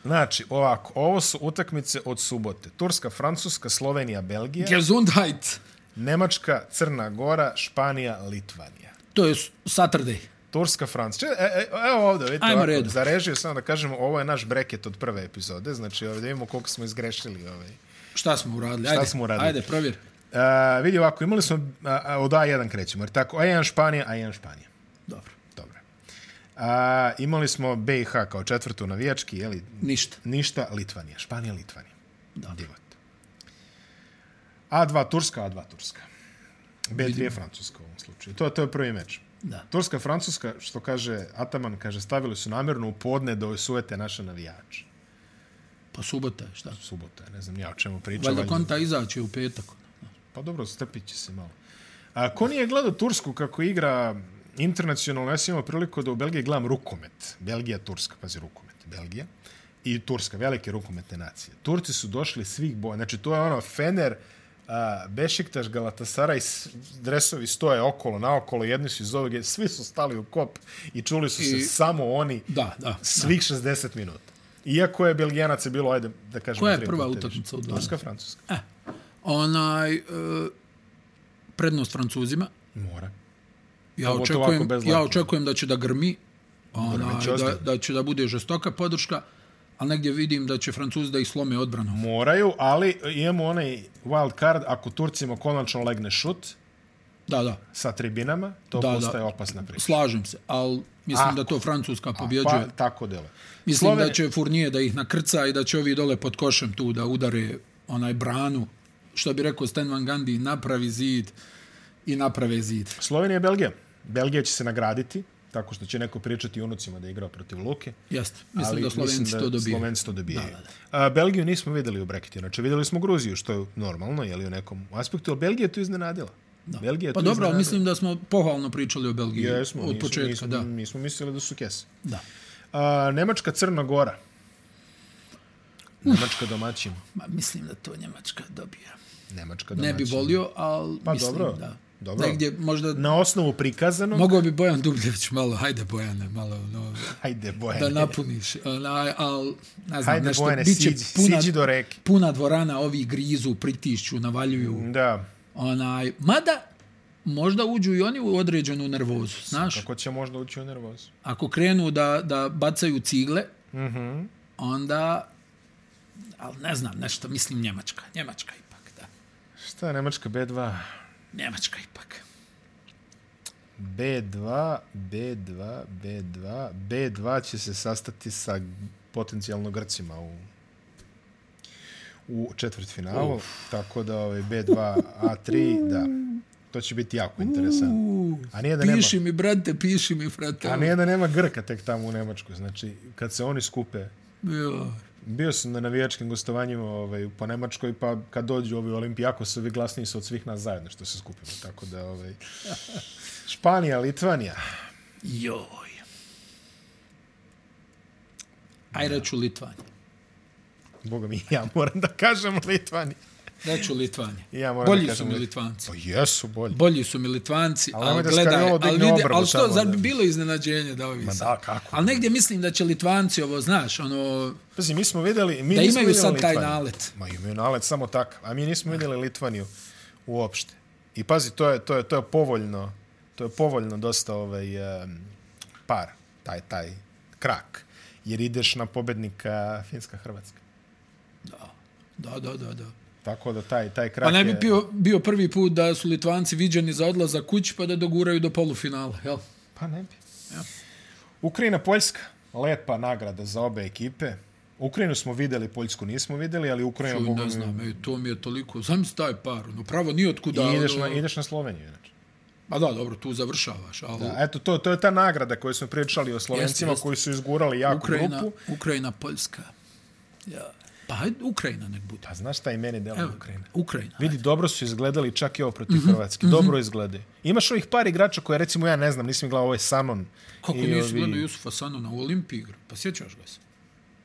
Speaker 2: Znači, ovako, ovo su utakmice od subote. Turska, Francuska, Slovenija, Belgija,
Speaker 1: Gesundheit.
Speaker 2: Nemačka, Crna Gora, Španija, Litvanija.
Speaker 1: To je Saturday.
Speaker 2: Turska, Francuska. E, e, evo ovdje, vidite,
Speaker 1: Ajmo
Speaker 2: ovako,
Speaker 1: redom.
Speaker 2: za režiju samo da kažemo, ovo je naš breket od prve epizode, znači ovdje imamo koliko smo izgrešili. Ovaj.
Speaker 1: Šta smo uradili?
Speaker 2: Šta
Speaker 1: Ajde,
Speaker 2: smo uradili?
Speaker 1: Ajde, provjer.
Speaker 2: E, vidi ovako, imali smo, a, a, od A1 krećemo, jer tako, A1 Španija, A1 Španija.
Speaker 1: Dobro.
Speaker 2: Dobro. A, imali smo BiH kao četvrtu navijački, jeli,
Speaker 1: Ništa.
Speaker 2: ništa, Litvanija, Španija, Litvanija.
Speaker 1: Da.
Speaker 2: Divot. A2 Turska, A2 Turska. B3 je Francuska u ovom slučaju. To, to je prvi meč.
Speaker 1: Da.
Speaker 2: Turska, Francuska, što kaže Ataman, kaže, stavili su namjerno u podne da osujete naše navijače.
Speaker 1: Pa subota je, šta?
Speaker 2: Subota, je, ne znam ja o čemu pričam.
Speaker 1: Valjda konta izaći u petak.
Speaker 2: Pa dobro, strpit će se malo. A, ko nije gledao Tursku kako igra internacionalno, ja sam imao priliku da u Belgiji gledam rukomet. Belgija, Turska, pazi rukomet, Belgija. I Turska, velike rukometne nacije. Turci su došli svih boja. Znači, to je ono Fener, a, Bešiktaš, Galatasara i s- dresovi stoje okolo, naokolo, jedni su iz ovog, svi su stali u kop i čuli su se
Speaker 1: I-
Speaker 2: samo oni
Speaker 1: Da, da.
Speaker 2: svih 60 minuta. Iako je Belgijanaca bilo, ajde da kažemo...
Speaker 1: Koja je
Speaker 2: tri
Speaker 1: prva
Speaker 2: puta više.
Speaker 1: utakmica u 12?
Speaker 2: Turska, Francuska.
Speaker 1: E, onaj, e, prednost Francuzima.
Speaker 2: Mora.
Speaker 1: Ja
Speaker 2: Pogotovo ako
Speaker 1: očekujem,
Speaker 2: bez
Speaker 1: ja
Speaker 2: Latvije.
Speaker 1: očekujem da će da grmi, onaj,
Speaker 2: će
Speaker 1: da,
Speaker 2: ozbiljno.
Speaker 1: da će da bude žestoka podrška, ali negdje vidim da će Francuzi da ih slome odbranom.
Speaker 2: Moraju, ali imamo onaj wild card, ako Turcima konačno legne šut
Speaker 1: Da, da,
Speaker 2: sa tribinama, to
Speaker 1: Da, da.
Speaker 2: postaje opasna priča.
Speaker 1: slažem se, ali mislim
Speaker 2: Ako.
Speaker 1: da to Francuska pobjeđuje.
Speaker 2: Ah. Pa, tako delo.
Speaker 1: Mislim da će Furnije da ih nakrca i da će ovi dole pod košem tu da udare onaj branu. Što bi rekao Stan Van Gundy, napravi zid i naprave zid.
Speaker 2: Slovenija i Belgija. Belgija će se nagraditi, tako što će neko pričati unucima da je igrao protiv Luke.
Speaker 1: Jeste, mislim
Speaker 2: ali
Speaker 1: da Slovenci
Speaker 2: mislim da
Speaker 1: to dobiju.
Speaker 2: Slovenci to dobijaju. Da, da, da. A, Belgiju nismo videli u brekitu, znači videli smo Gruziju, što je normalno, je li u nekom aspektu, ali Belgija je tu iznenadila. Da. Belgija je
Speaker 1: Pa
Speaker 2: tu
Speaker 1: dobro, ali
Speaker 2: iznenadila.
Speaker 1: mislim da smo pohvalno pričali o Belgiji
Speaker 2: Jesmo,
Speaker 1: od
Speaker 2: nismo,
Speaker 1: početka.
Speaker 2: nismo,
Speaker 1: da.
Speaker 2: nismo mislili da su kese.
Speaker 1: da.
Speaker 2: A, Nemačka Crna Gora. Nemačka domaćin.
Speaker 1: Ma, mislim da to Njemačka dobija.
Speaker 2: Nemačka
Speaker 1: Ne
Speaker 2: domaćin.
Speaker 1: bi volio, ali
Speaker 2: Znači- Pa
Speaker 1: mislim
Speaker 2: dobro,
Speaker 1: da.
Speaker 2: dobro.
Speaker 1: Negdje možda...
Speaker 2: Na osnovu prikazanog,
Speaker 1: Mogao bi Bojan Dubljević malo, hajde Bojane, malo no,
Speaker 2: hajde Bojane.
Speaker 1: da napuniš, onaj, ali ne znam,
Speaker 2: Hajde
Speaker 1: nešto,
Speaker 2: Bojane,
Speaker 1: bit će
Speaker 2: siđi,
Speaker 1: puna,
Speaker 2: siđi do reke.
Speaker 1: puna dvorana, ovi grizu, pritišću, navaljuju,
Speaker 2: Da,
Speaker 1: onaj, mada možda uđu i oni u određenu nervozu, znaš,
Speaker 2: kako će možda ući u nervozu.
Speaker 1: ako krenu da, da bacaju cigle, mm -hmm.
Speaker 2: Mhm.
Speaker 1: onda, ali ne znam, nešto, mislim Njemačka, Njemačka ipak, da,
Speaker 2: Šta je Nemačka B2?
Speaker 1: Njemačka ipak.
Speaker 2: B2, B2, B2, B2 će se sastati sa potencijalno Grcima u u četvrt finalu, tako da ovaj B2, A3, da, to će biti jako interesantno.
Speaker 1: U,
Speaker 2: A nije da nema,
Speaker 1: piši mi, brate, piši mi, frate.
Speaker 2: a nije da nema Grka tek tamo u Nemačkoj, znači kad se oni skupe,
Speaker 1: Joj.
Speaker 2: bio sam na navijačkim gostovanjima ovaj, po Nemačkoj, pa kad dođu ovi Olimpijakos, ovi glasniji su od svih nas zajedno što se skupimo, tako da ovaj, Španija, Litvanija,
Speaker 1: Joj. Aj, reću Litvanija.
Speaker 2: Boga mi, ja moram da kažem Litvani.
Speaker 1: Reću Litvanija.
Speaker 2: Ja moram
Speaker 1: Bolji
Speaker 2: da
Speaker 1: su
Speaker 2: kažem
Speaker 1: mi
Speaker 2: Lit-
Speaker 1: Litvanci.
Speaker 2: Pa jesu bolji.
Speaker 1: Bolji su mi Litvanci,
Speaker 2: Ali
Speaker 1: ali,
Speaker 2: nemoj da
Speaker 1: gledaj,
Speaker 2: Scariolo
Speaker 1: ali
Speaker 2: digne
Speaker 1: vidi,
Speaker 2: obrvu
Speaker 1: ali što,
Speaker 2: samo,
Speaker 1: zar bi
Speaker 2: da.
Speaker 1: bilo iznenađenje da ovi sad?
Speaker 2: da, kako
Speaker 1: Ali negdje mislim da će Litvanci ovo, znaš, ono,
Speaker 2: Pazi, mi smo videli... Mi
Speaker 1: da
Speaker 2: nismo
Speaker 1: imaju
Speaker 2: videli
Speaker 1: sad taj
Speaker 2: Litvaniju.
Speaker 1: nalet.
Speaker 2: Ma imaju nalet samo tako. A mi nismo videli Litvaniju uopšte. I pazi, to je, to je, to je povoljno, to je povoljno dosta ovaj, um, par, taj, taj krak. Jer ideš na pobednika Finska-Hrvatska.
Speaker 1: Da, da, da, da.
Speaker 2: Tako da taj, taj krak
Speaker 1: Pa ne bi
Speaker 2: je...
Speaker 1: bio, bio prvi put da su Litvanci viđeni za odlazak kući pa da doguraju do polufinala, jel?
Speaker 2: Pa ne bi. Ukrajina, Poljska. Lepa nagrada za obe ekipe. Ukrajinu smo videli, Poljsku nismo videli, ali Ukrajina...
Speaker 1: Čuj,
Speaker 2: Bogu
Speaker 1: ne
Speaker 2: mi-
Speaker 1: znam, ej, to mi je toliko, znam si taj par, ono, pravo nijotkuda.
Speaker 2: I ideš
Speaker 1: ono-
Speaker 2: na, ideš na Sloveniju, inače.
Speaker 1: Ma da, dobro, tu završavaš, ali...
Speaker 2: Da, eto, to, to je ta nagrada koju smo pričali o Slovencima
Speaker 1: Jeste, jeste.
Speaker 2: koji su izgurali jaku
Speaker 1: Ukrajina,
Speaker 2: grupu.
Speaker 1: Ukrajina, Poljska. Ja. Pa hajde, Ukrajina nek bude.
Speaker 2: A Pa znaš šta i meni dela
Speaker 1: Evo, Mhm,
Speaker 2: Ukrajina?
Speaker 1: Ukrajina.
Speaker 2: Vidi, dobro su izgledali čak i ovo protiv Hrvatske. Dobro izgledaju. Imaš ovih par igrača koje, recimo, ja ne znam, nisam gledao, ovo je Sanon.
Speaker 1: Kako
Speaker 2: i
Speaker 1: nisi
Speaker 2: ovi-
Speaker 1: gledao Jusufa Sanona u Olimpiji igra? Pa sjećaš ga se?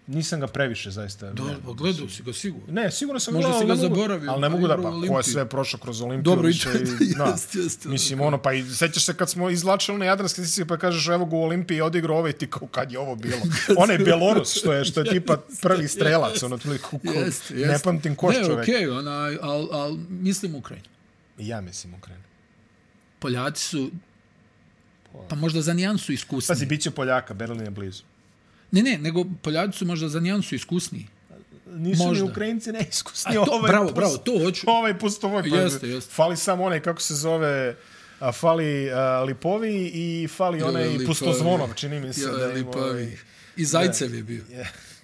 Speaker 2: Nisam ga previše, zaista.
Speaker 1: Da,
Speaker 2: ne.
Speaker 1: pa gledao si ga sigurno.
Speaker 2: Ne, sigurno sam
Speaker 1: Možda
Speaker 2: gledao,
Speaker 1: si
Speaker 2: ali
Speaker 1: ga
Speaker 2: ne mogu-
Speaker 1: zaboravio,
Speaker 2: Ali ne
Speaker 1: ali
Speaker 2: mogu da,
Speaker 1: igrao u
Speaker 2: pa ko je
Speaker 1: Olimpiji.
Speaker 2: sve prošao kroz Olimpiju.
Speaker 1: Dobro, i
Speaker 2: više
Speaker 1: to-
Speaker 2: na.
Speaker 1: jest, jest,
Speaker 2: Mislim, ono, pa i sećaš se kad smo izlačili na Jadranske stisi, pa kažeš, evo ga u Olimpiji je odigrao ovaj, ti kao, kad je ovo bilo? On je Belorus, što je, što je tipa prvi strelac, ono, otprilike, ko- ko-
Speaker 1: Jeste, jeste.
Speaker 2: ne pamtim ko
Speaker 1: Ne,
Speaker 2: čovek.
Speaker 1: okej, okay, onaj, al, al, mislim Ukrajina.
Speaker 2: Ja mislim Ukrajina.
Speaker 1: Poljaci su Pa možda za nijansu iskusni.
Speaker 2: Pazi, bit će Poljaka, Berlin je blizu.
Speaker 1: Ne, ne, nego Poljaci su možda za nijansu iskusni.
Speaker 2: Nisu
Speaker 1: Možda.
Speaker 2: ni Ukrajinci neiskusni.
Speaker 1: A to,
Speaker 2: ovaj
Speaker 1: bravo,
Speaker 2: pust-
Speaker 1: bravo, to hoću.
Speaker 2: Ovaj pustovoj. pa-
Speaker 1: Jeste, jeste.
Speaker 2: Fali samo onaj, kako se zove, a, fali a, Lipovi i fali onaj
Speaker 1: Lipovi.
Speaker 2: Pustozvonov, čini mi se.
Speaker 1: Ja,
Speaker 2: da im, ovaj, Mm.
Speaker 1: lipavi. I Zajcev je bio.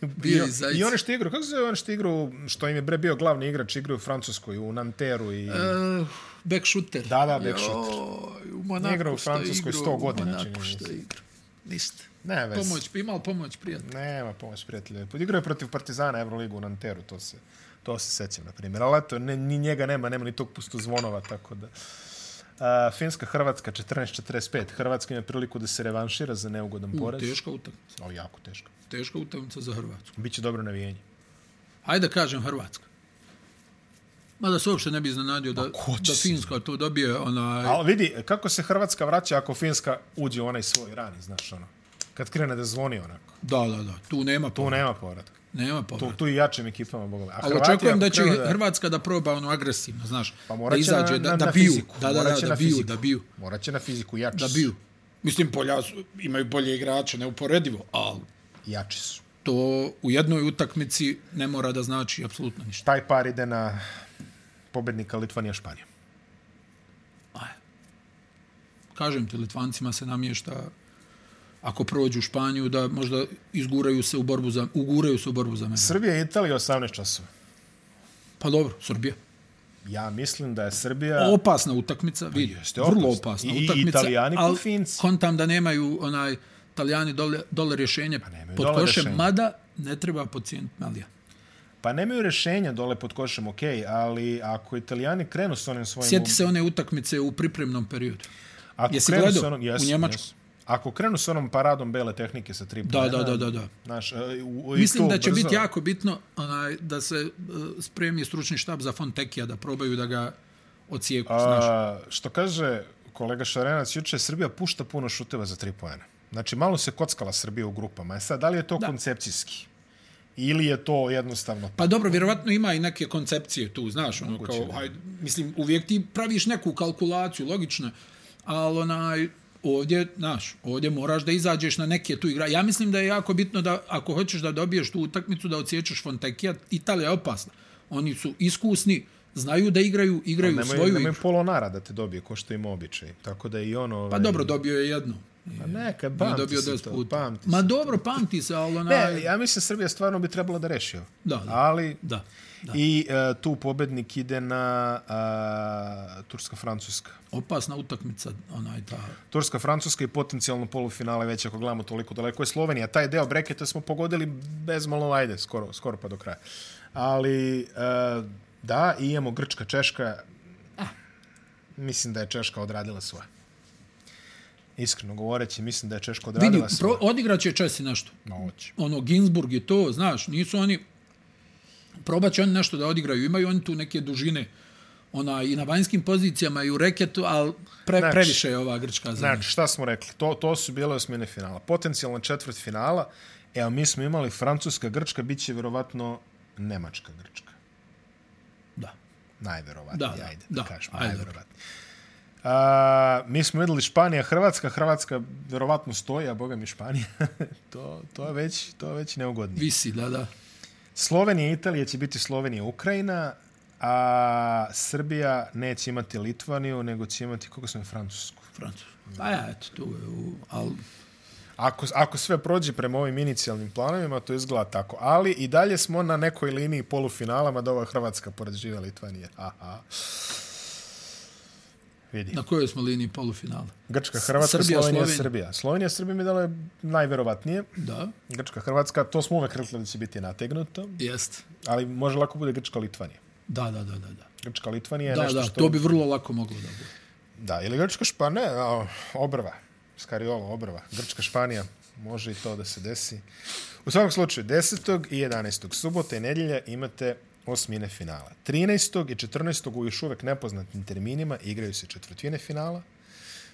Speaker 2: I,
Speaker 1: Bio i Zajcev.
Speaker 2: I one što igrao, kako se zove one što igrao, što im je bre bio glavni igrač, igrao u Francuskoj, u Nanteru i...
Speaker 1: Uh, back shooter.
Speaker 2: Da, da, back shooter.
Speaker 1: Joj, u Monaku
Speaker 2: Igrao u
Speaker 1: što je
Speaker 2: Francuskoj
Speaker 1: igrao,
Speaker 2: 100
Speaker 1: U
Speaker 2: godina, čini
Speaker 1: Monaku
Speaker 2: mi
Speaker 1: što
Speaker 2: se.
Speaker 1: je igrao. Ništa.
Speaker 2: Ne, vez.
Speaker 1: Pomoć, imao pomoć, prijatno.
Speaker 2: Nema pomoć, prijatelje. Igrao je protiv Partizana Euroligu u Nanteru, to se, to se sećam, na primjer. Ali eto, ne, ni njega nema, nema ni tog pustozvonova, tako da... Uh, Finska, Hrvatska, 14-45. Hrvatska ima priliku da se revanšira za neugodan poraz.
Speaker 1: Teška utakmica.
Speaker 2: O, jako teško.
Speaker 1: Teška utakmica za Hrvatsku.
Speaker 2: Biće dobro navijenje.
Speaker 1: Hajde da kažem Hrvatska. Mada se uopšte ne bi iznenadio da,
Speaker 2: ko će
Speaker 1: da
Speaker 2: se-
Speaker 1: Finska to dobije onaj...
Speaker 2: E. Ali vidi, kako se Hrvatska vraća ako Finska uđe u onaj svoj rani, znaš ono. Kad krene da zvoni onako.
Speaker 1: Da, da, da, tu nema
Speaker 2: Tu
Speaker 1: pomoć.
Speaker 2: nema povratka.
Speaker 1: Nema
Speaker 2: Tu,
Speaker 1: povrata.
Speaker 2: tu i jačim ekipama, boga mi. A
Speaker 1: Ali
Speaker 2: Hrvati,
Speaker 1: očekujem
Speaker 2: ako
Speaker 1: da će
Speaker 2: krenu
Speaker 1: Hrvatska da proba ono agresivno, znaš,
Speaker 2: Pa
Speaker 1: da
Speaker 2: morat će
Speaker 1: izađe,
Speaker 2: na,
Speaker 1: da,
Speaker 2: na,
Speaker 1: da
Speaker 2: na
Speaker 1: biju,
Speaker 2: fiziku.
Speaker 1: da, da,
Speaker 2: morat
Speaker 1: da,
Speaker 2: će
Speaker 1: da
Speaker 2: na
Speaker 1: biju,
Speaker 2: fiziku.
Speaker 1: da biju,
Speaker 2: Morat će na fiziku, jači
Speaker 1: da
Speaker 2: su.
Speaker 1: biju. Mislim, Polja su, imaju bolje igrače, neuporedivo, ali
Speaker 2: Jači su.
Speaker 1: to u jednoj utakmici ne mora da znači apsolutno ništa.
Speaker 2: Taj par ide na pobednika Litvanija Španija.
Speaker 1: Aj. Kažem ti, Litvancima se namješta ako prođu Španiju da možda izguraju se u borbu za uguraju se u borbu za mene.
Speaker 2: Srbija i Italija 18 časova.
Speaker 1: Pa dobro, Srbija.
Speaker 2: Ja mislim da je Srbija...
Speaker 1: Opasna utakmica, vidi,
Speaker 2: jeste opasna.
Speaker 1: vrlo opasna
Speaker 2: I- i
Speaker 1: utakmica.
Speaker 2: Italijani ko
Speaker 1: ali
Speaker 2: Finci.
Speaker 1: Kontam da nemaju onaj Italijani dole, dole rješenje
Speaker 2: Pa nemaju
Speaker 1: pod
Speaker 2: dole
Speaker 1: košem,
Speaker 2: rješenje.
Speaker 1: mada ne treba pocijeniti Melija.
Speaker 2: Pa nemaju rešenja dole pod košem, okej, ali ako Italijani krenu s onim svojim...
Speaker 1: Sjeti se one utakmice u pripremnom periodu.
Speaker 2: Ako
Speaker 1: Jesi
Speaker 2: krenu
Speaker 1: gledao
Speaker 2: s onom,
Speaker 1: u
Speaker 2: jes,
Speaker 1: Njemačku?
Speaker 2: Jes. Ako krenu s onom paradom bele tehnike sa tri poena,
Speaker 1: da, da, da, da.
Speaker 2: Znaš, e, u, u,
Speaker 1: Mislim
Speaker 2: i to
Speaker 1: da će
Speaker 2: brzo,
Speaker 1: biti jako bitno onaj, da se e, spremi stručni štab za Fontekija, da probaju da ga ocijeku, znaš.
Speaker 2: A, što kaže kolega Šarenac, juče Srbija pušta puno šuteva za tri poena. Znači, malo se kockala Srbija u grupama. E sad, da li je to da. koncepcijski? Ili je to jednostavno...
Speaker 1: Pa dobro, vjerovatno ima i neke koncepcije tu, znaš, ono kao, hajde, mislim, uvijek ti praviš neku kalkulaciju, logično, je, ali onaj, ovdje, znaš, ovdje moraš da izađeš na neke tu igra. Ja mislim da je jako bitno da, ako hoćeš da dobiješ tu utakmicu, da odsječeš Fontekija, Italija je opasna. Oni su iskusni, znaju da igraju, igraju
Speaker 2: Nemoj,
Speaker 1: svoju
Speaker 2: nemoj
Speaker 1: igru.
Speaker 2: polonara da te dobije, ko što im običaj. Tako da i ono...
Speaker 1: Pa
Speaker 2: ovaj,
Speaker 1: dobro, dobio je jednu.
Speaker 2: Pa neka,
Speaker 1: Nije
Speaker 2: pamti
Speaker 1: dobio
Speaker 2: se
Speaker 1: 10
Speaker 2: to,
Speaker 1: puta.
Speaker 2: pamti
Speaker 1: Ma
Speaker 2: se.
Speaker 1: dobro, pamti se, ali onaj...
Speaker 2: Ne, ja mislim Srbija stvarno bi trebala da reši ovo.
Speaker 1: Da, da.
Speaker 2: Ali,
Speaker 1: Da, da.
Speaker 2: i e, tu pobednik ide na e, a, Turska-Francuska.
Speaker 1: Opasna utakmica, onaj ta...
Speaker 2: Turska-Francuska i potencijalno polufinale već ako gledamo toliko daleko je Slovenija. Taj deo breketa smo pogodili bezmalo, ajde, skoro, skoro pa do kraja. Ali, e, da, i imamo Grčka-Češka.
Speaker 1: Ah.
Speaker 2: Mislim da je Češka odradila svoje. Iskreno govoreći, mislim da je Češka odradila
Speaker 1: Vidi,
Speaker 2: svoje.
Speaker 1: pro, odigraće Česi nešto.
Speaker 2: Ma, hoće.
Speaker 1: ono Ginsburg i to, znaš, nisu oni probat će oni nešto da odigraju, imaju oni tu neke dužine ona i na vanjskim pozicijama i u reketu, ali pre,
Speaker 2: Znači-
Speaker 1: previše je ova grčka zemlja.
Speaker 2: Znači, šta smo rekli? To, to su bile osmine finala. Potencijalno četvrt finala, evo, mi smo imali Francuska-Grčka, bit će vjerovatno Nemačka-Grčka.
Speaker 1: da.
Speaker 2: Najverovatnije,
Speaker 1: Da, da,
Speaker 2: ajde, da,
Speaker 1: da,
Speaker 2: kažemo,
Speaker 1: ajde.
Speaker 2: najverovatnije. A, mi smo videli Španija, Hrvatska, Hrvatska vjerovatno stoji, a boga mi Španija, to, to, je već, to je već neugodnije.
Speaker 1: Visi, da, da.
Speaker 2: Slovenija i Italija će biti Slovenija i Ukrajina, a Srbija neće imati Litvaniju, nego će imati, koga smo je, Francusku.
Speaker 1: Francusku. Pa ja, eto, tu je, u, ali
Speaker 2: Ako, ako sve prođe prema ovim inicijalnim planovima, to izgleda tako. Ali i dalje smo na nekoj liniji polufinala, mada ova je Hrvatska pored žive Litvanije. Aha. Vidi.
Speaker 1: na kojoj smo liniji polufinala?
Speaker 2: Grčka, Hrvatska,
Speaker 1: Srbija,
Speaker 2: Srbija, Slovenija,
Speaker 1: Slovenija.
Speaker 2: Srbija. Slovenija, Srbija mi dala je najverovatnije.
Speaker 1: Da,
Speaker 2: Grčka, Hrvatska, to smo uvek rekli da će biti nategnuto,
Speaker 1: jest.
Speaker 2: ali može lako bude Grčka, Litvanija.
Speaker 1: Da, da, da, da. da.
Speaker 2: Grčka, Litvanija je
Speaker 1: Da,
Speaker 2: nešto
Speaker 1: da,
Speaker 2: što...
Speaker 1: to bi vrlo lako moglo da bude.
Speaker 2: Da, ili Grčka, Španija, a, obrva. Skariola, obrva. Grčka, Španija, može i to da se desi. U svakom slučaju, 10. i 11. subota i nedjelja imate osmine finala. 13. i 14. u još uvek nepoznatim terminima igraju se četvrtine finala.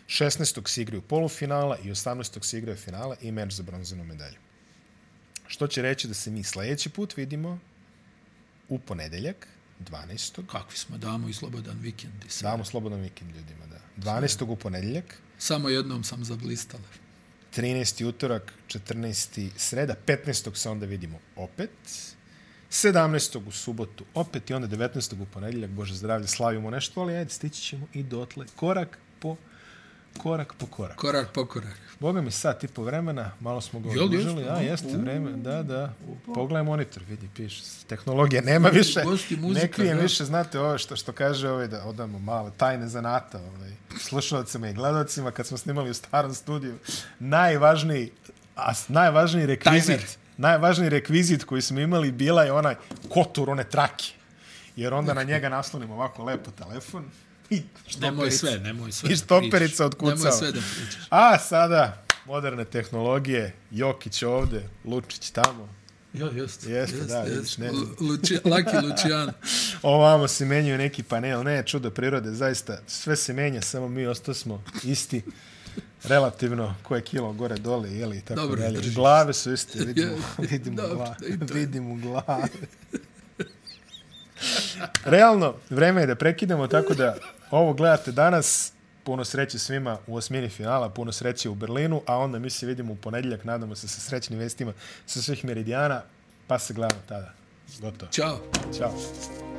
Speaker 2: 16. se igraju polufinala i 18. se igraju finala i meč za bronzanu medalju. Što će reći da se mi sljedeći put vidimo u ponedeljak, 12.
Speaker 1: Kakvi smo, damo i slobodan vikend. i sve.
Speaker 2: Damo slobodan vikend ljudima, da. 12. u ponedeljak,
Speaker 1: Samo jednom sam zablistala.
Speaker 2: 13. utorak, 14. sreda, 15. se onda vidimo opet, 17. u subotu opet i onda 19. u ponedeljak, Bože zdravlje, slavimo nešto, ali ajde, stići ćemo i dotle, korak po korak po korak.
Speaker 1: Korak po korak.
Speaker 2: Boga mi sat i po vremena, malo smo ga
Speaker 1: Jel
Speaker 2: odlužili,
Speaker 1: jeste,
Speaker 2: a
Speaker 1: a?
Speaker 2: jeste vreme, da, da. Pogledaj monitor, vidi, piše, tehnologija nema više,
Speaker 1: gosti, muzika,
Speaker 2: ne krijem
Speaker 1: da.
Speaker 2: više, znate ovo što, što kaže ovaj, da odamo male tajne zanata ovaj, slušalcima i gledalcima, kad smo snimali u starom studiju, najvažniji, a, s- najvažniji rekvizit,
Speaker 1: Tajmer.
Speaker 2: najvažniji rekvizit koji smo imali bila je onaj kotur, one trake, jer onda na njega naslonimo ovako lepo telefon i
Speaker 1: Nemoj
Speaker 2: štoperica.
Speaker 1: sve, nemoj sve.
Speaker 2: I
Speaker 1: da
Speaker 2: štoperica
Speaker 1: pričaš.
Speaker 2: otkucava.
Speaker 1: Nemoj sve da pričaš.
Speaker 2: A sada, moderne tehnologije, Jokić ovde, Lučić tamo.
Speaker 1: Jo, jeste.
Speaker 2: Jeste, da, vidiš, ne znam.
Speaker 1: Luči, Laki Lucijan.
Speaker 2: Ovamo se menjaju neki panel, ne, čudo prirode, zaista, sve se menja, samo mi osto smo isti. relativno koje kilo gore dole jeli i tako
Speaker 1: Dobro,
Speaker 2: dalje.
Speaker 1: drži se.
Speaker 2: Glave su iste, vidimo,
Speaker 1: Je,
Speaker 2: vidimo
Speaker 1: dobro,
Speaker 2: glave,
Speaker 1: i to je.
Speaker 2: vidimo glave. Realno, vreme je da prekidamo, tako da ovo gledate danas. Puno sreće svima u osmini finala, puno sreće u Berlinu, a onda mi se vidimo u ponedjeljak, nadamo se sa srećnim vestima sa svih meridijana, pa se gledamo tada. Gotovo.
Speaker 1: Ćao.
Speaker 2: Ćao.